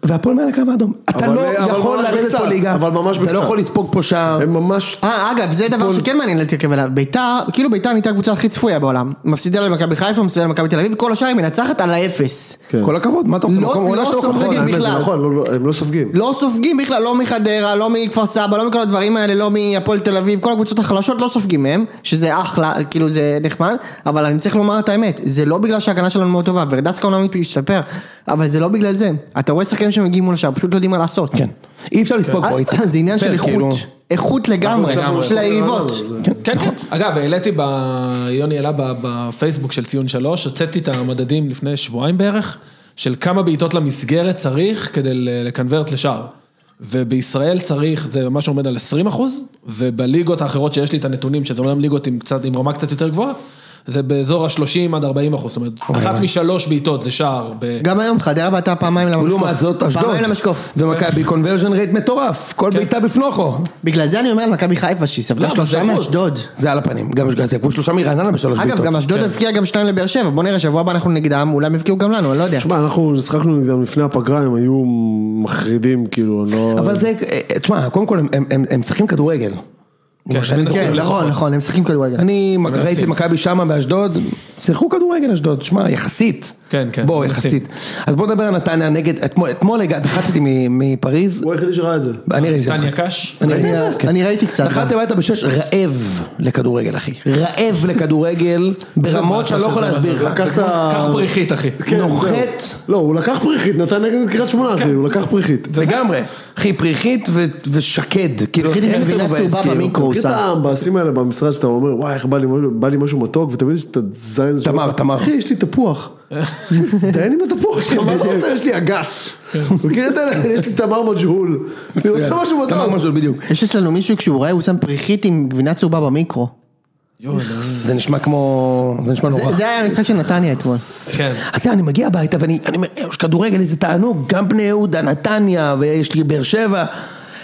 והפועל מעל הקו האדום. אתה אבל- לא אבל יכול ממש לרדת בקצת, פה ליגה. אבל ממש אתה לא בקצת. יכול לספוג פה שער. הם ממש... אה, אגב, זה דבר שכן מעניין להתרכב עליו. ביתר, כאילו ביתר נהייתה הקבוצה הכי צפויה בעולם. מפסידה למכבי חיפה, מפסידה למכבי תל אביב, כל השאר היא מנצחת על האפס. כן. כל הכבוד, מה אתה רוצה? לא- מקום לא עונה שלא סופגים יכול- בכלל. האמת, זה נכון, לא- לא- הם לא סופגים. לא סופגים בכלל, לא מחדרה, לא מכפר סבא, לא מכל הדברים האלה, לא מהפועל תל אביב, כל הקבוצות החלשות לא סופגים מהם, שזה אחלה, כאילו זה נחמד, אבל אני צריך לומר את האמת, זה לא בגלל שההגנה שלנו מאוד טובה, ורדסקה אומנם השתפר, אבל זה לא בגלל זה. אתה רואה שחקנים שמגיעים מול השאר, פשוט לא יודעים מה לעשות. כן. אי אפשר לספוג פה, איציק. אה, זה עניין של בסדר, כאילו- איכות, איכות לגמרי, לגמרי. של היריבות. כן, כן. אגב, העליתי, ב... יוני העלה ב- בפייסבוק של ציון שלוש, הוצאתי את המדדים לפני שבועיים בערך, של כמה בעיטות למסגרת צריך כדי ל- לקנברט לשער. ובישראל צריך, זה ממש עומד על 20 אחוז, ובליגות האחרות שיש לי את הנתונים, שזה אומנם ליגות עם, קצת, עם רמה קצת יותר גבוהה, זה באזור ה-30 עד 40 אחוז, זאת אומרת, אחת משלוש בעיטות זה שער. ב... גם היום חדרה בעטה פעמיים למשקוף. ולעומת כאילו, זאת אשדוד. פעמיים למשקוף. ומכבי קונברז'ן רייט מטורף, כל בעיטה בפנוכו. בגלל זה אני אומר על מכבי חיפה שהיא סבלה לא, אבל זה שלושה חוץ. מאשדוד. זה על הפנים, גם גם זה עברו שלושה מרעננה בשלוש בעיטות. אגב, גם אשדוד כן. הבקיעה גם שתיים לבאר שבע, בוא נראה, שבוע הבא אנחנו נגדם, אולי הם יבקיעו גם לנו, אני לא יודע. תשמע, אנחנו משחקנו נגדם לפני הפגרה, הם היו מחרידים, כאילו, אני לא... אבל זה, אה, תשמע, קודם כל הם- הם- הם הם משחקים כדורגל. כן, כמו שאני זוכר. כן, נכון, נכון, הם משחקים כדורגל. אני ראיתי מכבי שמה באשדוד, שיחקו כדורגל אשדוד, שמע, יחסית. כן, כן, בוא, מנסים. יחסית. אז בוא נדבר על נתניה נגד, אתמול- אתמול הגע- נחתתי מ- מפריז, הוא היחידי שראה את זה. אני ראיתי את טניה המשחק. קאש. אני ראית ראיתי את זה? כן. אני ראיתי קצת. נחת הביתה בשש, רעב לכדורגל אחי, רעב לכדורגל, ברמות באסה שאני לא יכול שזה- להסביר לך, לקחת... קח פריחית, אחי. כן, זהו. נוחת. כן. לא, הוא לקח פריחית, נתן נגד קריית שמונה, אחי, הוא לקח פריחית. לגמרי, אחי פריחית ו- ושקד, כאילו, פריחית עם איך זה גבינה מבאס, צהובה כאילו. במיקרו. מכיר את המבאסים האלה במשרד שאתה אומר, וואי, איך בא לי משהו- בא לי משהו מתוק, ותמיד יש את הזין הזה. תמר, שאומר, תמר. אחי, יש לי תפוח. תזדיין עם התפוח שלך, מה אתה רוצה? יש לי אגס. כן. מכיר את אלה? יש לי תמר מג'הול. אני רוצה משהו מתוק. תמר מז'ול בדיוק, יש אצלנו מישהו כשהוא רואה, הוא שם פריחית עם גבינה צהובה במיקרו. זה נשמע כמו, זה נשמע נורא. זה- זה היה המשחק של נתניה אתמול. כן. אז זהו, אני מגיע הביתה ואני אני אומר, יש כדורגל איזה תענוג, גם בני יהודה, נתניה, ויש לי באר שבע.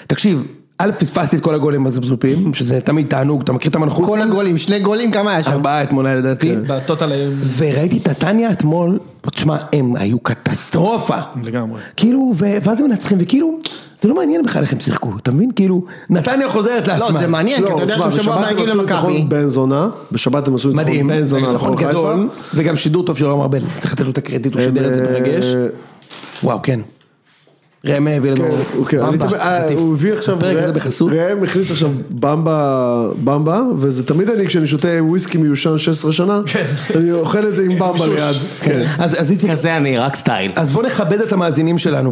תקשיב, א', פספסתי את כל הגולים בזבזופים, שזה תמיד תענוג, אתה מכיר את המנחוס? כל הגולים, שני גולים, כמה היה שם? ארבעה אתמול היה לדעתי. בטוטל היום. וראיתי את נתניה אתמול, תשמע, הם היו קטסטרופה. לגמרי. כאילו, ו- ואז הם מנצחים, וכאילו, זה לא מעניין בכלל איך הם שיחקו, אתה מבין? כאילו, נתניה חוזרת לעצמה. לא, זה מעניין, כי אתה יודע שמע, בשבת שבשבוע הבא הם יגיעו עשו למכבי. ניצחון בן זונה, בשבת הם עשו מדהים, ניצחון בן זונה, ניצחון נכון, גדול, חיפה. וגם שידור טוב של יורם ארבל, צריך לתת לו את הקרדיט, הוא שידר את זה ברגש. אה, וואו, כן. רמי הביא לנו כן, הוא- כן, במבה, אני תמיד- אה, חטיף. הוא הביא עכשיו, הפרק הזה ראם- בחסות. ראם הכניס עכשיו במבה, במבה, וזה תמיד אני כשאני שותה וויסקי מיושן 16 שנה, כן. אני אוכל את זה עם במבה ליד, כן. אז אז איציק, כזה אני, רק סטייל. אז בוא נכבד את המאזינים שלנו.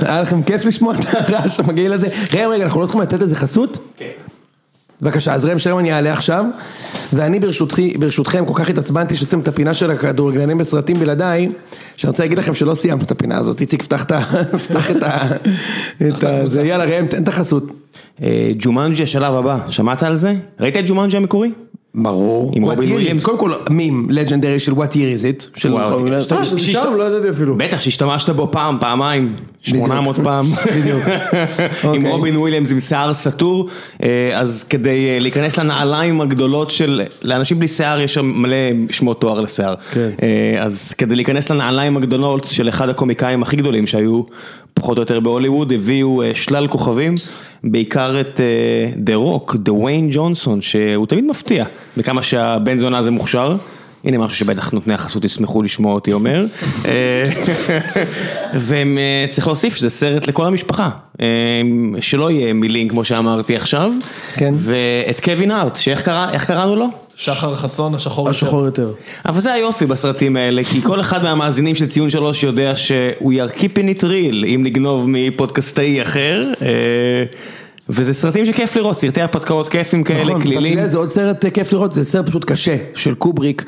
היה לכם כיף לשמוע את הרעש המגעיל הזה? ראם, רגע, אנחנו לא צריכים לתת איזה חסות? כן. בבקשה, אז ראם שרמן יעלה עכשיו, ואני ברשותכי, ברשותכם כל כך התעצבנתי שעשיתם את הפינה של הכדורגלנים בסרטים בלעדיי, שאני רוצה להגיד לכם שלא סיימנו את הפינה הזאת, איציק, פתח את ה... פתח את ה... את ה... זה, יאללה ראם, תן את החסות. אה, ג'ומנג'י השלב הבא, שמעת על זה? ראית את ג'ומנג'י המקורי? ברור. עם What רובין year is וויליאמס. it? קודם כל, מים לג'נדרי של What year is it? של... וואו, חולנר. שאתה- אה, זה שיש- שם? לא ידעתי אפילו. בטח שהשתמשת בו פעם, פעמיים, 800 פעם. בדיוק. עם אוקיי. רובין וויליאמס עם שיער סטור, אה, אז כדי אה, להיכנס לנעליים הגדולות של... לאנשים בלי שיער יש שם מלא שמות תואר לשיער. אה, אז כדי להיכנס לנעליים הגדולות של אחד הקומיקאים הכי גדולים שהיו פחות או יותר בהוליווד, הביאו אה, שלל כוכבים. בעיקר את אה, דה רוק, דה ויין ג'ונסון, שהוא תמיד מפתיע בכמה שהבן זונה הזה מוכשר. הנה משהו שבטח נותני החסות ישמחו לשמוע אותי אומר. אה, והם אה, צריך להוסיף שזה סרט לכל המשפחה, אה, שלא יהיה מילים כמו שאמרתי עכשיו. כן. ואת קווין הארט, שאיך קרא- איך קראנו לו? שחר חסון, השחור יותר. השחור יותר. אבל זה היופי בסרטים האלה, כי כל אחד מהמאזינים של ציון שלוש יודע שהוא you're keeping it real, אם נגנוב מפודקאסטאי אחר. אה, וזה סרטים שכיף לראות, סרטי הרפתקאות כיפים כאלה, נכון, אתה כלילים. יודע, זה עוד סרט אה, כיף לראות, זה סרט פשוט קשה, של קובריק.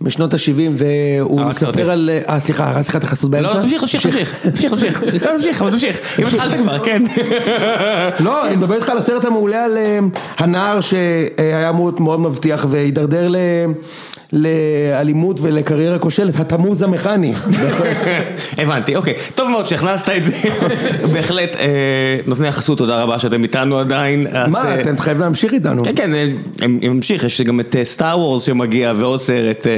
משנות ה-70, והוא הרגת אותי. מספר על... אה, אה, סליחה, הרסתי לך את החסות באמצע? לא, תמשיך, תמשיך, תמשיך, תמשיך, תמשיך, תמשיך, אבל תמשיך, אם התחלת כבר, כן. לא, אני מדבר איתך על הסרט המעולה על אה, הנער שהיה אמור להיות מאוד מבטיח והידרדר ל... לאלימות ולקריירה כושלת, התמוז המכני. הבנתי, אוקיי. טוב מאוד שהכנסת את זה. בהחלט, אה, נותני החסות, תודה רבה שאתם איתנו עדיין. אז, מה, אה, אתם חייבים להמשיך איתנו. כן, כן, אה, הם הם ממשיך, יש גם את סטאר וורס שמגיע ועוד סרט אה,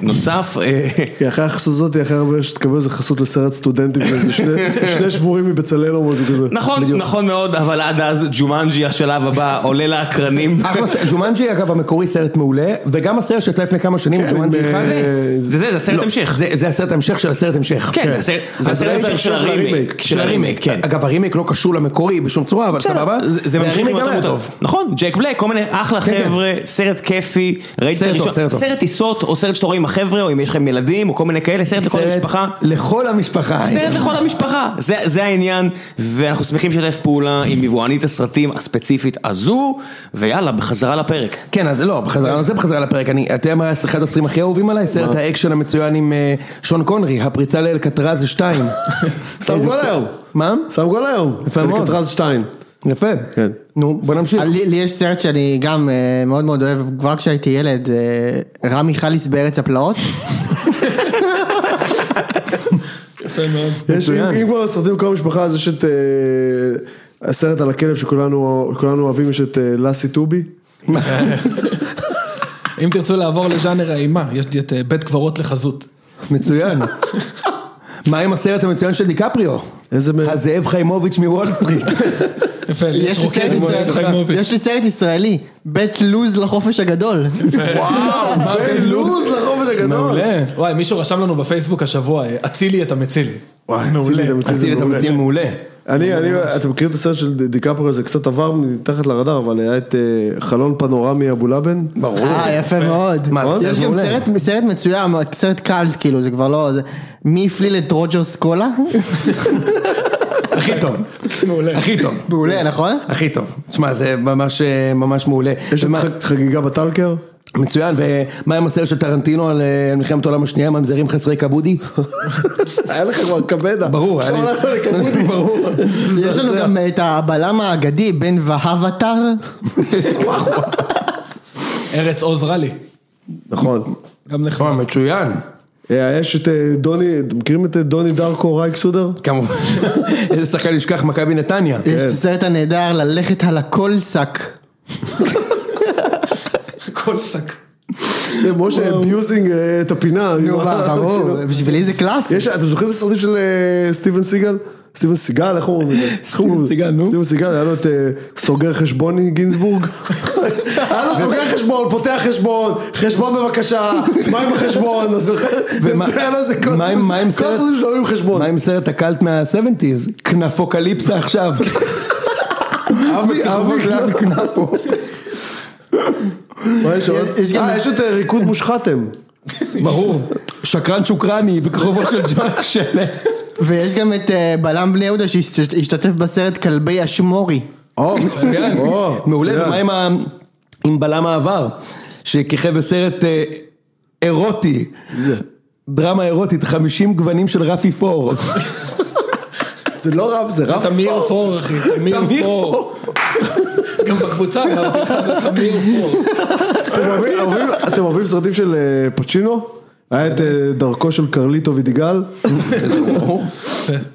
נוסף. אה, כי אחרי החסות הזאת, אחרי הרבה שתקבל איזה חסות לסרט סטודנטים, ואיזה שני- שני שבורים מבצלאל או משהו כזה. נכון, נכון מאוד, אבל עד אז ג'ומנג'י השלב הבא עולה לאקרנים. אחלה סרט, ג'ומנג'י אגב המקורי סרט מעולה, וגם הסרט שיצא לפני כמה שנים, ג'ומנג'י עם, אחד. אה, כן, זה זה, זה הסרט לא, המשך. זה- זה הסרט המשך של הסרט המשך. כן, זה הסרט- זה אז הסרט זה המשך של של הרימייק. הרימייק, של הרימייק, כן. אגב הרימייק לא קשור למקורי בשום צורה, אבל סבבה. זה- זה ממשיך עם והרימייק אותו גם היה מוטב. נכון, ג'ק בלק, כל מיני אחלה כן. חבר'ה, סרט כיפי, ראיתי את סרט טוב, הראשון, סרט טוב. סרט טיסות או סרט שאתה רואה עם החבר'ה או אם יש לכם ילדים או כל מיני כאלה, סרט לכל סרט המשפחה. לכל המשפחה. סרט לכל המשפחה, זה, זה העניין, ואנחנו שמחים לשתף פעולה עם יבואנית הסרטים הספציפית הזו, ויאללה, בחזרה לפרק. כן, אז לא, בחזרה לנושא, בחזרה לפרק. אני, אתה יודע מה היה אחד הסרטים הכי אהובים עליי, סרט האקשן המצוין עם אה, שון קונרי, הפריצה לאלקטרז 2. שם גול היום. מה? שם גול היום. כן. יפה מאוד. אלקטרז שטיין. יפה. כן. נו, בוא נמשיך. אה, לי לי יש סרט שאני גם אה, מאוד מאוד אוהב, כבר כשהייתי ילד, אה, רמי חליס בארץ הפלאות. יש, אם אם כבר סרטים בכל המשפחה, אז יש את אה, הסרט על הכלב שכולנו כולנו אוהבים, יש את אה, לאסי טובי. אם תרצו לעבור לז'אנר האימה, יש לי את אה, בית קברות לחזות. מצוין. מה עם הסרט המצוין של דיקפריו? איזה מ... הזאב חיימוביץ' מוול סטריט. יפה, יש יש לי סרט רוקד עם ישראלי- מועצת חיימוביץ'. יש לי סרט ישראלי, בית לוז לחופש הגדול. בן לוז לחופש הגדול. וואי, מישהו רשם לנו בפייסבוק השבוע, אה, אצילי אתה מצילי. וואי, מעולה. עשית את המציל מעולה. אני, אני, אתה מכיר את הסרט של ד- דיקפרו, זה קצת עבר מתחת לרדאר, אבל היה את אה, חלון פנורמי אבו לאבן. ברור. אה, יפה מאוד. מה, זה יש גם מעולה. סרט- סרט מצוין, סרט קאלט, כאילו, זה כבר לא... זה- מי הפליל את רוג'רס קולה? הכי טוב. מעולה. הכי טוב. מעולה, נכון? הכי טוב. תשמע, זה ממש אה, ממש מעולה. יש את ומה- חג- חגיגה בטלקר. מצוין, ומה עם הסרט של טרנטינו על אה, מלחמת העולם השנייה, ממזרים חסרי כבודי? היה לך כבר קבדה. ברור. עכשיו אני- הלכת לקבודי. ברור. יש לנו גם את הבלם האגדי, בן והאבטר. ארץ עוז רע לי. נכון. גם נחמד. וואי, מצוין. אה, יש את אה, דוני, אתם מכירים את אה, דוני דרקו רייקסודר? כמובן. איזה שחקן ישכח, מכבי נתניה. יש את הסרט הנהדר, ללכת על הכל שק. כל שק. זה אה, משה אביוזינג את הפינה. לא- כאילו, נו, ברור, כאילו, בשבילי זה קלאסי. יש, אתם זוכרים את הסרטים של אה, סטיבן סיגל? סטיבן סיגל, איך אומרים את זה? איך אומרים את זה? סיגל, נו. סטיבן סיגל, היה לו את אה, סוגר חשבוני גינזבורג. היה לו סוגר חשבון, פותח חשבון, חשבון בבקשה, מה עם החשבון? אז זוכר? ומה- זה היה לו איזה כל מה עם- הסרטים- מה עם כל סרט- הסרטים שלו היו עם חשבון. מה עם סרט הקלט מה-70's? כנפוקליפסה עכשיו. אבי, אבי, זה אבי כנפו. מה יש עוד? יש גם- אה, יש את אה, ריקוד מושחתם. ברור. שקרן שוקרני בקרובו של ג'ון שלם. ויש גם את אה, בלם בני יהודה שהשתתף בסרט כלבי אשמורי. או, מצוין. או, מעולה, מצוין. ומה עם ה- עם בלם העבר? שכיכב בסרט אה, אירוטי. זה- דרמה אירוטית, 50 גוונים של רפי פור. זה לא רב, זה רב. תמיר פור, אחי. תמיר תמיר פור. גם בקבוצה, אמרתי לך, זה תמיר פור. אתם אוהבים- אוהבים- אתם אוהבים סרטים של אה, פוצ'ינו? היה את אה, דרכו של קרליטו וידיגל.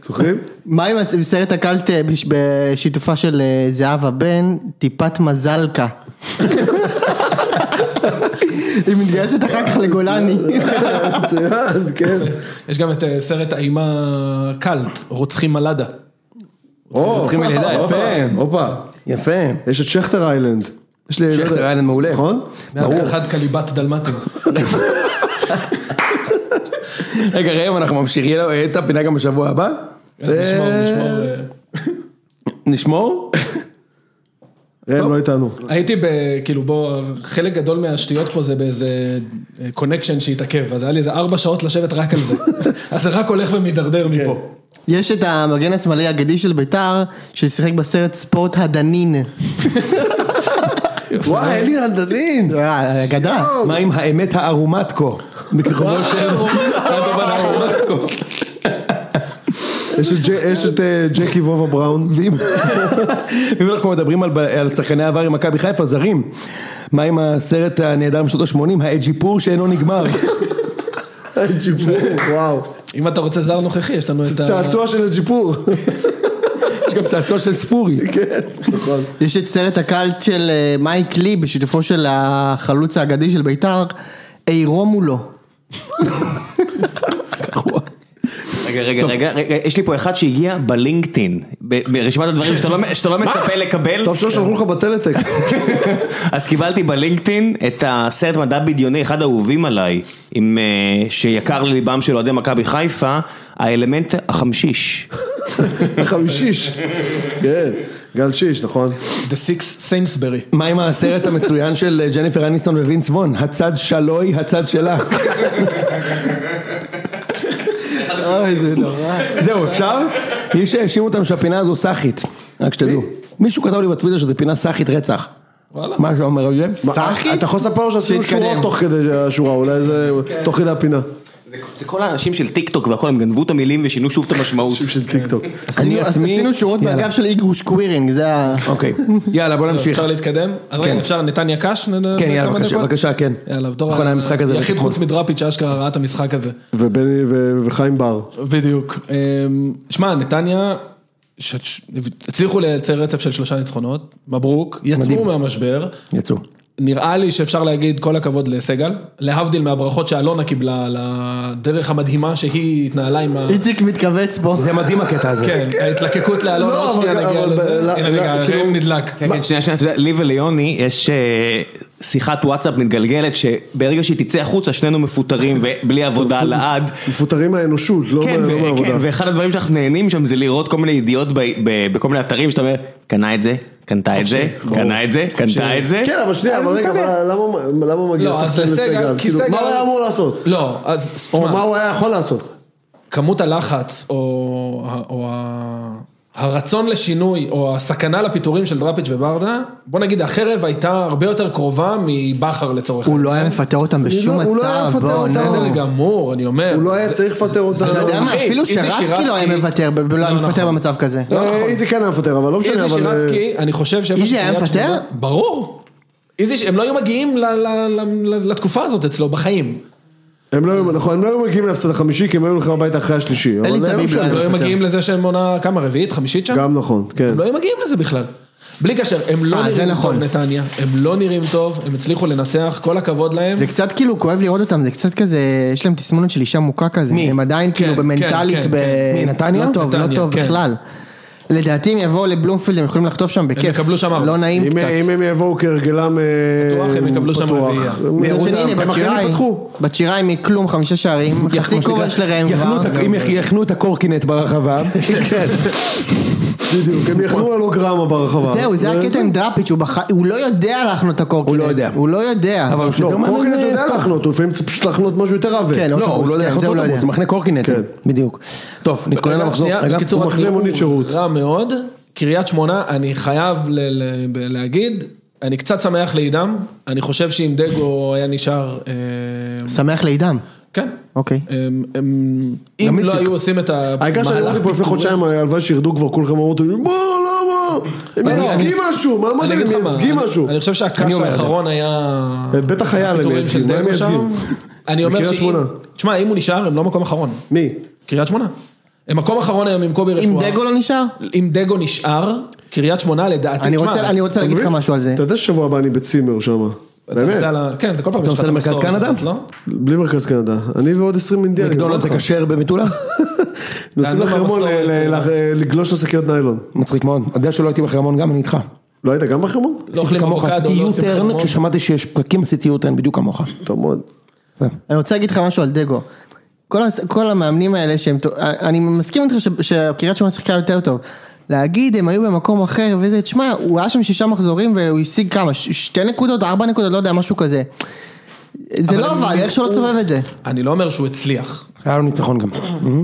זוכרים? מה עם הס- עם סרט הקלט אה, בש- בשיתופה של אה, זהבה בן, טיפת מזלקה. היא מתגייסת אחר כך לגולני. מצוין, כן. יש גם את אה, סרט האימה קאלט, רוצחים מלאדה. צריכים מלידה, יפה. הופה. יפה. יש את שכטר איילנד. יש לי- שכטר איילנד מעולה. נכון? ברור. אחד קליבת דלמטים. רגע, ראם, אנחנו ממשיכים, יהיה לו- יהיה את הפינה גם בשבוע הבא? אז נשמור, נשמור. אה. נשמור? ראם לא איתנו. אוקיי. הייתי ב... כאילו בוא, חלק גדול מהשטויות פה זה באיזה קונקשן שהתעכב, אז היה לי איזה ארבע שעות לשבת רק על זה. אז זה רק הולך ומידרדר מפה. יש את המגן השמאלי האגדי של ביתר, ששיחק בסרט ספורט הדנין. וואי, אלי רנדלין. אה, אגדה. מה עם האמת הארומטקו? בכיכובו של... הדובר הארומטקו. יש את ג'- יש את אה, ג'קי וובה בראון. אם אנחנו מדברים על ב- על שחקני העבר עם מכבי חיפה, זרים. מה עם הסרט הנהדר משנות ה-80, האג'יפור שאינו נגמר? ג'יפור, וואו. אם אתה רוצה זר נוכחי, יש לנו את ה... צעצוע של הג'יפור. יש גם צעצוע של ספורי. נכון. יש את סרט הקלט של אה, מייק לי, בשיתופו של החלוץ האגדי של ביתר, עירום הוא לא. רגע, רגע, רגע, רגע, יש לי פה אחד שהגיע בלינקדאין, ב- ברשימת הדברים שאתה לא- שאתה לא מצפה לקבל, טוב שלא לא, שלחו לך בטלטקסט. אז קיבלתי בלינקדאין את הסרט מדע בדיוני, אחד האהובים עליי, עם, אה, שיקר לליבם של אוהדי מכבי חיפה, האלמנט החמשיש. חמישיש. כן. גל שיש, נכון? The Six סיינסברי. מה עם הסרט המצוין של אה, ג'ניפר אניסטון ווינס וון? הצד שלוי, הצד שלה. אוי, זה נורא. זהו, אפשר? מי שהאשים אותנו שהפינה הזו סאחית, רק שתדעו. מישהו כתב לי בטוויטר שזו פינה סאחית רצח. וואלה. מה אתה אומר על זה? מה, צחי? אתה יכול לספר לו שעשינו שיתקדם. שורות תוך כדי השורה, אולי זה כן. תוך כדי הפינה. זה- זה כל האנשים של טיק טוק והכל, הם גנבו את המילים ושינו שוב את המשמעות. של טיקטוק. עשינו- עשינו שורות יאללה. בגב של איגרו שקווירינג, זה ה... אוקיי, יאללה בוא נמשיך. אפשר להתקדם? אז כן. רגע, אפשר נתניה קאש? נ- כן, נ- יאללה כמה בבקשה, דקות? בבקשה, כן. יאללה, בתור נכון, המשחק הזה. היחיד חוץ מדראפיץ' שאשכרה ראה את המשחק הזה. ובני ו- וחיים בר. בדיוק. אמ, שמע, נתניה, ש- ש- הצליחו לייצר רצף של שלושה ניצחונות, מברוק, יצאו מהמשבר. יצאו. נראה לי שאפשר להגיד כל הכבוד לסגל, להבדיל מהברכות שאלונה קיבלה על הדרך המדהימה שהיא התנהלה עם ה... איציק מתכווץ פה. זה מדהים הקטע הזה. כן, ההתלקקות לאלונה, לא, עוד אבל- שנייה נגיע אבל- לזה. לא, הנה לא, רגע, כאילו- הראם נדלק. כן, כן, שנייה, שנייה, אתה יודע, לי וליוני יש אה, שיחת וואטסאפ מתגלגלת שברגע שהיא תצא החוצה שנינו מפוטרים ובלי עבודה לעד. מפוטרים מהאנושות, לא כן, מה- ו- לא כן, מהעבודה. ואחד הדברים שאנחנו נהנים שם זה לראות כל מיני ידיעות ב- ב- בכל מיני אתרים שאתה אומר, קנה את זה, קנתה את זה, קנה את זה, קנתה את זה. כן, אבל שנייה, אז אבל זה רגע, תמיד. אבל למה- למה הוא מגיע לא, אז שחקן לסגל, כן, לסגל? כי כאילו, סגל... מה הוא היה אמור לעשות? לא, אז או מה תשמע, הוא היה יכול לעשות? כמות הלחץ, או ה- או ה- הרצון לשינוי, או הסכנה לפיטורים של דראפיץ' וברדה, בוא נגיד, החרב הייתה הרבה יותר קרובה מבכר לצורך הוא לא היה מפטר אותם בשום לא- הוא לא היה מצב, מפטר בוא, אותם. נו. בסדר גמור, אני אומר. הוא לא היה זה- צריך לפטר אה, אותנו. אתה יודע מה, אחי, אפילו איזי שרצקי לא היה שירצקי- מפטר, ב- לא היה לא מפטר נכון. במצב כזה. לא אה, נכון. איזי כן היה מפטר, אבל לא משנה, איזי אבל... אה, שירצקי, אני חושב שאיפה איזי היה שקריית מפטר? שמונה- ברור. איזי, ש- הם לא היו מגיעים ל- ל- ל- ל- לתקופה הזאת אצלו בחיים. הם לא היו, נכון, הם לא היו מגיעים להפסד החמישי, כי הם היו הולכים הביתה אחרי השלישי. אבל אלי הם לא תביב לא משנה. היה הם לא היו מפטר. מגיעים לזה שהם עונה כמה, רביעית, חמישית שם? גם נכון, כן. הם לא היו מגיעים לזה בכלל. בלי קשר, הם אה, לא זה נראים נכון. טוב נתניה, הם לא נראים טוב, הם הצליחו לנצח, כל הכבוד להם. זה קצת כאילו כואב לראות אותם, זה קצת כזה, יש להם תסמונת של אישה מוכה כזה. מי? הם עדיין כאילו כן, במנטלית, כן, ב- כן. מי, נתניה? לא טוב, לא נתניה, טוב כן. בכלל. לדעתי אם יבואו לבלומפילד הם יכולים לחטוף שם בכיף. יקבלו שם ארבע. לא נעים אם- קצת. אם הם יבואו כהרגלם אה, פתוח, הם יקבלו שם פתוח. רביעייה. הם מצד יראו שני, אותם. הנה, הם אכן בצ'יראי, יפתחו. בצ'יראי מכלום, חמישה שערים, חצי כובש לראם יחנו כבר. את ה- אם יח- יחנו את הקורקינט ברחבה. בדיוק, הם יחנו הולוגרמה ברחבה. אה, זהו, זה הקטע עם דראפיץ', הוא בח- הוא לא יודע להחנות את הקורקינט. הוא לא יודע. הוא לא יודע. אבל לא, זה מאמן, קורקינט אה, יודע טוב. לחנות, הוא לפעמים צריך פשוט לחנות משהו יותר עבה. כן, לא, הוא לא יודע כן, איך זה הוא לא אוטובוס, יודע. הוא מחנה קורקינט, בדיוק. טוב, נתכונן רגע, למחזור. שנייה, רגע. בקיצור, הוא מחנה התנהגות מונית שירות. רע מאוד, קריית שמונה, אני חייב ל- ל- ב- להגיד, אני קצת שמח לעידם, אני חושב שאם דגו היה נשאר, אה, שמח לעידם. כן. אוקיי. אמ, אמ, אם לא היו עושים את העיקר שאני המהלך אמרתי פה לפני חודשיים, הלוואי שירדו כבר כולכם אמרתם, לי, מה, למה? הם אני- מייצגים אני- משהו, מה אמרתם? אני אגיד הם לך מה, מייצגים אני- משהו. אני חושב אני שהקש אומר את זה. האחרון היה... בטח היה להם הפיטורים של מייצגים, מה הם דגו שם. מייצגים? אני אומר בקריית שאם... שמונה. תשמע, אם הוא נשאר, הם לא מקום אחרון. מי? קריית שמונה. הם מקום אחרון היום עם קובי אם רפואה. דגו לא נשאר? אם דגו נשאר, קריית שמונה לדעתי... אני תשמע, רוצה- אני רוצה אתה להגיד לך מבין? משהו על זה. אתה יודע ששבוע הבא אני בצימר שם. אתה באמת, נוסע ל- כן, זה כל פעם אתה יש לך נוסע את למרכז המסורת קנדה? הזאת, לא? בלי מרכז קנדה. אני ועוד 20 אינדיאנים. לא נכון. מקדונלד נכון. זה כשר במטולה? נוסעים תענו לחרמון במסורת. אה, ל- ל- ל- לגלוש לשקיות ניילון. מצחיק מאוד. אתה יודע שלא הייתי בחרמון גם, אני איתך. לא היית גם בחרמון? לא אוכלים כמוך, אבוקדו, עשיתי לא עושים יוטרן, חרמון. כששמעתי שיש פקקים עשיתי יוטרן בדיוק כמוך. כן. טוב מאוד. אני רוצה להגיד לך משהו על דגו. כל, הס- כל המאמנים האלה שהם, טו- אני מסכים איתך ש- שקריית שמונה שיחקה יותר טוב. להגיד הם היו במקום אחר וזה, תשמע, הוא היה שם שישה מחזורים והוא השיג כמה, ש- שתי נקודות, ארבע נקודות, לא יודע, משהו כזה. זה אבל לא הם עבד, איך שלא נראו- תסובב את זה. אני לא אומר שהוא הצליח. היה לו ניצחון גם.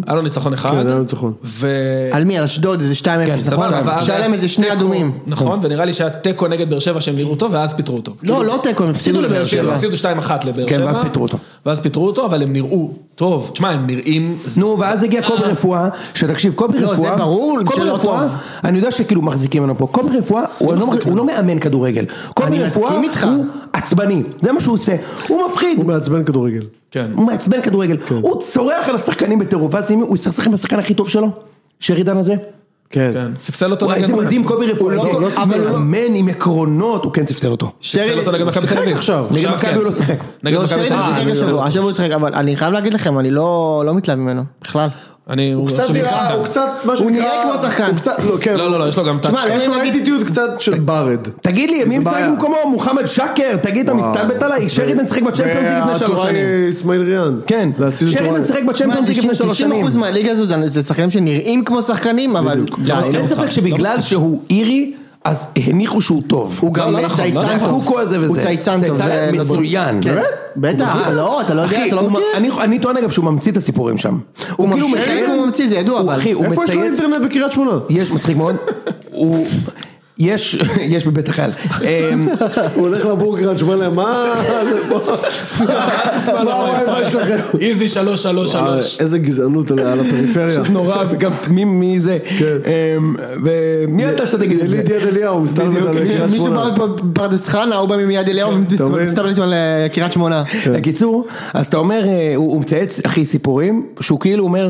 היה לו ניצחון אחד. כן, היה לו ניצחון. ו... על מי? על אשדוד, איזה 2-0, נכון? כן, סבבה, ואז שהיה להם איזה שני תיקו, אדומים. נכון, ונראה לי שהיה תיקו נגד באר שבע שהם נראו אותו, ואז פיטרו אותו. לא, לא תיקו, הם הפסידו לבאר הפסידו שבע. הפסידו 2-1 לבאר שבע. כן, ואז פיטרו אותו. ואז פיטרו אותו, אבל הם נראו טוב. תשמע, הם נראים... נו, ואז הגיע קובי רפואה, שתקשיב, קובי אה. לא, זה רפואה, ברור קובי שלא רפואה, טוב. אני יודע שכאילו מחזיקים ממנו פה, קובי רפואה, הוא לא- הוא לא מאמן כדורגל, קובי אני רפואה מסכים איתך. הוא עצבני, זה מה שהוא עושה, הוא מפחיד, הוא מעצבן כדורגל. כן. הוא מעצבן כדורגל, כן. הוא צורח על השחקנים בטירוף, ואז אם הוא יסכסך עם השחקן הכי טוב שלו, שרי דן הזה, כן. כן, ספסל אותו וואי נגד... איזה מכבי. מדהים קובי רפואה, לא- זה- לא ספסל. אבל הוא מאמן עם עקרונות, הוא כן ספסל אותו, ספסל אותו נגד מכבי תל אביב. עכשיו. נגד מכבי כן. הוא לא שיחק. נגד לא, מכבי שרי תל דן אביב. אה, שיחק השבוע, השבוע הוא שיחק, אבל אני חייב להגיד לכם, אני לא לא מתלהב ממנו, בכלל. אני... הוא קצת עכשיו נראה, נראה- הוא קצת, מה שנקרא... נראה כמו שחקן. הוא קצת, לא, כן. לא, לא, לא, יש לו גם... תשמע, טאץ'. לא יש לו נראה לי- אטיטיוד קצת של ברד. תגיד לי, מי משחק בעיה. במקומו? מוחמד שקר, תגיד, אתה מסתלבט עליי? שרידן שיחק בצ'מפיונס ליג לפני שלוש והתורה שנים. היא אסמאעיל ריאן. כן, להציל את שרידן אוהד. שיחק בצ'מפיונס ליג לפני שלוש שנים. 90% מהליגה הזו זה- זה שחקנים שנראים כמו שחקנים, אבל... די, לא. אז אין ספק שבגלל שהוא אירי, אז הניחו שהוא טוב. נכון. הוא גם אה, לא נכון, לא צייצן נכון. טוב. קוקו הזה וזה. הוא צייצן טוב. זה- מצוין. אה. כן. בטח, לא, אתה לא יודע, אחי, אתה לא הוא מכיר. מ- אני- אני טוען אגב שהוא ממציא את הסיפורים שם. הוא ממציא, כאילו הוא ממציא, זה ידוע, הוא- אבל. אחי, הוא איפה יש לו מצייץ... אינטרנט בקריית שמונה? יש, מצחיק מאוד. הוא... יש, יש בבית החייל. אמ, הוא הולך לבורגראנץ', אומר להם, מה זה פה? מה הווי-פיי שלכם? איזי שלוש שלוש שלוש. אה, איזה גזענות על על הפריפריה. פשוט נורא וגם תמים מי זה. כן. אמ, ומי אתה שתגיד את זה? יליד יד אליהו, מסתלבט בדיוק. על קריית מישהו לא שמונה. בא בפרדס חנה, הוא בא ממיד אליהו אתה מבין? ומסתבלט על אה, קריית שמונה. כן. בקיצור, אז אתה אומר, אה, הוא הוא מצייץ אחי סיפורים, שהוא כאילו אומר,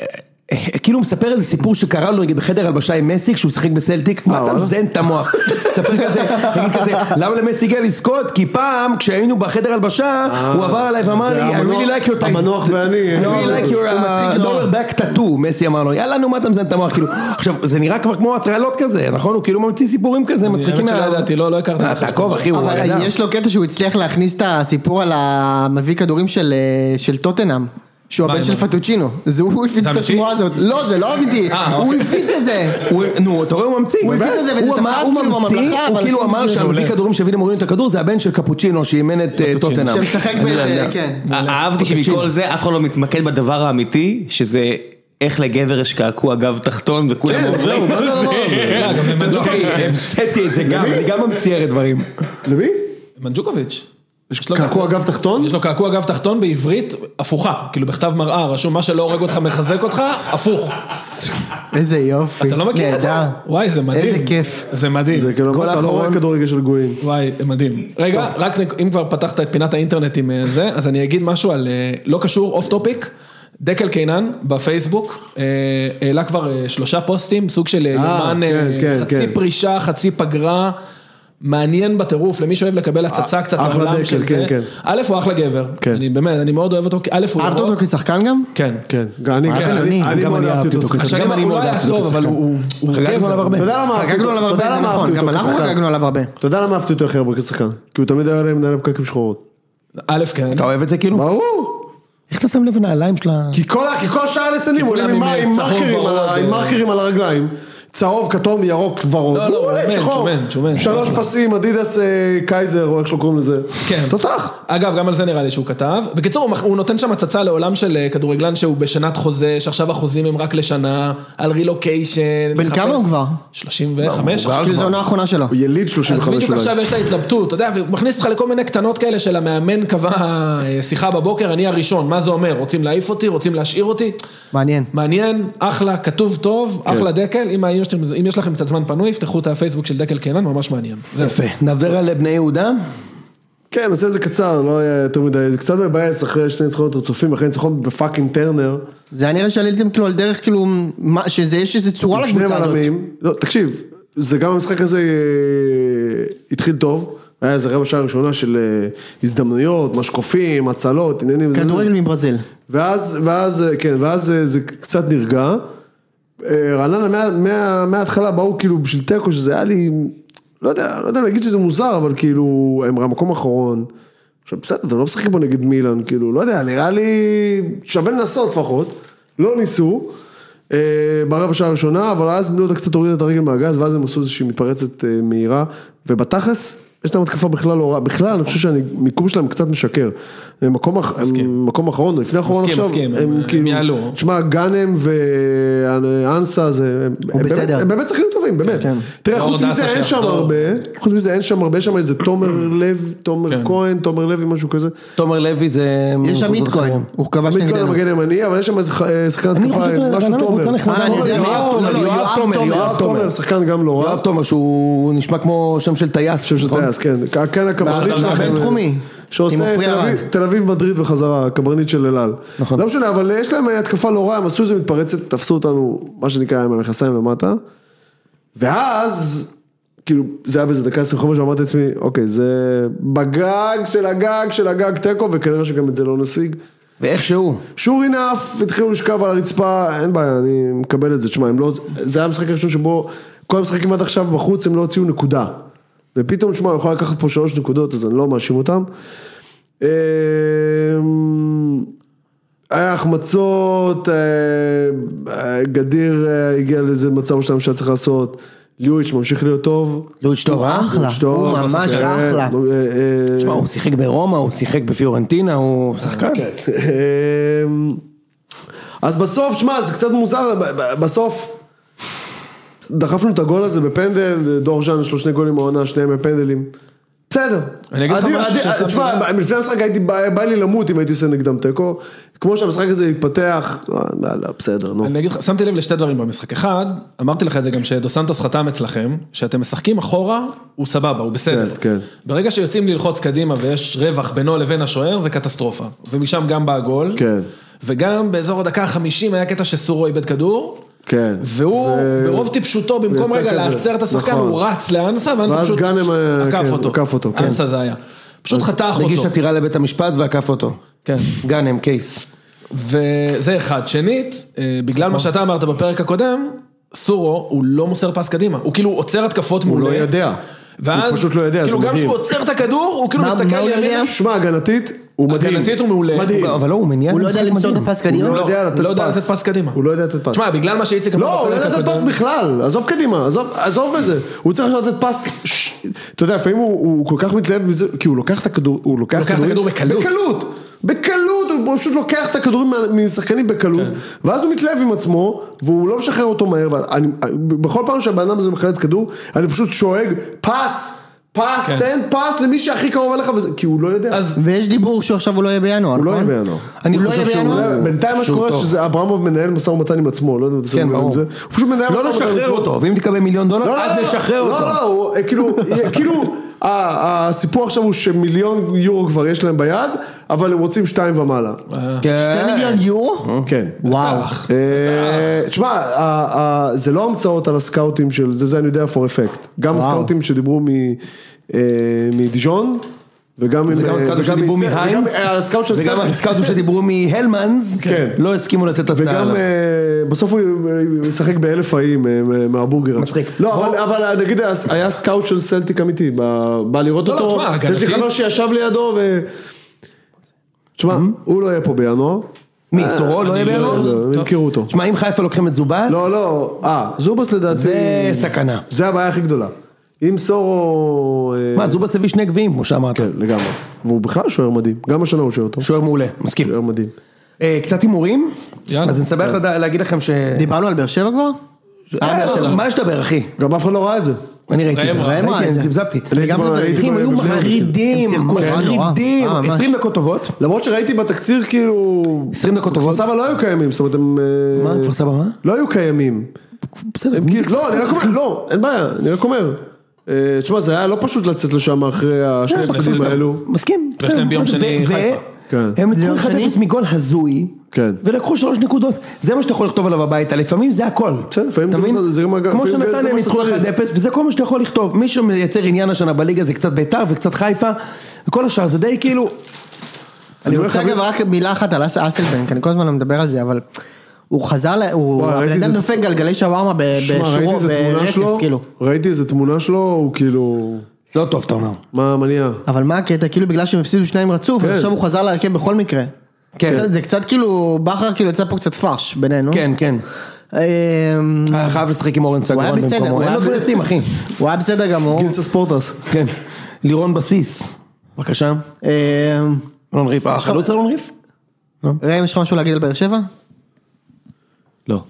אה, אה, כאילו הוא מספר איזה סיפור שקרה לו נגיד בחדר הלבשה עם מסי כשהוא שיחק בסלטיק, מה אתה אה, וואלה? מזיין את המוח, מספר כזה, נגיד כזה, למה למסי הגיע לזכות? כי פעם כשהיינו בחדר הלבשה, הוא עבר אליי ואמר לי, אה, זה I המנוח- really like your type. המנוח ואני. כאילו, אה, I לא, really like your uh, dollar back tattoo, מסי אמר לו, יאללה נו מה אתה מזיין את המוח, כאילו, עכשיו זה נראה כבר כמו הטרלות כזה, נכון? הוא כאילו ממציא סיפורים כזה, מצחיקים האמת שלא עליו. ידעתי, לא- לא הכרתי אה, משהו. תעקוב אחי, הוא אדם. אבל יש לו קטע שהוא הצליח להכניס את הסיפור על המביא כדורים של, אה, של טוטנאם. שהוא מה, הבן של מה? פטוצ'ינו, זה הוא הפיץ את אמיתי? השמועה הזאת, לא זה לא אמיתי, אה, הוא הפיץ את זה, הוא- נו, אתה רואה, הוא ממציא. הוא הפיץ את זה, וזה הוא תפס אמר- הוא כאילו ממציא, בממלכה, הוא אבל כאילו שום אמר זה לא שהמביא עולה. כדורים שהביא למורינו את הכדור זה הבן של קפוצ'ינו שאימן לא את אה, טוטנאם. שמשחק אני לא באיזה, יודע. כן. אה, אהבתי שמכל זה אף אחד לא מתמקד בדבר האמיתי, שזה איך לגבר יש קעקוע גב תחתון כן, וכולם עוברים. אה, גם לא, אחי, למנג'וקוביץ'. כן. המצאתי את זה גם, אני גם ממציא הרי דברים. למי? מנג'וקוביץ'. יש לו קעקוע גב תחתון? יש לו קעקוע גב תחתון בעברית הפוכה, כאילו בכתב מראה, רשום מה שלא הורג אותך מחזק אותך, הפוך. איזה יופי, אתה לא מכיר את זה? נהדר. וואי, זה מדהים. איזה כיף. זה מדהים. זה כאילו, כל אתה לא האחרון- רואה כדורגל של גויים. וואי, מדהים. רגע, רק נק- אם כבר פתחת את פינת האינטרנט עם אה, זה, אז אני אגיד משהו על, אה, לא קשור, אוף טופיק. דקל קינן בפייסבוק, אה, העלה כבר אה, שלושה פוסטים, סוג של אה, אה, יומן, אה, כן, כן, חצי כן. פרישה, חצי פגרה, מעניין בטירוף, למי שאוהב לקבל הצצה קצת אחלה לעולם דקל, של כן, זה. כן. א', הוא אחלה גבר, כן. אני באמת, אני מאוד אוהב אותו, כי א', הוא אהבת ירוק. אותו כשחקן גם? כן. כן, גם אני- כן, אני- אני- אני גם מאוד אני אהבתי אותו. כשחקן. עכשיו גם גם אני הוא מאוד לא היה אהבתי אותו טוב, אבל כשחקן. הוא הוא חגגנו עליו הרבה. אתה יודע למה אהבתי חגגנו אותו? עליו אתה יודע הרבה, זה למה אהבתי נכון, אותו גם אנחנו כשחקן? חגגנו עליו הרבה. אתה יודע למה אהבתי אותו הכי הרבה כשחקן? כי הוא תמיד היה מנהל פקקים שחורות. א', כן. אתה אוהב את זה כאילו? ברור. איך אתה שם לב לנעליים של ה... כי כל ה- כי כל שאר הליצנים עולים כולם עם עם, אה, מר- עם צהוב, מרקרים על ה- ורוד, עם מרקרים על הרגליים. צהוב, כתום, ירוק, ורוד. לא, לא, והוא עולה עם שמן, שחור. שמן, שמן, שלוש שמן. פסים, אדידס אה, קייזר, או איך שלא קוראים לזה. כן. תותח. אגב, גם על זה נראה לי שהוא כתב. בקיצור, הוא מח- הוא נותן שם הצצה לעולם של אה, כדורגלן שהוא בשנת חוזה, שעכשיו החוזים הם רק לשנה, על רילוקיישן. בן מחפש- כמה הוא כבר? 35. הוא גר כאילו זו העונה האחרונה שלו. הוא יליד 35 אז אולי. בדיוק עכשיו יש את ההתלבטות, אתה יודע, והוא מכניס אותך לכל מיני קטנות כאלה של המאמן קבע אה, שיחה בבוקר, אני הראשון, מה זה אומר? רוצים להעיף אותי? רוצים להשאיר אותי? מעניין. מעניין, אחלה, כתוב טוב, אחלה דקל, אם יש לכם- אם יש לכם קצת זמן פנוי, יפתחו את הפייסבוק של דקל קינן, ממש מעניין. זהו. יפה. נעבר על בני יהודה? כן, נעשה את זה קצר, לא היה יותר מדי, זה קצת מבאס אחרי שני ניצחונות רצופים, אחרי ניצחון בפאקינג טרנר. זה היה נראה שעליתם כאילו על דרך כאילו, מה- שזה יש איזה צורה עם שני לקבוצה הזאת. בלמים. לא, תקשיב, זה גם המשחק הזה אה, התחיל טוב, היה איזה רבע שעה ראשונה של אה, הזדמנויות, משקופים, הצלות, עניינים. כדורגל מברזיל. ואז, ואז, אה, כן, ואז אה, זה קצת נרגע. אה, רעננה מה- מה- מההתחלה באו כאילו בשביל תיקו, שזה היה לי, לא יודע, לא יודע להגיד שזה מוזר, אבל כאילו, הם המקום האחרון. עכשיו בסדר, אתם לא משחקים פה נגד מילאן, כאילו, לא יודע, נראה לי שווה לנסות לפחות. לא ניסו. אה, ברבע שעה הראשונה, אבל אז בני יהודה קצת הורידה את הרגל מהגז, ואז הם עשו איזושהי מתפרצת אה, מהירה, ובתכלס, יש להם התקפה בכלל לא רעה, בכלל אני חושב שהמיקום שלהם קצת משקר. הם מקום, אח- הם מקום אחרון, לפני האחרון מסכים, עכשיו, מסכים, הם- הם הם כאילו, יעלו. תשמע, גאנם ואנסה זה, הם- הם בסדר. באמת- הם באמת שחקנים כן, טובים, באמת. תראה, מאור חוץ מזה לא, דסה אין שם שיחזור. כן. הרבה, חוץ מזה אין שם הרבה, יש שם איזה תומר לב, תומר כהן, תומר לוי, משהו כזה. תומר לוי זה... יש שם מיט כהן, הוא כבש עמית כהן נגדנו. המגן הימני, אבל יש שם איזה ח- אה, שחקן אני חושב התקפה, שרעננה משהו קבוצה תומר. נחמדה. אה, אני יודע, יואב יואב תומר, תומר, יואב תומר, יואב תומר, שחקן גם לא רע. יואב תומר, שהוא נשמע כמו שם של טייס. שם של טייס, כן. כן הקברניט של שלכם. הבינתחומי, עם שעושה עופרי תל אביב- ארד. תל אביב מדריד וחזרה, הקברניט של אל על. נכון. לא משנה, אבל יש להם התקפה לא רעה, הם עשו איזה מתפרצת, תפסו אותנו, מה שנקרא, עם המכסיים למטה. ואז, כאילו, זה היה באיזה דקה 25, ואמרתי לעצמי, אוקיי, זה בגג של הגג של הגג תיקו, וכנראה שגם את זה לא נשיג. ואיכשהו. שור אינף, התחילו לשכב על הרצפה, אין בעיה, אני מקבל את זה, תשמע, הם לא, זה היה המשחק הראשון שבו כל המשחקים עד עכשיו בחוץ הם לא הוציאו נקודה. ופתאום, שמע, הוא יכול לקחת פה שלוש נקודות, אז אני לא מאשים אותם. אה, היה החמצות, אה, אה, גדיר אה, הגיע לאיזה מצב או שניים שהיה צריך לעשות, ליואיץ' ממשיך להיות טוב. לואיץ' טוב, אה? אחלה, ליואיץ' טוב, הוא ממש כן, אחלה. אה, אה, תשמע, הוא שיחק ברומא, הוא שיחק בפיורנטינה, הוא שחקן. כן. אמ, אז בסוף, שמע, זה קצת מוזר, ב- ב- בסוף, דחפנו את הגול הזה בפנדל, דור ז'אן יש לו שני גולים העונה, שניהם בפנדלים. בסדר. אני אגיד לך עדיף- משהו עדיף- ששמתי תשמע, לב. לפני המשחק הייתי, בא בא לי למות אם הייתי עושה נגדם תיקו. כמו שהמשחק הזה התפתח, אה, יאללה, בסדר, נו. אני אגיד לך, שמתי לב לשתי דברים במשחק. אחד, אמרתי לך את זה גם שדו סנטוס חתם אצלכם, שאתם משחקים אחורה, הוא סבבה, הוא בסדר. כן, כן. ברגע שיוצאים ללחוץ קדימה ויש רווח בינו לבין השוער, זה קטסטרופה. ומשם גם בא הגול. כן. וגם באזור הדקה החמישים היה קטע שסורו איבד כדור. כן. והוא, ו- ברוב טיפשותו, במקום ויצא רגע כזה. להצר את השחקן, נכון. הוא רץ לאנסה, ואנסה ואז פשוט גאנם, אה, עקף כן, אותו. עקף אותו, כן. אנסה זה היה. פשוט חתך הגיש אותו. עתירה לבית המשפט ועקף אותו. כן. גאנם, כן. קייס. וזה אחד. שנית, אה, בגלל מה שאתה אמרת בפרק הקודם, סורו הוא לא מוסר פס קדימה, הוא כאילו עוצר התקפות מולו. לא יודע. ואז, הוא פשוט לא יודע, כאילו זה גם מדהים. כשהוא עוצר את הכדור, הוא כאילו מה- מה מסתכל הוא יודע? ימינה. שמע, הגנתית, הוא מדהים. הגנתית הוא מעולה. מדהים. אבל לא, הוא מניע. הוא לא יודע משחק למסור את מדהים. הפס קדימה? הוא לא יודע לתת פס. לא יודע לתת פס קדימה. הוא לא יודע לתת פס. תשמע, בגלל מה שאיציק אמר לא, הוא לא בפרק יודע לתת הקודם- פס בכלל, עזוב קדימה, עזוב- עזוב את זה, הוא צריך לתת פס, ש- אתה יודע, לפעמים הוא- הוא כל כך מתלהב מזה, כי הוא לוקח את הכדור, הוא לוקח לוקח את הכדור כדורים- בקלות. בקלות, בקלות, הוא פשוט לוקח את הכדורים מה- משחקנים בקלות, ואז הוא מתלהב עם עצמו, והוא לא משחרר אותו מהר, ואני- בכל פעם שהבן אדם הזה מחלץ כדור, אני פשוט שואג, פס, פס, כן. תן פס למי שהכי קרוב אליך, וזה- כי הוא לא יודע, אז- ויש דיבור שעכשיו הוא לא יהיה בינואר, הוא לא נכון? יהיה בינואר. אני הוא לא חושב יהיה שהוא- בינואר? הוא- בינתיים מה שהוא שקורה טוב. שזה אברמוב מנהל משא ומתן עם עצמו, לא יודע אם אתם כן, שמים לב ברור. לזה. הוא פשוט מנהל משא לא ומתן עם עצמו. לשחרר אותו, ואם תקבל מיליון דולר, לא, אז לא, נשחרר לא, אותו. לא, לא, הוא, אה, כאילו, אה, כאילו, ה- הסיפור עכשיו הוא שמיליון יורו כבר יש להם ביד, אבל הם רוצים שתיים ומעלה. כן. אה. שתי מיליון יורו? כן. וואו. אה, תשמע, ה- ה- זה לא המצאות על הסקאוטים של, זה זה אני יודע for effect. גם הסקאוטים שדיברו מ- אה, מדיג'ון, וגם עם- וגם אה, הסקאוטים וגם שדיברו מ- זה, וגם, מהיינס, אה, הסקאוט של וגם סלטיק. הסקאוטים שדיברו מהלמנס, כן. לא הסכימו לתת הצעה וגם עליו. אה, בסוף הוא משחק באלף האיים אה, מה- מהבורגר. מצחיק. לא, אבל- אבל נגיד היה- היה סקאוט של סלטיק אמיתי, ב- בא לראות לא, לא, אותו, תשמע, יש לי הגנתית- חבר שישב לידו ו... תשמע, הוא לא יהיה פה בינואר, מי, סורו לא אני יהיה לא- בינואר? לא, הם טוב. יכירו אותו. תשמע, אם חיפה לוקחים את זובס, לא, לא, אה, זובס לדעתי, זה סכנה. זה הבעיה הכי גדולה. אם סורו... אה, מה, זובס הביא שני גביעים, כמו שאמרת. כן, לגמרי. והוא בכלל שוער מדהים, גם השנה הוא שוער טוב. שוער מעולה, מסכים. שוער מדהים. אה, קצת הימורים, יאללה. אז אני שמח לדע- להגיד לכם ש... דיברנו על באר שבע כבר? אה, באר שבע. אה, מה יש לדבר, אחי? גם אף אחד לא ראה את זה. אני ראיתי את זה, ראם ראה ראיתי, את זה. אני זבזבתי. אני גם הייתי זאת ב- ראיתי. אחי, הם היו בבני הרצליה. מחרידים, כן. הם שיחקו נורא, נורא. מחרידים, אה, ממש. 20 דקות טובות, למרות שראיתי בתקציר כאילו... 20 דקות טובות. כפר סבא לא היו קיימים, זאת אומרת הם... אה, מה, כפר סבא, מה? לא היו קיימים. בסדר, הם מי כאילו- זה לא, אני רק אומר, לא, אין בעיה, אני רק אומר. אה, תשמע, זה היה לא פשוט לצאת לשם אחרי השני בסדר, הפסדים כן, בסדר. האלו. מסכים, ויש להם ביום מה זה, שני ו- חיפה. ו- כן. הם זה לקחו יום 1-0 שני? מגול הזוי, כן. ולקחו שלוש נקודות, זה מה שאתה יכול לכתוב עליו הביתה, לפעמים זה הכל. בסדר, לפעמים אתה זה מבין? בסדר, זה גם- כמו לפעמים זה שנתניה מה ניצחו 1-0, שצריך. וזה כל מה שאתה יכול לכתוב. מי שמייצר עניין השנה בליגה זה קצת ביתר וקצת חיפה, וכל השאר זה די כאילו, אני אומר רוצה לך, אגב רק מילה אחת על אס- אסלבנק, אני כל הזמן לא מדבר על זה, אבל הוא חזר, ל- הוא, וואי, הבן ראיתי אדם זה- דופק גלגלי שווארמה ב- תשמע, ראיתי בשורו, איזה תמונה ברצף, שלו, כאילו. ראיתי איזה תמונה שלו, הוא כאילו... לא טוב אתה אומר. מה המניע? אבל מה הקטע, כאילו בגלל שהם הפסידו שניים רצוף, אז כן. עכשיו הוא חזר להרכב בכל מקרה. כן. זה- זה קצת כאילו, בכר כאילו יצא פה קצת פרש בינינו. כן, כן. Mm. אמ, היה חייב לשחק עם אורן היה סגרון בסדר, במקומו, הוא אין היה לו בסדר. גולסים אחי. הוא היה בסדר גמור. גינסה ספורטס. כן, לירון בסיס, בבקשה. אמ, אלון ריף, אה, חלוץ אלון ריף? ראם, יש לך משהו להגיד על באר שבע? לא.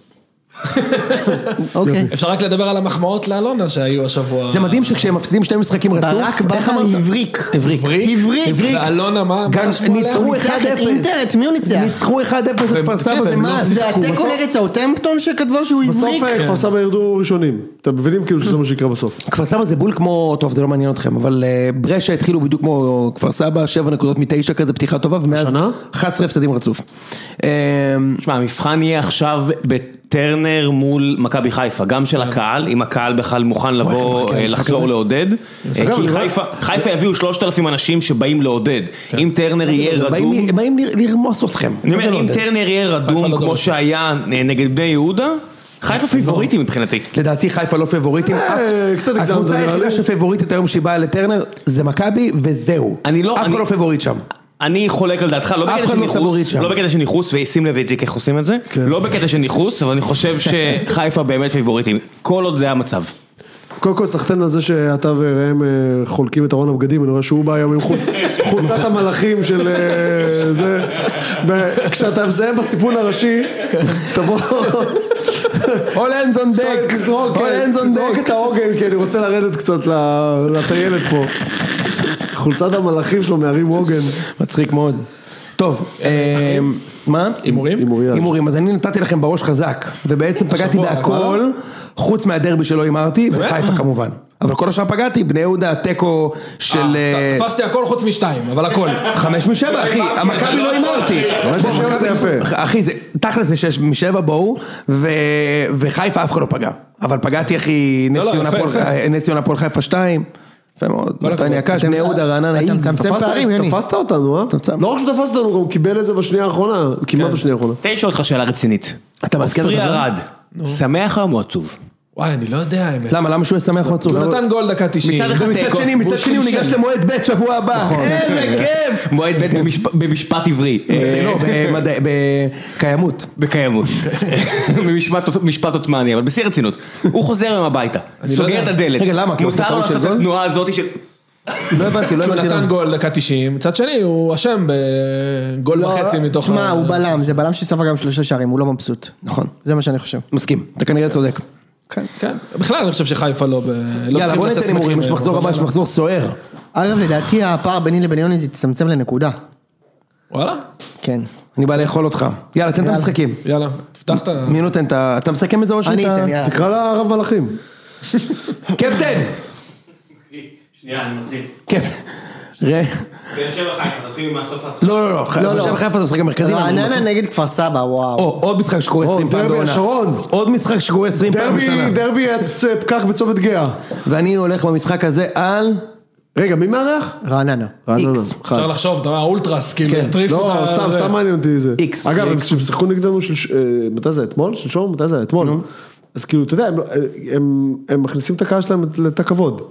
אוקיי. אפשר רק לדבר על המחמאות לאלונה שהיו השבוע. זה מדהים שכשהם מפסידים שני משחקים רצוף, ברק בכר הבריק. הבריק. הבריק. הבריק. ואלונה מה? גם מה שמואל היה? ניצחו הוא ניצח את 1-0. אינטר, את מי הוא ניצח? ניצחו 1-0 את כפר תקשיב, סבא, זה הם לא מה? זה התיקו נגד סאוטמפטון שכתבו שהוא בסוף הבריק? אה, כפר סבא ירדו ראשונים. אתם מבינים כאילו כן. שזה מה שיקרה בסוף. כפר סבא זה בול כמו, טוב זה לא מעניין אתכם, אבל אה, ברשע התחילו בדיוק כמו כפר סבא, 7 נקודות מתשע כזה, פתיחה טובה, ומאז השנה? 11 הפסדים רצוף. אה, שמע, המבחן יהיה עכשיו בטרנר מול מכבי חיפה, גם של הקהל, אם הקהל בכלל מוכן לבוא, מחכה אה, למשחק לחזור הזה? לעודד. אה, אגב, כי אני רואה- חיפה- חיפה יביאו 3,000 אנשים שבאים לעודד. אם טרנר יהיה כן. הם רדום... באים- הם באים ל- לרמוס אתכם. אני מה זה לא אומר, אם יודע? טרנר יהיה חיפה לא רדום כמו דורשת. שהיה אה, נגד בני יהודה, לא. חיפה פיבוריטי מבחינתי. לדעתי חיפה לא פבוריטים, אה, אף- קצת הגזמת, הקבוצה נראה לי. היחידה שפבוריטית היום שהיא באה לטרנר זה מכבי וזהו, אני לא- אף אחד אני- לא פבוריט שם, אני חולק על דעתך, לא אף בקטע אחד של לא פבוריט ניכוס, שם. כן. לא בקטע של ניכוס, ושים לב איציק איך עושים את זה, לא בקטע של ניכוס, אבל אני חושב שחיפה באמת פיבוריטים, כל עוד זה המצב. קודם כל סחטיין על זה שאתה וראם אה, חולקים את ארון הבגדים, אני רואה שהוא בא היום עם חוץ- חולצת המלאכים של אה, זה. ב- כשאתה מסיים בסיפון הראשי, תבוא, All hands on deck, תזרוק, all hands on תזרוק deck. את העוגן, כי אני רוצה לרדת קצת ל- לטיילת פה. חולצת המלאכים שלו מהרים עוגן. מצחיק מאוד. טוב, אמ, מה? הימורים? הימורים. הימורים, אז אני נתתי לכם בראש חזק, ובעצם פגעתי השבוע, בהכל, חוץ מהדרבי שלא הימרתי, וחיפה כמובן. אבל כל השאר פגעתי, בני יהודה, תיקו של... אה, אה, ת- תפסתי הכל חוץ משתיים, אבל הכל. חמש משבע, אחי, המכבי לא הימרתי. חמש בוא, משבע זה מכבי- יפה. אחי, זה- תכל'ס זה שש משבע, בואו, ו- וחיפה אף אחד לא פגע. אבל פגעתי, אחי, נס לא, לא, ציונה יפה, הפועל- יפה. נס ציונה הפועל חיפה שתיים. יפה מאוד, נתניה קש, בני יהודה, רעננה. אתה איקס. מצמצם תפסת- פערים, יוני. תפסת אותנו, אה? תוצם. לא רק שתפסת אותנו, הוא גם קיבל את זה בשנייה האחרונה. כן. כמעט בשנייה האחרונה. תן לי לשאול אותך שאלה רצינית. אתה מעדכן עופרי אותך, לא? ארד, שמח היום או עצוב? וואי, אני לא יודע האמת. למה, למה שהוא ישמח או עצוב? לא- הוא נתן גול דקה 90. מצד אחד מצד תיקו. שני, מצד שני הוא ניגש למועד ב' שבוע הבא. איזה כיף! מועד ב' במשפ- במשפט עברי. אה, לא, במדע- בקיימות. בקיימות. במשפט משפט עות'מאני, אבל בשיא הרצינות. הוא חוזר היום הביתה, סוגר את יודע. הדלת. לא רגע, למה? כי הוא עושה מותר לו טעות של לעשות את גול? התנועה הזאת של... לא הבנתי, לא הוא הבנתי. כאילו. נתן למה. גול דקה 90, מצד שני הוא אשם בגול וחצי מתוך... לא, תשמע, ה- הוא בלם, זה בלם שספג גם שלושה שערים, הוא לא מבסוט. נכון. זה מה שאני חושב. מסכים, אתה כנראה צודק. כן. כן, בכלל אני חושב שחיפה לא... ב- לא יאללה, צריכים אה, בוא ניתן לצאת הימורים, יש שמחים, מחזור אבל הבא, יש יאללה. מחזור סוער. אגב, לדעתי הפער ביני לבין יוני זה יצטמצם לנקודה. וואלה, כן. אני בא לאכול אותך. יאללה, תן את יאללה. המשחקים. יאללה, תפתח את ה... מי נותן את ה... אתה מסכם את זה או שאתה... אני אתן, יאללה. תקרא לה הרב מלאכים. קפטן! כן. שנייה, אני מתחיל. קפטן. ראה. באר שבע חיפה, תתחיל מהסוף להתחיל. לא, לא, אה, לא. חי- לא, לא. עכשיו חיפה זה משחק כן, המרכזי. אבל הוא רעננה מסכים. נגד כפר סבא, וואו. לא. או, עוד משחק שקורה או, 20 פעם דרבי בעונה. השרון. עוד משחק שקורה 20 פעם בשנה. דרבי, דרבי הצ- פקק בצומת גאה. ואני הולך במשחק הזה על... רגע, מי מארח? רעננה. רעננה. איקס. אחד. אפשר לחשוב, אתה יודע, האולטרס, כאילו, כן. יטריפו את לא, ה- סתם, זה. סתם מעניין אותי זה. איקס, אגב, הם איקס. שיחקו נגדנו, של- אה, מתי זה, אתמול? שלשום? מתי זה, אתמול. אז כאילו, אתה יודע, הם לא- אה, הם- הם מכניסים את הקהל שלהם את הכבוד.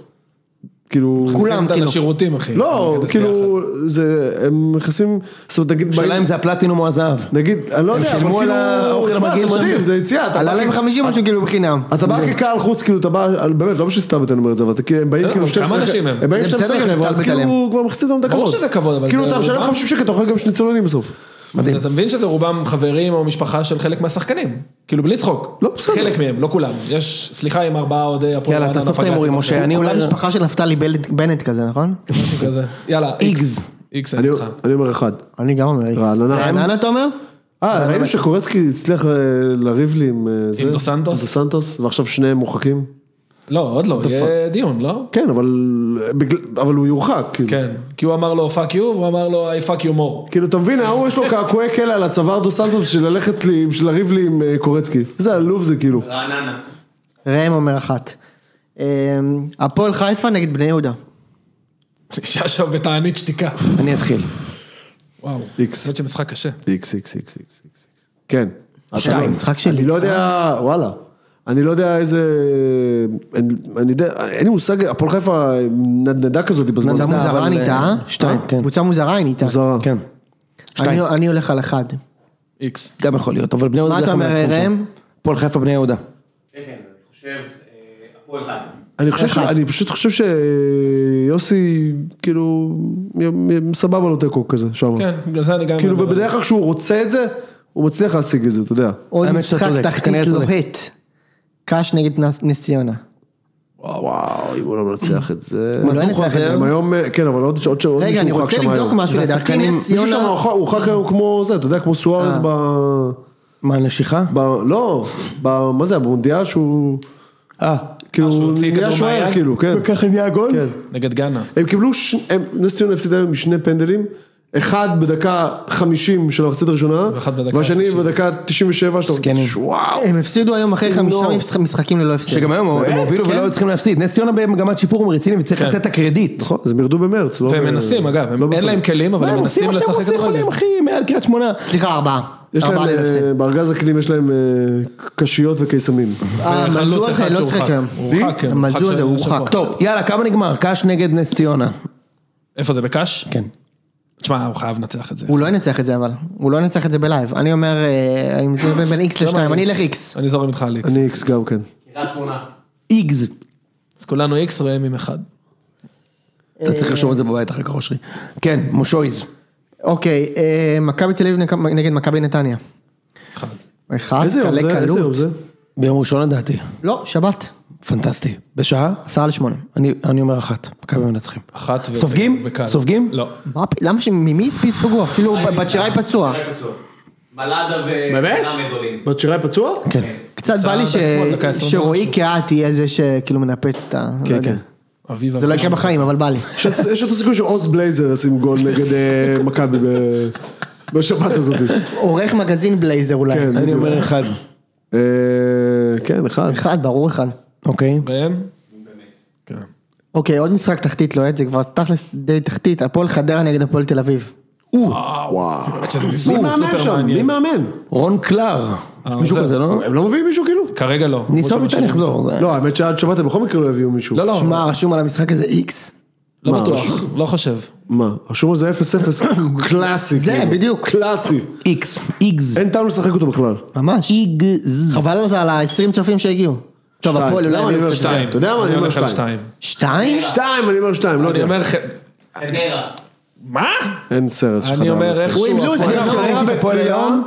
כאילו... כולם, שמת על כאילו. השירותים, אחי. לא, ניכנס ביחד. כאילו, זה, הם נכנסים, זאת אומרת, נגיד, שאלה אם זה הפלטינום או הזהב. נגיד, אני לא יודע, אבל שילמו על האוכל כאילו, תשמע, המגעיל זה שם. מדהים, זה יציאה, אתה עלה בא- להם 50 משהו כאילו בחינם. אתה לא. בא כקהל חוץ, כאילו, אתה בא, באמת, לא בשביל סתם אתה אומר את זה, אבל אתה כאילו, הם באים בסדר, כאילו אבל כמה אנשים הם? באים זה 12 בסדר, חבר'ה, אז מסתלבט כאילו, עליהם. כבר מכניסים אותם את הכבוד. ברור שזה כבוד, אבל כאילו, זה לא אתה משלם רובם. 50 שקל, אתה אוכל גם שני צוללים בסוף. מדהים. אתה מבין שזה רובם חברים או משפחה של חלק מהשחקנים. כאילו בלי צחוק. לא, בסדר. חלק מהם, לא כולם. יש, סליחה עם ארבעה אוהדי הפועל. לא, יאללה, רעננה, תאסוף את פגעתי ההימורים, בכם, משה. אני אולי אולי... משפחה של נפתלי בלט- בנט כזה, נכון? משהו כזה. יאללה, איגז. איקס, אני אני איתך. אני אומר אחד. אני גם אומר איקס. רעננה. רעננה אתה אומר? אה, ראינו שקורצקי הצליח אה, לריב לי עם אה, זה. לא דו סנטוס? דו סנטוס, ועכשיו שניהם מורחקים. לא, עוד לא, יהיה דיון, לא? כן, אבל בגלל- אבל הוא יורחק, כאילו. כן. כי הוא אמר לו פאק יו, והוא אמר לו I fuck you more. כאילו, אתה מבין, ההוא יש לו קעקועי כלא על הצוואר דו סנטוס בשביל ללכת לי, בשביל לריב לי עם אה, קורצקי. איזה עלוב זה, כאילו. רעננה. ראם אומר אחת. אמ, הפועל חיפה נגד בני יהודה. שאשא ותענית שתיקה. אני אתחיל. וואו. איקס. זאת שמשחק קשה. איקס, איקס, איקס, איקס, איקס. כן. שתיים. משחק של אני לא איקס, אה? יודע, וואלה. אני לא יודע איזה... אני- אני יודע, אין לי מושג, הפועל חיפה נדנדה כזאת בזמן. קבוצה מוזרה אבל, נהייתה, אה, אה? שתיים, אה? כן. קבוצה מוזרה היא נהייתה. מוזרה. כן. שתיים. אני- אני הולך על אחד. איקס. גם יכול להיות, אבל בני יהודה... מה אתה דרך אומר, המעצבים שם. ראם? הפועל חיפה בני יהודה. כן, כן, אני חושב, אה, הפועל חיפה. אני חושב, ש... אחד. אני פשוט חושב שיוסי, כאילו, מ- מ- סבבה לו תיקו כזה, שם. כן, בגלל זה אני גם... כאילו, אומר- ובדרך כלל כשהוא רוצה את זה, הוא מצליח להשיג את זה, אתה יודע. עוד האמת שאתה משחק צודק, כנראה תחתית צודק. לוהט. קאש נגד נס- נס ציונה. אה, וואו, וואו, אם הוא לא מנצח את זה... הוא לא ינצח את זה. הם היום, אה, כן, אבל עוד עוד- עוד מישהו רגע, אני הורחק רוצה שם לבדוק היום. משהו, לדעתי והשחקנים- נס מישהו שם ציונה... הורחק- הורחק היום כמו זה, אתה יודע, כמו סוארז אה. ב... מה, נשיכה? ב... לא, ב... מה זה, במונדיאל שהוא... אה. כאילו, שהוא הוא הוציא נהיה כדור שוער, מהיד? כאילו, כן. ככה נהיה גול? כן. נגד גאנה. הם קיבלו, ש... הם... נס ציונה הפסידה היום משני פנדלים, אחד בדקה 50 של המחצית הראשונה, ואחד בדקה והשני 90. בדקה 97 של זקנים. וואו. הם הפסידו היום אחרי סינור. חמישה משחק- משחקים ללא הפסד. שגם היום הם הובילו כן? ולא היו צריכים להפסיד. נס ציונה במגמת שיפור ומרציני כן. וצריך לתת את הקרדיט. אה, נכון, אז הם ירדו במרץ. לא והם ב- מנסים, אגב, הם- לא אין בפברואר. להם כלים, אבל מה, הם הם עושים מנסים מה שהם לשחק רוצים יכולים כדורגל. אחי, מעל קריית שמונה. סליחה, ארבעה. יש להם, ארבעה ללא הפסד. אה, בארגז הכלים יש להם אה, קשיות וקיסמים. המזור וחלוץ הזה אחד לא שהורחק. שיחק היום. הוא הורחק, כן, הוא המזור הורחק הזה של- הוא של הורחק. פה. טוב, יאללה, כמה נגמר? קאש נגד נס ציונה. איפה זה, בקאש? כן. תשמע, הוא חייב לנצח את זה. הוא לא ינצח את זה אבל, הוא לא ינצח את זה בלייב. אני אומר, אה, אני מתכוון בין איקס לא לשתיים, אני אלך איקס. אני זורם איתך על איקס. אני איקס גם כן. קריית שמונה. איגז. אז כולנו איקס ראם עם אחד. אתה אה. צריך לרשום את זה בבית אחר כך, אושרי. כן, מושויז. אוקיי, אה, מכבי תל אביב נק- נגד מכבי נתניה. אחד. אחד, איזה יום קלה זה? איזה יום קלות. זה? ביום ראשון לדעתי. לא, שבת, פנטסטי. בשעה? עשרה לשמונה. אני, אני אומר אחת, מכבי מנצחים. אחת ו... סופגים? בקל. סופגים? לא. מה פ- למה ש... ממי יספגו? אפילו ב- בצ'יראי פצוע. שירי פצוע. מלאדה באמת? ורמד עולים. בת שירי פצוע? כן. קצת בא לי ש- דקות, דקה עשרים שרועי קהת יהיה זה שכאילו מנפץ את ה... לא יודע. כן. אביב זה לא יקרה בחיים, אבל בא לי. יש עוד- יש עוד סיכוי שעוז בלייזר ישים גול נגד אה, מכבי ב- בשבת הזאת. עורך מגזין בלייזר אולי. כן. אני אומר אחד. אה, כן, אחד. אחד, ברור אחד. אוקיי. ראם? כן. אוקיי, עוד משחק תחתית לוהט, זה כבר תכלס די תחתית, הפועל חדרה נגד הפועל תל אביב. וואו. האמת שזה מי משחק מאמן סופר שם? מי מעניין. מאמן? רון קלר. אה, מישהו זה- כזה, לא? הם לא מביאים מישהו כאילו? כרגע לא. ניסו איתן לחזור. זה- לא, האמת שעד שבת הם בכל מקרה לא יביאו מישהו. לא, לא, שמע, רשום על המשחק הזה איקס. לא מה, בטוח, לא חושב. מה? רשום על זה 0-0 קלאסי. זה, כאילו. בדיוק. קלאסי. איקס. איגז. אין טעם לשחק אותו בכלל. ממש. איגז. חבל על זה על ה-20 צופים שהגיעו. טוב, שתיים. הפועל למה אני אולי... לא אומר הביאו קצת- שתיים? אתה יודע מה? אני אומר הולך על שתיים. שתיים? שתיים, אני אומר שתיים, לא אני יודע. אומר... ח- חדרה. מה? אין סרט שלך. אני אומר איכשהו... הפועל- זה. חדרה ראיתי את הפועל בצלילה,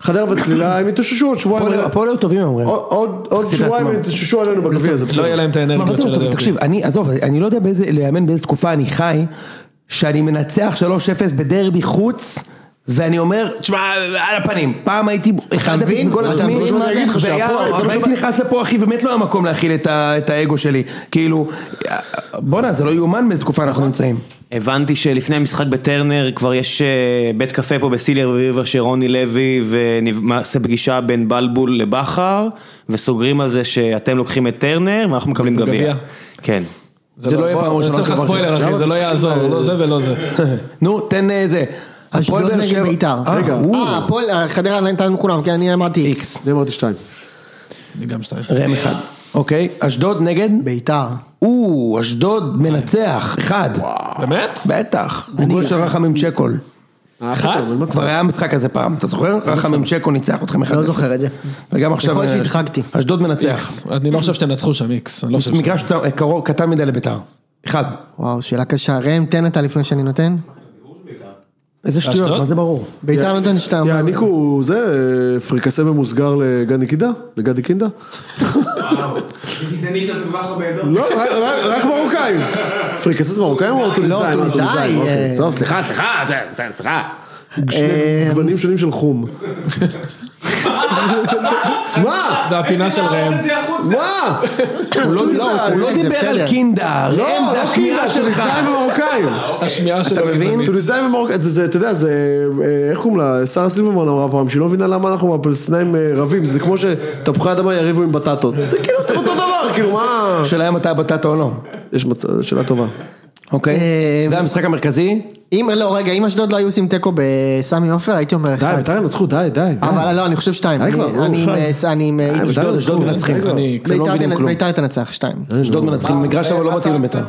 חדרה בצלילה, הם יתאוששו עוד שבועיים. הפועל- הפועל היו טובים אומרים. כן, עוד- עוד עוד מחצית שבועיים הם עצמם. יתאוששו עלינו בגביע הזה. לא בסדר. יהיה להם את מה, מה כן, האנרגיות זה של לא טוב? הדרך. תקשיב, אני, עזוב, אני לא יודע באיזה, לאמן באיזה תקופה אני חי, שאני מנצח 3-0 בדרבי חוץ. ואני אומר, תשמע, על הפנים, פעם הייתי אחד מבין? בגול אתה עצמי, מבין מה זה? והיה- שהפועל- אבל הייתי נכנס לפה אחי, באמת לא היה מקום להכיל את ה- את האגו שלי, כאילו, בואנה, זה לא יאומן באיזה תקופה אנחנו נמצאים. הבנתי שלפני המשחק בטרנר כבר יש אה, בית קפה פה בסילר ריבר שרוני לוי ונעשה פגישה בין בלבול לבכר וסוגרים על זה שאתם לוקחים את טרנר ואנחנו מקבלים גביע. גביע. כן. זה לא יהיה פעם ראשונה. אני עושה לך דבר ספוילר אחי, זה לא יעזור, לא זה ולא זה. נו, תן אה, זה. הפועל אשדוד באר נגד שבע- בית"ר. אה, רגע. וואו. אה, הפועל, חדרה נתנו כולם, כן, אני אמרתי איקס. אני אמרתי שתיים. אני גם שתיים. אה, ראם אחד, אוקיי, אשדוד נגד, ביתר. או, אשדוד מנצח, אחד. באמת? בטח, הוא גול של רחם עם צ'קול. לא אחד? כבר היה המשחק הזה פעם, אתה זוכר? רחם עם צ'קו ניצח אתכם אחד. לא אפס. זוכר את זה. וגם עכשיו... אה, יכול להיות שהדחקתי. אשדוד מנצח. איקס. אני לא חושב שאתם נצחו שם איקס. אני לא חושב מגרש צר- אה, קרוב- קטן מדי לביתר. אחד. וואו, שאלה קשה. ראם, תן אתה לפני שאני נותן. איזה שטויות, אשדוד? מה זה ברור. ביתר נותן שאתה... יעניקו זה אה, פריקסה ממוסגר לגדי קידה? לגדי קינדה? גזענית על כל כך הרבה עדות. לא, רק- רק- רק מרוקאים. פריקסה זה מרוקאים או טוניסאים? לא, אה, טוניסאי, טוניסאים, אוקיי. אה. טוב, סליחה, סליחה, זה- זה- סליחה. שני אה, גוונים שונים של חום. מה? זה הפינה של ראם. מה? הוא לא הוא לא זה דיבר בסדר. על קינדה, ראם, לא, זה לא השמיעה כאילו, שלך. טוניסאים ומרוקאים. השמיעה שלו גזענית. טוניסאים ומרוקאים, כאילו, זה- זה, אתה יודע, זה, אה, איך קוראים לה, שרה סילברמן אמרה פעם, שהיא לא מבינה למה אנחנו והפלסטינאים אה, רבים, זה כמו שתפוחי אדמה יריבו עם בטטות. זה כאילו אתם אותו דבר, כאילו מה... השאלה אם אתה בטטה או לא. יש מצב, שאלה טובה. אוקיי. אה, זה המשחק המרכזי. אם, לא, רגע, אם אשדוד לא היו עושים תיקו בסמי עופר, הייתי אומר די, אחד. בית"ר ינצחו, די, די. די. אבל לא, אני חושב שתיים. די אני- כבר, נו, אני עם- אה, אני עם די, איקס. בית"ר אשדוד, אה, אשדוד ינצחו, מנצחים. די כבר. אני איקס. לא ביתר מבינים תנצ- כלום. לא ביתר תנצח, שתיים. אשדוד מנצחים, המגרש אבל לא מתאים לביתר.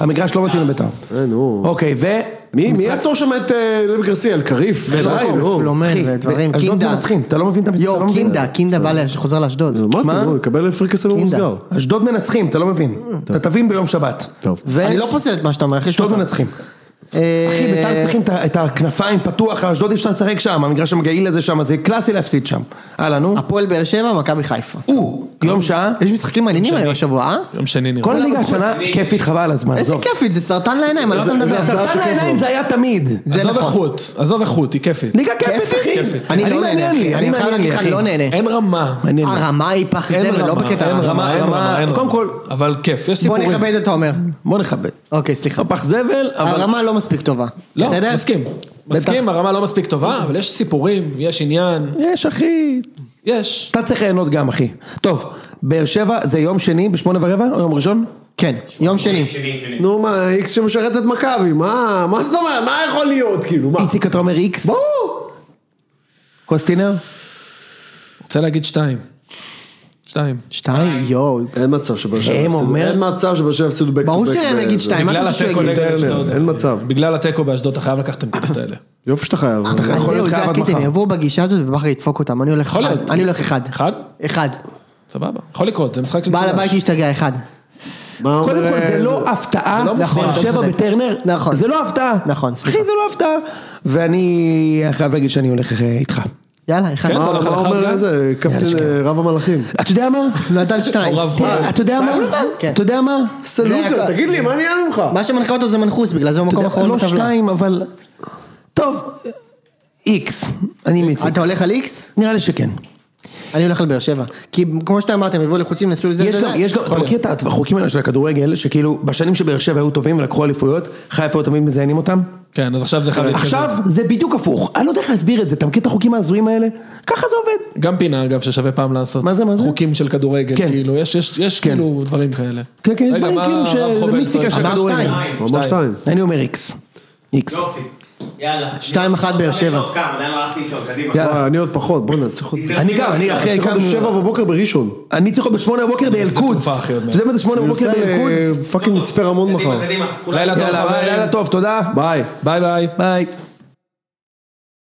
המגרש לא מתאים לביתר. אה, נו. אוקיי, ו... מי מי יעצור שם את אה, לוי גרסיה, אלקריף? אה, די, נו. פלומן אחי, ודברים, אשדוד אה, קינדה. מנצחים, אתה לא מבין את המשחק. אתה לא יואו, מבין. קינדה, קינדה בא, לאש- חוזר לאשדוד. אז אמרתי, מה? נו, יקבל פריקסה ממוסגר. אשדוד מנצחים, אתה לא מבין. אתה תבין ביום שבת. טוב. ו- אני לא פוסל את מה שאתה אומר, אחי, אה, אשדוד מנצחים. אחי, ביתר צריכים את ה- את הכנפיים פתוח, אשדוד אי אפשר לשחק שם, המגרש המגעיל הזה שם, זה קלאסי להפסיד שם. הלאה, נו. הפועל באר שבע, מכבי חיפה. או, אה. יום שעה. יש משחקים מעניינים היום השבוע, אה? יום שני נראה. כל הליגה השנה כיפית חבל על הזמן, איזה עזוב. כיפית, זה סרטן לעיניים, אני לא איזה- יודע איזה לדבר. הפתעה סרטן שכיף לעיניים מאוד. זה היה תמיד. זה עזוב נכון. איכות, עזוב איכות, היא כיפית. ליגה כיפית, אחי. כיפית. אני לא נהנה, מעניין לי, אחי. אני אני מעניין חייב להגיד לי, לך, אחי. אני לא נהנה. אין רמה. מעניין לי. הרמה היא פח אין זבל, לא רמה, בקטע אין רמה. רמה, רמה, אין רמה, רמה. קודם כל- אבל כיף, יש בוא סיפורים. נכבד את העומר. בוא נכבד. אוקיי, סליחה. פח זבל, אבל... הרמה לא מספיק טובה. לא, בסדר? מסכים. מסכים, הרמה לא מספיק טובה, אבל יש סיפורים, יש עניין, יש אחי, יש. אתה צריך ליהנות גם אחי. טוב, באר שבע זה יום שני בשמונה ורבע או יום ראשון? כן, יום שני. נו, מה, איקס שמשרת את מכבי, מה, מה זאת אומרת, מה יכול להיות, כאילו, מה? איציק אתה אומר איקס? ברור. קוסטינר? רוצה להגיד שתיים. שתיים. שתיים? יואו. אין מצב שבאר שבע ראם יפסידו, אומר- אין מצב שבאר שבע יפסידו בק ברור בק שהם בק יגיד זה. שתיים, מה בגלל אתה חושב שהוא התיקו יגיד? נגד אשדוד. טרנר, אין מצב. בגלל התיקו באשדוד אתה חייב לקחת את הנקודות האלה. יופי שאתה חייב. אתה יכול להיות זהו, זה חייב עד הקטע, מחר. הם יבואו בגישה הזאת ובכר ידפוק אותם, אני הולך יכול אחד. להיות. אני הולך אחד. אחד? אחד. סבבה. יכול לקרות, זה משחק של... בעל הבית ישתגע אחד. מה אומר, קודם כל אה, זה לא הפתעה, לא נכון, באר אתה שבע צודק. בטרנר, נכון. זה לא הפתעה, נכון, סליחה. אחי זה לא הפתעה, ואני חייב להגיד שאני הולך אה, איתך, יאללה, אחד. כן, מה כל אחד מה אחד אומר גם? איזה, קפטן אה, רב המלאכים. אתה יודע מה? נתן שתיים. הוריו פה. אתה יודע מה? כן. אתה יודע מה? זה לוזר, תגיד לי, מה נהיה ממך? מה שמנחה אותו זה מנחוס, בגלל זה הוא אתה מקום יודע, אחרון לא בטבלה. שתיים, אבל... טוב, איקס. אני מציג. אתה הולך על איקס? נראה לי שכן. אני הולך על באר שבע. כי כמו שאתה אמרת, הם הביאו לחוצים, נסעו לזה. יש זה, גם, זה. יש גם, אתה מכיר את החוקים האלה של הכדורגל, שכאילו בשנים שבאר שבע היו טובים ולקחו אליפויות, חיפה היו תמיד מזיינים אותם? כן, אז עכשיו זה חייב להתקזז. עכשיו זה בדיוק הפוך, אני לא יודע איך להסביר את זה, אתה מכיר את החוקים ההזויים האלה? ככה זה עובד. גם פינה אגב ששווה פעם לעשות. מה זה, מה זה? חוקים של כדורגל, כן. כאילו, יש- יש יש כן. כאילו דברים כאלה. כן, כן, יש רגע, דברים מה כאילו הרב שזה חובל מיסטיקה טוען? של אמר הכדורגל. שתיים. הוא אמר שתיים. אני אומר איקס. איקס. לא. יופי. יאללה. שתיים אחת באר שבע. יש עוד כמה, עדיין לא הלכתי לישון, קדימה. יאללה. וואי, אני עוד פחות, בוא'נה, צריך עוד... אני גם, אני אחי, צריך עוד הקמנו- בשבע בבוקר בראשון. אני צריך להיות בשמונה בבוקר באל-קודס. תקופה, אחי, עוד אתה מעט. יודע מה זה שמונה אני בבוקר נוסע באל-קודס? לפאקינג מצפה רמון מחר. קדימה, קדימה. כולם. לילה טוב, יאללה, ביי, חברים. לילה טוב, תודה. ביי. ביי ביי. ביי.